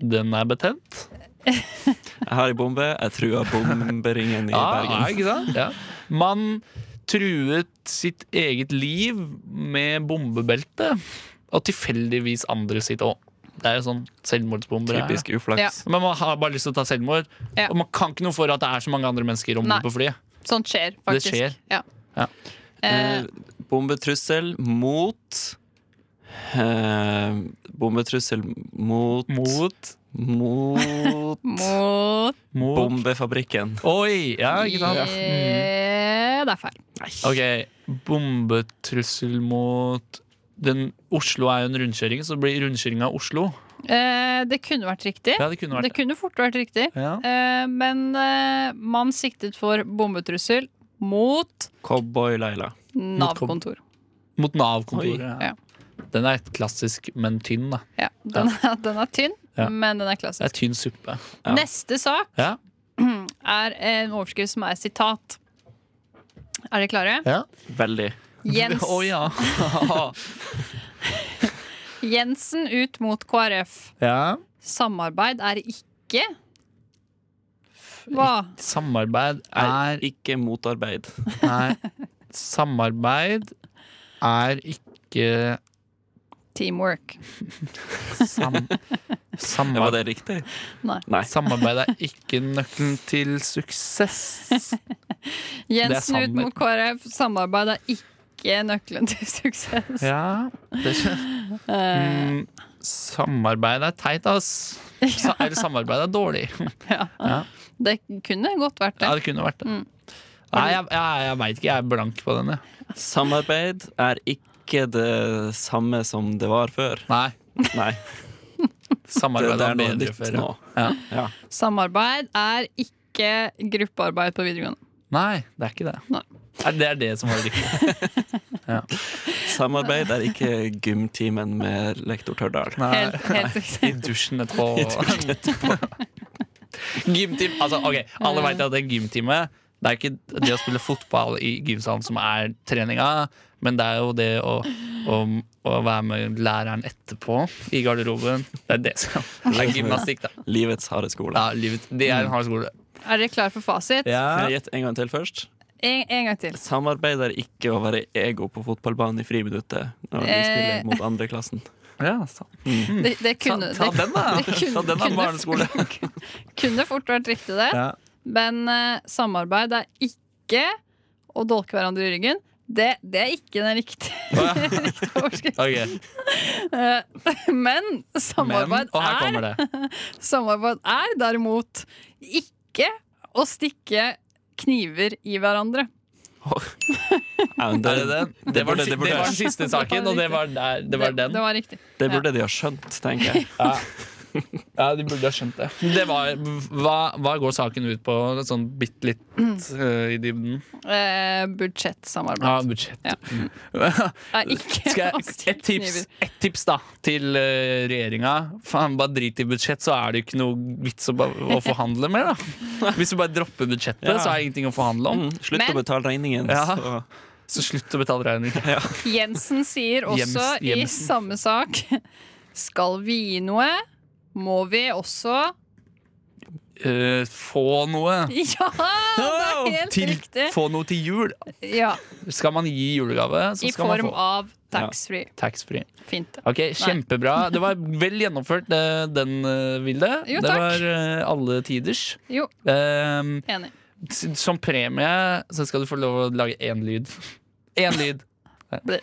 Speaker 5: Den er betent.
Speaker 3: Jeg har ei bombe, jeg truer bomberingen i
Speaker 5: Ja, ja,
Speaker 3: Bergen.
Speaker 5: Ah, ikke sant? Ja. Man truet sitt eget liv med bombebelte. Og tilfeldigvis andre sitt òg. Det er jo sånn selvmordsbomber. er,
Speaker 3: Typisk
Speaker 6: Ja.
Speaker 3: uflaks.
Speaker 5: Men man har bare lyst til å ta selvmord.
Speaker 6: Ja.
Speaker 5: Og man kan ikke noe for at det er så mange andre mennesker om
Speaker 6: Nei.
Speaker 5: bord på flyet.
Speaker 6: Sånt skjer, faktisk.
Speaker 5: skjer.
Speaker 6: Ja.
Speaker 5: Ja.
Speaker 6: Eh,
Speaker 3: Eh, bombetrussel mot eh, Bombetrussel mot
Speaker 5: Mot.
Speaker 3: Mot
Speaker 6: mot
Speaker 5: Mot.
Speaker 3: bombefabrikken.
Speaker 5: Oi! Ja, ikke sant? Mm.
Speaker 6: Eh, Det er feil.
Speaker 5: Ok, bombetrussel mot den, Oslo er jo en rundkjøring, så det blir rundkjøring av Oslo.
Speaker 6: Eh, det kunne vært riktig.
Speaker 5: Ja, det kunne
Speaker 6: Det
Speaker 5: vært det.
Speaker 6: kunne fort vært riktig.
Speaker 5: Ja.
Speaker 6: Eh, men eh, man siktet for bombetrussel mot
Speaker 3: Cowboy-Laila.
Speaker 6: Nav-kontor.
Speaker 5: Mot Nav-kontoret.
Speaker 6: Oi.
Speaker 5: Den er klassisk, men tynn, da.
Speaker 6: Ja, den, er, den er tynn,
Speaker 5: Ja.
Speaker 6: men den er
Speaker 5: Det
Speaker 6: klassisk.
Speaker 5: er tynn suppe.
Speaker 3: Ja.
Speaker 6: Neste sak
Speaker 5: Ja.
Speaker 6: er en overskrift som er sitat. Er dere klare?
Speaker 3: Veldig.
Speaker 6: Jens,
Speaker 5: Å ja.
Speaker 6: Jensen ut mot KrF.
Speaker 5: ja.
Speaker 6: Samarbeid er ikke Hva?
Speaker 5: Samarbeid
Speaker 3: Er
Speaker 5: er
Speaker 3: ikke motarbeid.
Speaker 5: Nei. Samarbeid er ikke
Speaker 6: Teamwork.
Speaker 5: sam
Speaker 3: Var
Speaker 5: samarbeid.
Speaker 3: det riktig?
Speaker 6: Nei.
Speaker 5: Samarbeid er ikke nøkkelen til suksess.
Speaker 6: Jensen ut
Speaker 5: Sanner.
Speaker 6: mot KrF. Samarbeid er ikke nøkkelen til suksess.
Speaker 5: Ja det
Speaker 6: Eh,
Speaker 5: mm, Samarbeid er teit, ass. Sa eller samarbeid er dårlig.
Speaker 6: det kunne godt vært det.
Speaker 5: Ja, det kunne vært det. Nei, jeg, jeg, jeg veit ikke. Jeg er blank på den, jeg.
Speaker 3: Samarbeid er ikke det samme som det var før.
Speaker 5: Nei.
Speaker 3: Nei, det,
Speaker 5: Samarbeid
Speaker 3: det
Speaker 5: er
Speaker 3: er noe
Speaker 5: bedre
Speaker 3: nytt
Speaker 5: før.
Speaker 3: nå.
Speaker 5: Ja. Ja.
Speaker 6: Samarbeid er ikke gruppearbeid på videregående.
Speaker 5: Nei, det er ikke det.
Speaker 6: Nei.
Speaker 5: Nei, Det er det som var riktig.
Speaker 3: Samarbeid er ikke gymtimen med lektor Tørdal.
Speaker 5: Nei.
Speaker 6: Helt, helt riktig.
Speaker 5: I dusjen etterpå. Gymteam. Altså, ok, alle veit at en gymtime Det er ikke det å spille fotball i gymsalen som er treninga, men det er jo det å, å, å være med læreren etterpå i garderoben. Det er det som det er gymnastikk, da.
Speaker 3: Livets harde skole.
Speaker 5: Ja, livet, det er en hard skole.
Speaker 6: Er dere klare for fasit?
Speaker 3: Kan jeg gjette en gang til først?
Speaker 6: En, en gang til.
Speaker 3: Samarbeid er ikke å være ego på fotballbanen i friminuttet når vi
Speaker 6: Eh.
Speaker 3: spiller mot andreklassen.
Speaker 5: Ja, sa-
Speaker 6: Det, det kunne,
Speaker 5: Mm. ta den, da.
Speaker 6: det kunne-
Speaker 5: Ta den, da,
Speaker 6: kunne-
Speaker 5: barneskole.
Speaker 6: Kunne fort vært riktig, det.
Speaker 5: Ja.
Speaker 6: Men eh, samarbeid er ikke å dolke hverandre i ryggen. Det, det er ikke den riktige riktige overskriften.
Speaker 5: Ok,
Speaker 6: Eh, Men
Speaker 5: men,
Speaker 6: samarbeid
Speaker 5: og her
Speaker 6: er
Speaker 5: kommer det.
Speaker 6: Samarbeid er derimot ikke å stikke kniver i hverandre.
Speaker 3: Ja, men det,
Speaker 5: Er det, den? det, var,
Speaker 3: burde, det,
Speaker 5: den si- det var den
Speaker 3: burde,
Speaker 5: siste saken, og det var, der, det var den.
Speaker 6: Det, var riktig.
Speaker 3: det burde de ha skjønt, tenker jeg.
Speaker 5: Ja. ja, de burde ha skjønt det. det var, hva, hva går saken ut på sånn bitte litt eh, i dybden?
Speaker 6: Eh,
Speaker 5: Ja,
Speaker 6: budsjettsamarbeid
Speaker 5: budsjett.
Speaker 6: Ja. er ikke
Speaker 5: Skal
Speaker 6: å
Speaker 5: jeg,
Speaker 6: stikke
Speaker 5: et, tips,
Speaker 6: kniver.
Speaker 5: et tips da til uh, regjeringa. Faen, bare drit i budsjett, så er det jo ikke noe vits å, ba- å forhandle mer. da Hvis du bare dropper budsjettet,
Speaker 3: Ja.
Speaker 5: så er det ingenting å forhandle om.
Speaker 3: Mm, Slutt
Speaker 6: Men-
Speaker 3: å betale regningen.
Speaker 5: Ja.
Speaker 3: Så.
Speaker 5: Så slutt å betale regning.
Speaker 6: Jensen sier også
Speaker 5: Jems- Jemsen.
Speaker 6: i samme sak Skal vi gi noe, må vi også
Speaker 5: Eh, få noe.
Speaker 6: Ja, det er helt
Speaker 5: til,
Speaker 6: riktig!
Speaker 5: Få noe til jul.
Speaker 6: Ja,
Speaker 5: Skal man gi julegave, så
Speaker 6: I
Speaker 5: skal man
Speaker 6: form
Speaker 5: få
Speaker 6: av taxfree.
Speaker 5: taxfree.
Speaker 6: Fint. det.
Speaker 5: Ok, Kjempebra. Det var vel gjennomført, eh, den, eh, Vilde.
Speaker 6: Jo,
Speaker 5: det
Speaker 6: takk.
Speaker 5: var eh, alle tiders.
Speaker 6: Jo,
Speaker 5: Ehm,
Speaker 6: enig.
Speaker 5: s- som premie så skal du få lov å lage én lyd. Én lyd. Nei.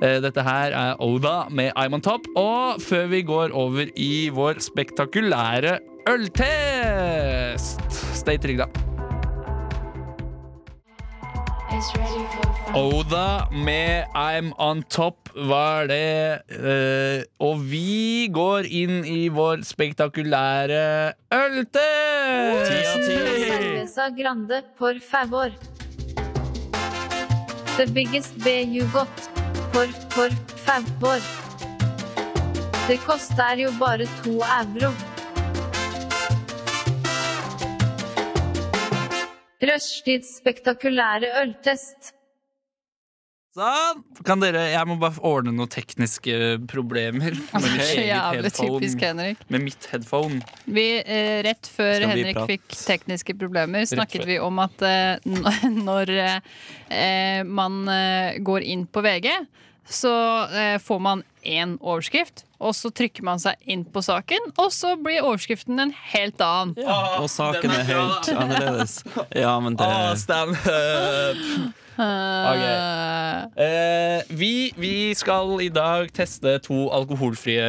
Speaker 5: Eh, Dette her er Oda med I'm on top. Og før vi går over i vår spektakulære øltest Stay trygg, da. Oda med I'm on top var det. eh, og vi går inn i vår spektakulære øltest!
Speaker 1: Cerveza grande, por favor. The biggest B you got. Por, por favor. Det koster jo bare to euro. Rushtids spektakulære øltest.
Speaker 5: Sånn. Kan dere, jeg må bare ordne noen tekniske eh, problemer. Med
Speaker 6: Det er
Speaker 5: mitt
Speaker 6: så
Speaker 5: eget
Speaker 6: jævlig typisk
Speaker 5: headphone.
Speaker 6: Henrik.
Speaker 5: Med mitt headphone.
Speaker 6: Vi, eh, rett før
Speaker 3: Skal vi
Speaker 6: Henrik
Speaker 3: prate?
Speaker 6: fikk tekniske problemer, snakket
Speaker 5: før.
Speaker 6: vi om at eh, n- når eh, eh, man eh, går inn på VG, så eh, får man én overskrift, og så trykker man seg inn på saken, og så blir overskriften en helt annen.
Speaker 3: Og saken
Speaker 5: den er
Speaker 3: er helt annerledes. Ja, men det
Speaker 5: Ah, stand up! Ok. Eh, vi, vi skal i dag teste to alkoholfrie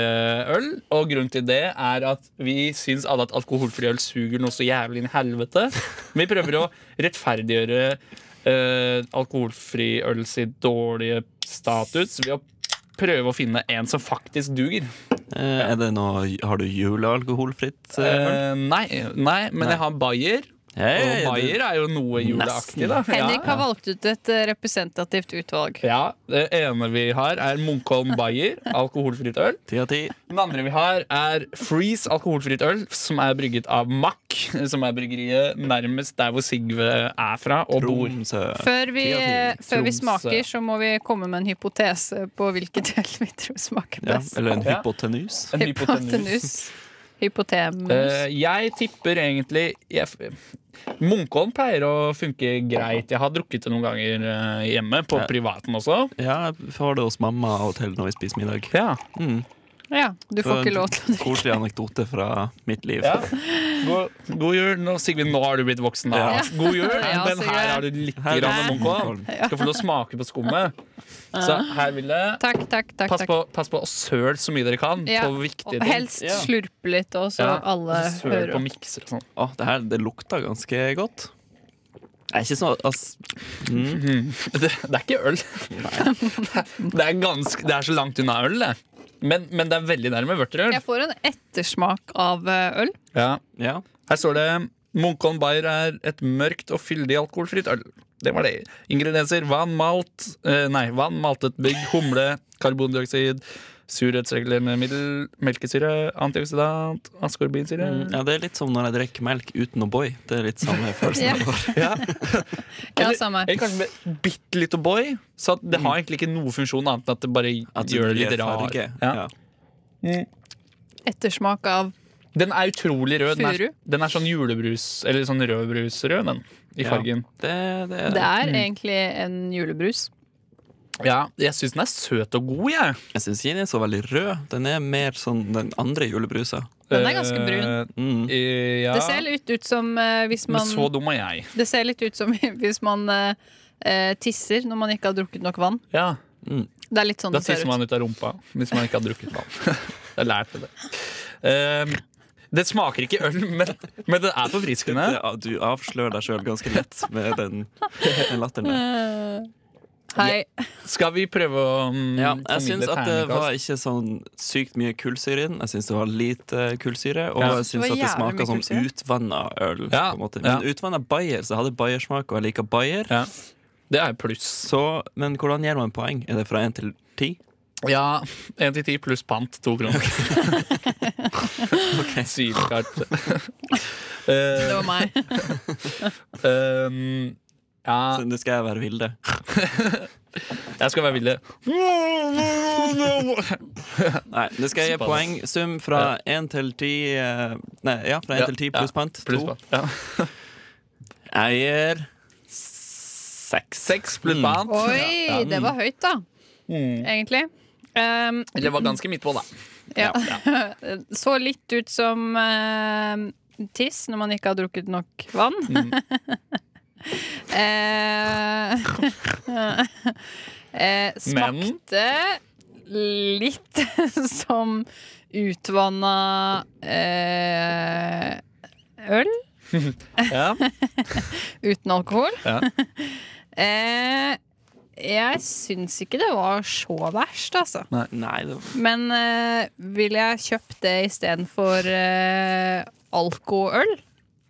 Speaker 5: øl. Og grunnen til det er at vi syns alle at alkoholfri øl suger noe så jævlig inn i helvete. Men vi prøver å rettferdiggjøre eh, alkoholfri øl sitt dårlige status ved å prøve å finne en som faktisk duger.
Speaker 3: eh, Er det noe Har du julealkoholfritt? eh,
Speaker 5: Eh, nei, nei, men jeg har Bayer.
Speaker 3: Hei,
Speaker 5: Eh, Og
Speaker 3: det-
Speaker 5: Bayer er jo noe juleaktig, da.
Speaker 6: Henrik har valgt ut et eh, representativt utvalg.
Speaker 5: Ja, Det ene vi har, er Munkholm Bayer. Alkoholfritt øl.
Speaker 3: Ti av ti.
Speaker 5: Den andre vi har, er Freeze alkoholfritt øl, som er brygget av Mack. Som er bryggeriet nærmest der hvor Sigve er fra og bor.
Speaker 3: Tromsø.
Speaker 6: Før vi,
Speaker 3: Ti av
Speaker 6: før vi
Speaker 5: Tromsø.
Speaker 6: smaker, så må vi komme med en hypotese på hvilket øl vi tror smaker
Speaker 3: Ja,
Speaker 6: best.
Speaker 3: eller en
Speaker 5: Ja.
Speaker 3: hypotenus.
Speaker 5: En hypotenus.
Speaker 6: Hypotenus. Hypotemus.
Speaker 5: Eh, jeg tipper egentlig jeg, Munkholm pleier å funke greit. Jeg har drukket det noen ganger eh, hjemme, på
Speaker 3: Ja.
Speaker 5: privaten også.
Speaker 3: Ja, jeg får det hos mamma og til når vi spiser middag.
Speaker 5: Ja,
Speaker 6: ja, du får ikke lov til å drikke.
Speaker 3: Koselig anekdote fra mitt liv.
Speaker 5: ja. God, god jul. Nå, Sigve, nå har du blitt voksen. Da.
Speaker 3: Ja.
Speaker 5: God jul,
Speaker 6: Ja,
Speaker 5: men her
Speaker 6: Sigve.
Speaker 5: har du litt
Speaker 3: Her er
Speaker 5: grann
Speaker 3: det
Speaker 5: Munkholm.
Speaker 3: Munkholm.
Speaker 5: Skal få lov å smake på skummet. Så her vil det
Speaker 6: Takk, takk, takk.
Speaker 5: Pass
Speaker 6: takk.
Speaker 5: på, pass på å søle så mye dere kan
Speaker 6: Ja,
Speaker 5: på viktige
Speaker 6: og
Speaker 5: ting.
Speaker 6: helst slurpe litt, og så
Speaker 5: Ja,
Speaker 6: alle
Speaker 5: og så søl
Speaker 6: hører
Speaker 5: på
Speaker 6: opp.
Speaker 5: mikser og sånn.
Speaker 3: Å, det her det lukter ganske godt. Det er ikke sånn ass,
Speaker 5: Det, det er ikke øl. det, er ganske, det er så langt unna øl, det. Men, men det er veldig nærme vørterøl.
Speaker 6: Jeg får en ettersmak av eh, øl.
Speaker 5: Ja.
Speaker 3: Ja.
Speaker 5: Her står det Munkholm Bayer er et mørkt og fyldig alkoholfritt øl. Det var det. Ingredienser vann, malt eh, Nei, vann, maltet bygg, humle, karbondioksid, surhetsregulerende middel, melkesyre, antioksidant, askorbinsyre
Speaker 3: ja, Det er litt som når jeg drikker melk uten O'boy. Det er litt samme følelsen.
Speaker 6: Ja.
Speaker 3: jeg får.
Speaker 5: Ja.
Speaker 6: Ja, samme her.
Speaker 5: Eller kanskje med bitte litt O'boy. Så at det har egentlig ikke noe funksjon annet enn at det bare
Speaker 3: Mm. At
Speaker 5: gjør det
Speaker 3: blir
Speaker 5: litt rar.
Speaker 3: farge.
Speaker 5: Ja.
Speaker 3: Ja.
Speaker 6: Ettersmak av
Speaker 5: Den er utrolig rød. Den er,
Speaker 6: Furu?
Speaker 5: den er sånn julebrus, eller sånn rødbrusrød, den, i
Speaker 3: Ja.
Speaker 5: fargen.
Speaker 3: Det, det er
Speaker 6: Det er
Speaker 5: Mm.
Speaker 6: egentlig en julebrus.
Speaker 5: Ja, jeg syns den er søt og god, jeg.
Speaker 3: Jeg syns ikke den er så veldig rød. Den er mer sånn den andre julebrusa. Mm.
Speaker 6: Den er ganske brun.
Speaker 5: Eh, eh, ja.
Speaker 6: Det ser litt ut som eh, hvis
Speaker 5: Men så
Speaker 6: man
Speaker 5: dum er jeg.
Speaker 6: Det ser litt ut som hvis man eh, eh, tisser når man ikke har drukket nok vann.
Speaker 5: Ja.
Speaker 6: Det er litt sånn
Speaker 5: Da
Speaker 6: det ser
Speaker 5: tisser
Speaker 6: ut.
Speaker 5: man ut av rumpa hvis man ikke har drukket vann. jeg lærte det. Eh, det smaker ikke øl, men, men det er forfriskende.
Speaker 3: Det, du avslører deg sjøl ganske lett med den den latteren der.
Speaker 6: Hei.
Speaker 5: Skal vi prøve å mm,
Speaker 3: Ja, jeg
Speaker 5: formidle
Speaker 3: syns at det
Speaker 5: terningkast?
Speaker 3: var ikke sånn sykt mye kullsyre i den. Jeg syns det var lite kullsyre, og
Speaker 5: Ja.
Speaker 3: jeg syns
Speaker 6: Det var
Speaker 3: at det
Speaker 6: jævlig mye
Speaker 3: smaker som
Speaker 6: kullsyre.
Speaker 3: utvanna øl.
Speaker 5: Ja,
Speaker 3: På en måte.
Speaker 5: ja.
Speaker 3: Men utvanna Bayer, så jeg hadde Bayer-smak, og jeg liker Bayer.
Speaker 5: Ja. Det er pluss.
Speaker 3: Så, men hvordan gir man poeng? Er det fra 1 til 10?
Speaker 5: Ja, 1 til 10 pluss pant, to kroner. Sylkart.
Speaker 6: Det
Speaker 5: Eh,
Speaker 6: var meg.
Speaker 5: um, ja,
Speaker 3: Så det skal jeg være Vilde.
Speaker 5: jeg skal være villig.
Speaker 3: Nei, det skal jeg gi
Speaker 5: Såpass.
Speaker 3: poengsum fra 1 til 10 eh, Nei, ja, fra 1
Speaker 5: Ja,
Speaker 3: til 10
Speaker 5: ja,
Speaker 3: pluss pant.
Speaker 5: Pluss
Speaker 3: to.
Speaker 5: pant. Ja.
Speaker 3: Jeg gir
Speaker 5: Seks. Seks pluss pant.
Speaker 6: Oi, det
Speaker 5: mm.
Speaker 6: var høyt, da. Egentlig. Um,
Speaker 5: Eller var ganske midt på, da.
Speaker 6: Ja. Så litt ut som eh, tiss når man ikke har drukket nok vann.
Speaker 5: Mm.
Speaker 6: Eh, eh,
Speaker 5: Men?
Speaker 6: smakte litt som utvanna eh, øl
Speaker 5: Ja.
Speaker 6: uten alkohol.
Speaker 5: Ja.
Speaker 6: Eh, jeg syns ikke det var så verst, altså.
Speaker 3: Nei, det var
Speaker 6: Men uh, ville jeg kjøpt det istedenfor uh, alkoøl?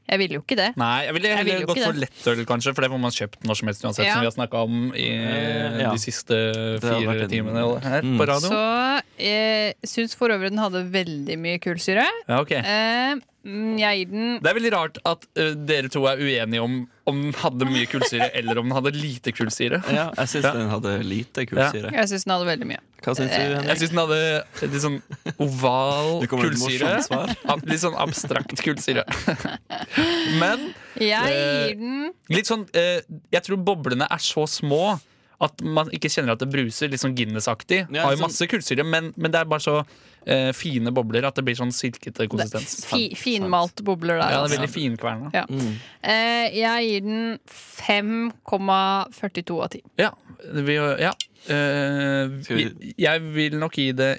Speaker 6: Jeg ville jo ikke det.
Speaker 5: Nei, jeg ville
Speaker 6: Jeg ville
Speaker 5: heller
Speaker 6: jo
Speaker 5: gått
Speaker 6: ikke
Speaker 5: for
Speaker 6: det.
Speaker 5: lettøl, kanskje, for det får man kjøpt når som helst uansett,
Speaker 6: Ja.
Speaker 5: som vi har snakka om i
Speaker 3: Eh, ja.
Speaker 5: de siste
Speaker 3: hadde
Speaker 5: fire
Speaker 3: vært en-
Speaker 5: timene her
Speaker 3: Mm.
Speaker 5: på radio.
Speaker 6: Så jeg syns for øvrig den hadde veldig mye kullsyre.
Speaker 5: Ja, ok.
Speaker 6: Eh, mm, jeg gir den
Speaker 5: Det er veldig rart at ø, dere eh, to er uenige om om den hadde mye kullsyre eller om den hadde lite kullsyre.
Speaker 3: Ja, jeg syns den hadde lite kullsyre.
Speaker 6: Jeg syns den hadde veldig mye.
Speaker 3: Hva syns du,
Speaker 6: Eh,
Speaker 5: Jeg
Speaker 3: Henrik?
Speaker 5: syns den hadde litt sånn oval
Speaker 3: Det kommer et
Speaker 5: kullsyre.
Speaker 3: morsomt svar.
Speaker 5: Ab- Litt sånn abstrakt kullsyre. Men
Speaker 6: Jeg
Speaker 5: Eh,
Speaker 6: gir den
Speaker 5: litt sånn eh, Jeg tror boblene er så små at man ikke kjenner at det bruser. Litt sånn Guinness-aktig.
Speaker 3: Ja,
Speaker 5: Har
Speaker 3: sånn-
Speaker 5: jo masse kullsyre, men, men det er bare så eh, fine bobler at det blir sånn silkete
Speaker 6: det er
Speaker 5: konsistens.
Speaker 6: fi, Finmalt bobler der.
Speaker 5: Ja, det er
Speaker 6: altså.
Speaker 5: veldig Mm. finkverna.
Speaker 6: Ja. Eh, jeg gir den 5,42 av 10.
Speaker 5: Ja, vi, ja. Eh, vi, jeg vil nok gi det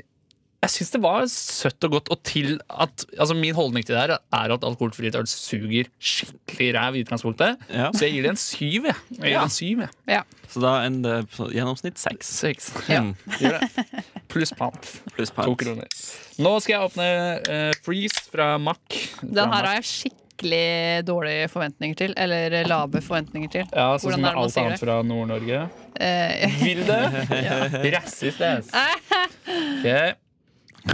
Speaker 5: Jeg syns det var søtt og godt. Og til at, altså Min holdning til det her er at alkoholfritt øl suger skikkelig ræv i utgangspunktet.
Speaker 3: Ja,
Speaker 5: Så jeg gir det en syv. Jeg. Jeg gir det en syv, jeg.
Speaker 3: så da ender det på gjennomsnitt seks
Speaker 5: Seks.
Speaker 6: Ja.
Speaker 3: Mm,
Speaker 5: Gjør det. Pluss pant.
Speaker 3: pluss
Speaker 5: To
Speaker 3: pant.
Speaker 5: kroner. Nå skal jeg åpne eh, Freeze fra Mack.
Speaker 6: Den her har jeg skikkelig dårlige forventninger til. Eller lave forventninger til.
Speaker 5: ja, sånn som
Speaker 6: Hvordan er det man
Speaker 5: alt
Speaker 6: sier
Speaker 5: annet
Speaker 6: det?
Speaker 5: fra Nord-Norge.
Speaker 6: Eh,
Speaker 5: Vil det? Rassist, ass. Ok.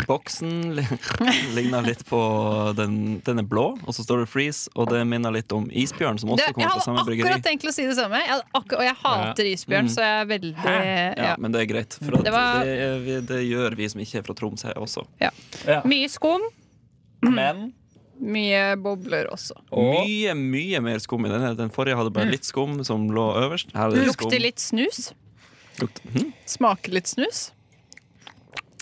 Speaker 3: Boksen ligner litt på den, den er blå, og så står det Freeze, og det minner litt om Isbjørn, som
Speaker 6: det,
Speaker 3: også
Speaker 6: jeg
Speaker 3: kommer fra
Speaker 6: hadde
Speaker 3: samme bryggeri. Mm.
Speaker 6: akkurat tenkt til å si det samme. Jeg hadde akkur- og jeg hater isbjørn, så jeg er veldig
Speaker 3: Ja,
Speaker 6: ja.
Speaker 3: men det er greit, for at
Speaker 6: Det
Speaker 3: det,
Speaker 6: var-
Speaker 3: er vi, det gjør vi som ikke er fra Troms her også.
Speaker 5: Ja.
Speaker 6: Mye skum,
Speaker 5: Men
Speaker 6: mye bobler også.
Speaker 5: og
Speaker 3: Mye, mye mer skum i denne. Den forrige hadde bare litt skum som lå øverst. Her er det skum.
Speaker 6: Mm. Lukter litt snus.
Speaker 3: Lukt- Hm?
Speaker 6: Smaker litt snus.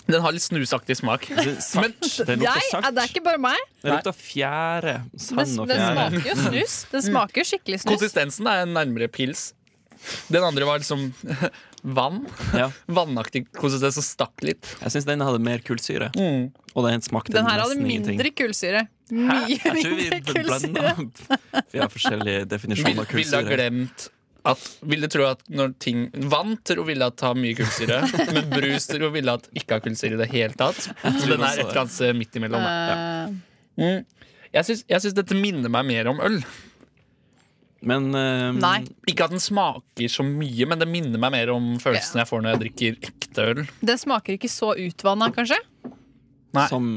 Speaker 5: den har litt snusaktig smak.
Speaker 3: Det er sart. Det lukter
Speaker 6: Jeg,
Speaker 3: sart.
Speaker 6: det er ikke bare meg.
Speaker 3: Det lukter fjære.
Speaker 6: Den,
Speaker 3: Sand og Mm.
Speaker 6: den
Speaker 3: fjære.
Speaker 6: smaker jo snus. Den smaker skikkelig snus.
Speaker 5: Konsistensen er nærmere pils. Den andre var liksom vann.
Speaker 3: Ja.
Speaker 5: Vannaktig konsistens som stakk litt.
Speaker 3: Jeg syns denne hadde mer kullsyre.
Speaker 5: Mm.
Speaker 3: Og den smakte
Speaker 6: Den her hadde
Speaker 3: nesten ingenting.
Speaker 6: mindre kullsyre. Mye
Speaker 3: Jeg tror vi
Speaker 6: mindre kullsyre.
Speaker 3: blanda Vi har forskjellige definisjoner
Speaker 5: Vil,
Speaker 3: av
Speaker 5: ville ha
Speaker 3: kullsyre.
Speaker 5: glemt at Ville tro at når ting Vann tror ville at har mye kullsyre, men brus tror ville at ikke har kullsyre i det hele tatt. Så den er et eller annet sted midt imellom. da.
Speaker 6: Eh,
Speaker 5: Mm. Jeg syns- Jeg syns dette minner meg mer om øl.
Speaker 3: Men eh,
Speaker 6: Nei.
Speaker 5: Ikke at den smaker så mye, men det minner meg mer om følelsen jeg får når jeg drikker ekte øl.
Speaker 6: Den smaker ikke så utvanna, kanskje?
Speaker 5: Nei.
Speaker 3: som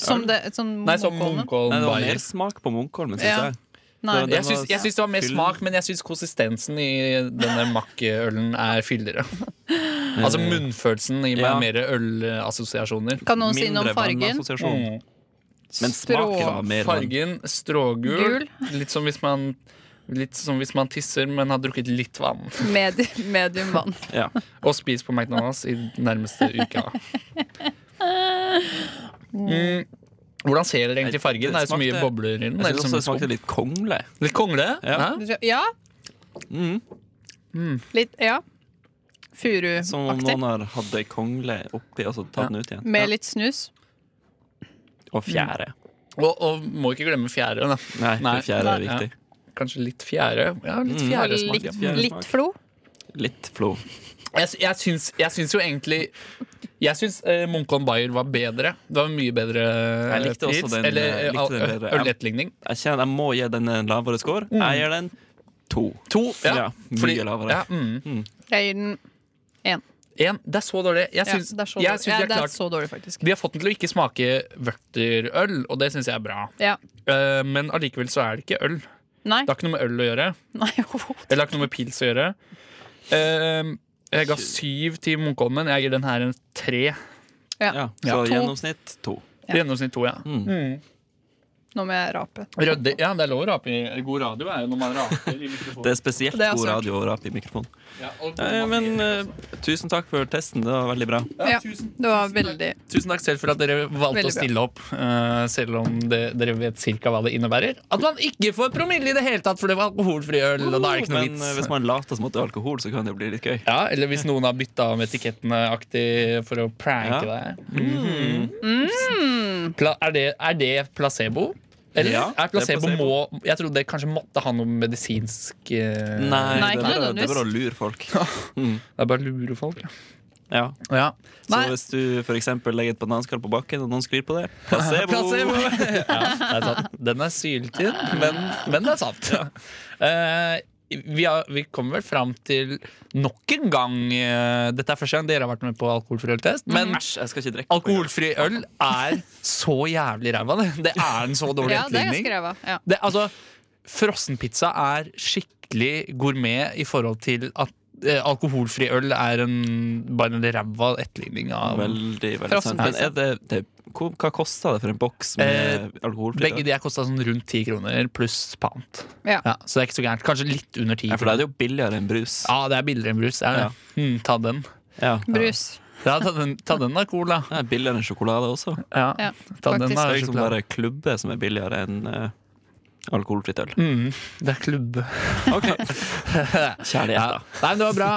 Speaker 6: Som det som
Speaker 5: Nei, som
Speaker 6: Munkholmen.
Speaker 3: Nei,
Speaker 5: Munkholm
Speaker 3: det var
Speaker 5: Bayer.
Speaker 3: mer smak på Munkholmen, syns
Speaker 6: Ja.
Speaker 3: jeg.
Speaker 6: Nei.
Speaker 3: Det var-
Speaker 5: Jeg syns, jeg syns det var mer
Speaker 3: fyllen.
Speaker 5: smak, men jeg syns konsistensen i denne makkølen er fyldigere.
Speaker 3: Eh,
Speaker 5: Altså munnfølelsen gir meg
Speaker 3: Ja.
Speaker 5: mer ølassosiasjoner.
Speaker 6: Kan noen si noe om
Speaker 3: Mindre
Speaker 6: fargen?
Speaker 3: vannassosiasjon.
Speaker 5: Mm.
Speaker 3: Men smaken var mer vann.
Speaker 5: Fargen strågul.
Speaker 6: Gul.
Speaker 5: Litt som hvis man Litt som hvis man tisser, men har drukket litt vann.
Speaker 6: Medium, medium vann.
Speaker 3: Ja.
Speaker 5: Og spist på McDonald's i nærmeste uka. Mm. Hvordan ser dere egentlig fargen?
Speaker 3: Det
Speaker 5: Er det så mye
Speaker 3: smakte-
Speaker 5: bobler i den?
Speaker 3: Jeg
Speaker 5: Er det
Speaker 3: syns
Speaker 5: som
Speaker 3: også
Speaker 5: en
Speaker 3: det smakte
Speaker 5: skum?
Speaker 3: litt kongle.
Speaker 5: Litt kongle?
Speaker 3: Ja.
Speaker 5: Hæ?
Speaker 6: Ja.
Speaker 3: Mm.
Speaker 6: Litt Ja.
Speaker 3: Som om
Speaker 6: Furuaktig.
Speaker 3: noen har hatt ei kongle oppi og så tatt den ut igjen.
Speaker 6: Med litt snus.
Speaker 3: Og fjære.
Speaker 5: Og, og må ikke glemme fjære. Da.
Speaker 3: Nei,
Speaker 5: Mm. Nei.
Speaker 3: fjære er
Speaker 5: Nei.
Speaker 3: viktig.
Speaker 5: Kanskje litt fjære. Ja, litt
Speaker 3: Mm.
Speaker 6: Og
Speaker 5: fjære smak.
Speaker 6: litt,
Speaker 5: ja.
Speaker 3: Fjæresmak.
Speaker 6: litt flo.
Speaker 3: Litt flo.
Speaker 5: Jeg, sy- jeg, syns, jeg syns jo egentlig Jeg syns eh, Munkholm Bayer var bedre. Det var en mye bedre eh,
Speaker 3: Jeg likte også
Speaker 5: pils.
Speaker 3: den, eh,
Speaker 5: Eller eh,
Speaker 3: likte den
Speaker 5: ø-
Speaker 3: bedre, ja.
Speaker 5: øletterligning.
Speaker 3: Jeg kjenner jeg må gi den en lavere score.
Speaker 5: Mm.
Speaker 3: Jeg gir den to.
Speaker 5: To. Ja,
Speaker 3: Ja, mye lavere.
Speaker 5: Ja, mm.
Speaker 6: Jeg gir den
Speaker 5: En, det er så dårlig. Jeg
Speaker 6: ja,
Speaker 5: syns
Speaker 6: Det er så
Speaker 5: jeg
Speaker 6: dårlig.
Speaker 5: syns de,
Speaker 6: Ja,
Speaker 5: har
Speaker 6: det er
Speaker 5: klart-
Speaker 6: så dårlig, faktisk.
Speaker 5: de har fått den til å ikke smake vørterøl, og det syns jeg er bra.
Speaker 6: Ja.
Speaker 5: Eh, men allikevel så er det ikke øl. Det
Speaker 6: Nei.
Speaker 5: har ikke noe med øl å gjøre.
Speaker 6: Nei overhodet.
Speaker 5: Eller har ikke noe med pils å gjøre. Eh, jeg ga syv til Munkholmen. Jeg gir den her en tre.
Speaker 3: Ja, så
Speaker 5: Ja. To.
Speaker 3: gjennomsnitt to.
Speaker 5: Gjennomsnitt to, ja.
Speaker 6: Nå må jeg rape.
Speaker 5: Rødde, Mm. ja, det er lov å rape i God radio er jo når man raper i mikrofonen.
Speaker 3: Det er spesielt
Speaker 6: Det er
Speaker 3: god
Speaker 6: også-
Speaker 3: radio å rape i mikrofonen.
Speaker 5: Ja, og-
Speaker 3: Eh, men eh, tusen takk for testen. Det var veldig bra.
Speaker 6: Ja, det var veldig
Speaker 5: Tusen takk selv for at dere valgte
Speaker 6: Veldig
Speaker 5: å stille opp, eh, selv om det, dere vet cirka hva det innebærer. At man ikke får promille i det hele tatt, for det var alkoholfri øl, og da er det ikke noe
Speaker 3: Men eh,
Speaker 5: vits.
Speaker 3: hvis man later som at det er alkohol, så kan det bli litt gøy.
Speaker 5: Ja, Eller hvis noen har bytta om etikettene aktig for å pranke
Speaker 3: Ja. Mm.
Speaker 5: deg.
Speaker 6: Mm.
Speaker 5: Pla er, det, er det placebo? Eller
Speaker 3: Ja,
Speaker 5: er
Speaker 3: det er
Speaker 5: placebo,
Speaker 3: placebo.
Speaker 5: må Jeg trodde det kanskje måtte ha noe medisinsk eh,
Speaker 3: Nei,
Speaker 6: Nei,
Speaker 3: det, er
Speaker 6: ikke
Speaker 3: bare, det
Speaker 6: nødvendigvis.
Speaker 3: er bare å lure folk.
Speaker 5: Det er bare å lure folk. Ja.
Speaker 3: Ja.
Speaker 5: Ja.
Speaker 3: Så
Speaker 6: Nei.
Speaker 3: hvis du for eksempel legger et bananskall på bakken, og noen sklir på det Placebo!
Speaker 5: det er sant. Den er syltynn, men, men det er sant. Eh, vi, har, vi kommer vel fram til nok en gang eh, Dette er første gang dere har vært med på alkoholfri øltest.
Speaker 6: Mm.
Speaker 5: Men
Speaker 3: Æsj, jeg skal ikke drikke.
Speaker 5: alkoholfri øl er så jævlig ræva, det. Det er en så dårlig
Speaker 6: Ja, det er
Speaker 5: etterligning.
Speaker 6: ganske ræva. Ja.
Speaker 5: Det, altså, frossenpizza er skikkelig gourmet i forhold til at eh, alkoholfri øl er en bare en ræva etterligning av
Speaker 3: Veldig, veldig sant. Men
Speaker 5: Frossenpizza.
Speaker 3: er det, det, hva, hva koster det for en boks med alkoholfri?
Speaker 5: Begge de her kosta sånn rundt ti kroner pluss pant.
Speaker 6: Ja.
Speaker 5: så det er ikke så gærent. Kanskje litt under ti.
Speaker 3: Ja, for da er det jo billigere enn brus.
Speaker 5: Ja, det er billigere enn brus. Er det? Hmm, ta den.
Speaker 3: Ja.
Speaker 6: Brus.
Speaker 5: Ja, ta den. Ta den da, cola.
Speaker 3: Det er billigere enn sjokolade også.
Speaker 5: Ja,
Speaker 6: Ja,
Speaker 5: ta den da,
Speaker 6: faktisk.
Speaker 3: Det er liksom
Speaker 5: sjokolade.
Speaker 3: bare klubber som er billigere enn eh, alkoholfritt øl.
Speaker 5: Mm, det er klubb.
Speaker 3: Ok,
Speaker 5: Ja.
Speaker 3: Kjærlighet, da.
Speaker 5: Nei, men det var bra.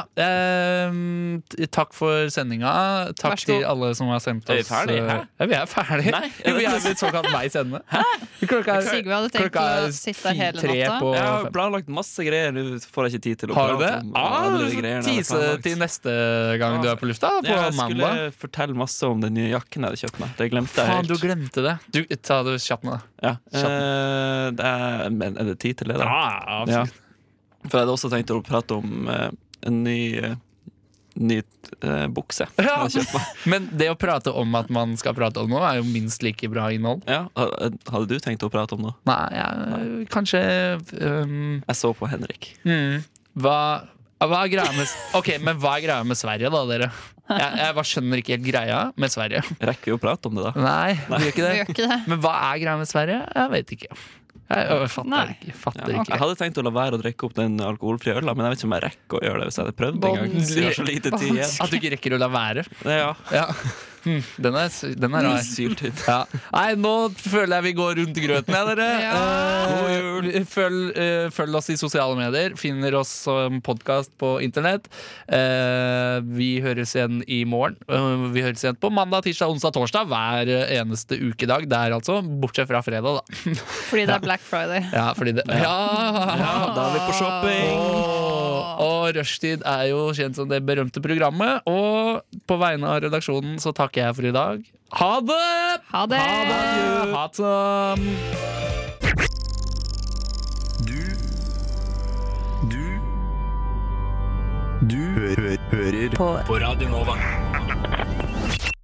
Speaker 5: Ehm, t- takk for sendinga.
Speaker 6: Vær
Speaker 5: Takk
Speaker 6: så god.
Speaker 5: til alle som har sendt
Speaker 3: Er vi
Speaker 5: oss. eh,
Speaker 3: ferdig? Hæ?
Speaker 5: Ja, vi er ferdige.
Speaker 3: Nei, er
Speaker 5: Jo, vi
Speaker 3: det-
Speaker 5: er blitt såkalt veis ende. Klokka er,
Speaker 6: Sigve hadde tenkt
Speaker 5: klokka
Speaker 6: å
Speaker 5: er
Speaker 6: sitte
Speaker 5: fi-
Speaker 6: hele
Speaker 5: tre
Speaker 6: natta.
Speaker 5: på
Speaker 3: Jeg har
Speaker 5: fem.
Speaker 3: planlagt masse greier, nå får jeg ikke tid til å
Speaker 5: Har du
Speaker 3: prate
Speaker 5: det?
Speaker 3: om
Speaker 5: Ah,
Speaker 3: alle
Speaker 5: du
Speaker 3: de greiene
Speaker 5: får
Speaker 3: jeg
Speaker 5: tease
Speaker 3: har planlagt.
Speaker 5: til neste gang du er på lufta, på
Speaker 3: Ja, Ah, jeg
Speaker 5: mandag.
Speaker 3: skulle fortelle masse om den nye jakken jeg hadde kjøpt meg. Det glemte jeg
Speaker 5: Faen,
Speaker 3: helt.
Speaker 5: du glemte det. Du, ta det kjapt nå.
Speaker 3: Ja. Eh, det er, men er det tid til det, da? Ja. For jeg hadde også tenkt å prate om eh, en ny eh, Ny eh, bukse.
Speaker 5: Ja.
Speaker 3: Jeg hadde kjøpt meg.
Speaker 5: Men det å prate om at man skal prate om noe, er jo minst like bra innhold.
Speaker 3: Ja, ha- hadde du tenkt å prate om noe?
Speaker 5: Nei, jeg, kanskje øhm,
Speaker 3: Jeg så på Henrik.
Speaker 5: Mm. Hva, hva er greia med Ok, men hva er greia med Sverige, da, dere? Jeg, jeg bare skjønner ikke helt greia med Sverige.
Speaker 3: Rekker vi å prate om det, da?
Speaker 5: Nei, vi gjør
Speaker 6: Vi
Speaker 5: ikke
Speaker 6: gjør
Speaker 5: det.
Speaker 6: ikke det.
Speaker 5: Men hva er greia med Sverige? Jeg vet ikke. Jeg, jeg fatter
Speaker 6: Nei.
Speaker 5: ikke. Fatter
Speaker 3: Ja. Jeg
Speaker 5: ikke.
Speaker 3: hadde tenkt å la være å drikke opp den alkoholfrie øla, men jeg vet ikke om jeg rekker å gjøre det hvis jeg hadde prøvd en gang.
Speaker 6: Vanskelig.
Speaker 3: Vi har så lite tid igjen.
Speaker 5: At du ikke rekker å la være.
Speaker 3: Ja,
Speaker 5: Ja. Hm, Den er, s- den er rar.
Speaker 3: Syltynt.
Speaker 5: Ja. Nei, nå føler jeg vi går rundt grøten, jeg, dere. Eh, følg, eh, følg oss i sosiale medier. Finner oss som podkast på internett. Eh, vi høres igjen i morgen. Eh, vi høres igjen på mandag, tirsdag, onsdag, torsdag hver eneste ukedag. Der altså, bortsett fra fredag, da.
Speaker 6: Fordi det er Black Friday.
Speaker 5: Ja, fordi det Ja!
Speaker 3: Ja, da er vi på shopping!
Speaker 5: Og, og Rushtid er jo kjent som det berømte programmet. Og på vegne av redaksjonen så takker jeg for i dag. Ha det!
Speaker 6: Ha det!
Speaker 5: Ha det! Ha det.
Speaker 10: Du Du Du hø hø hører på. på Radio Nova.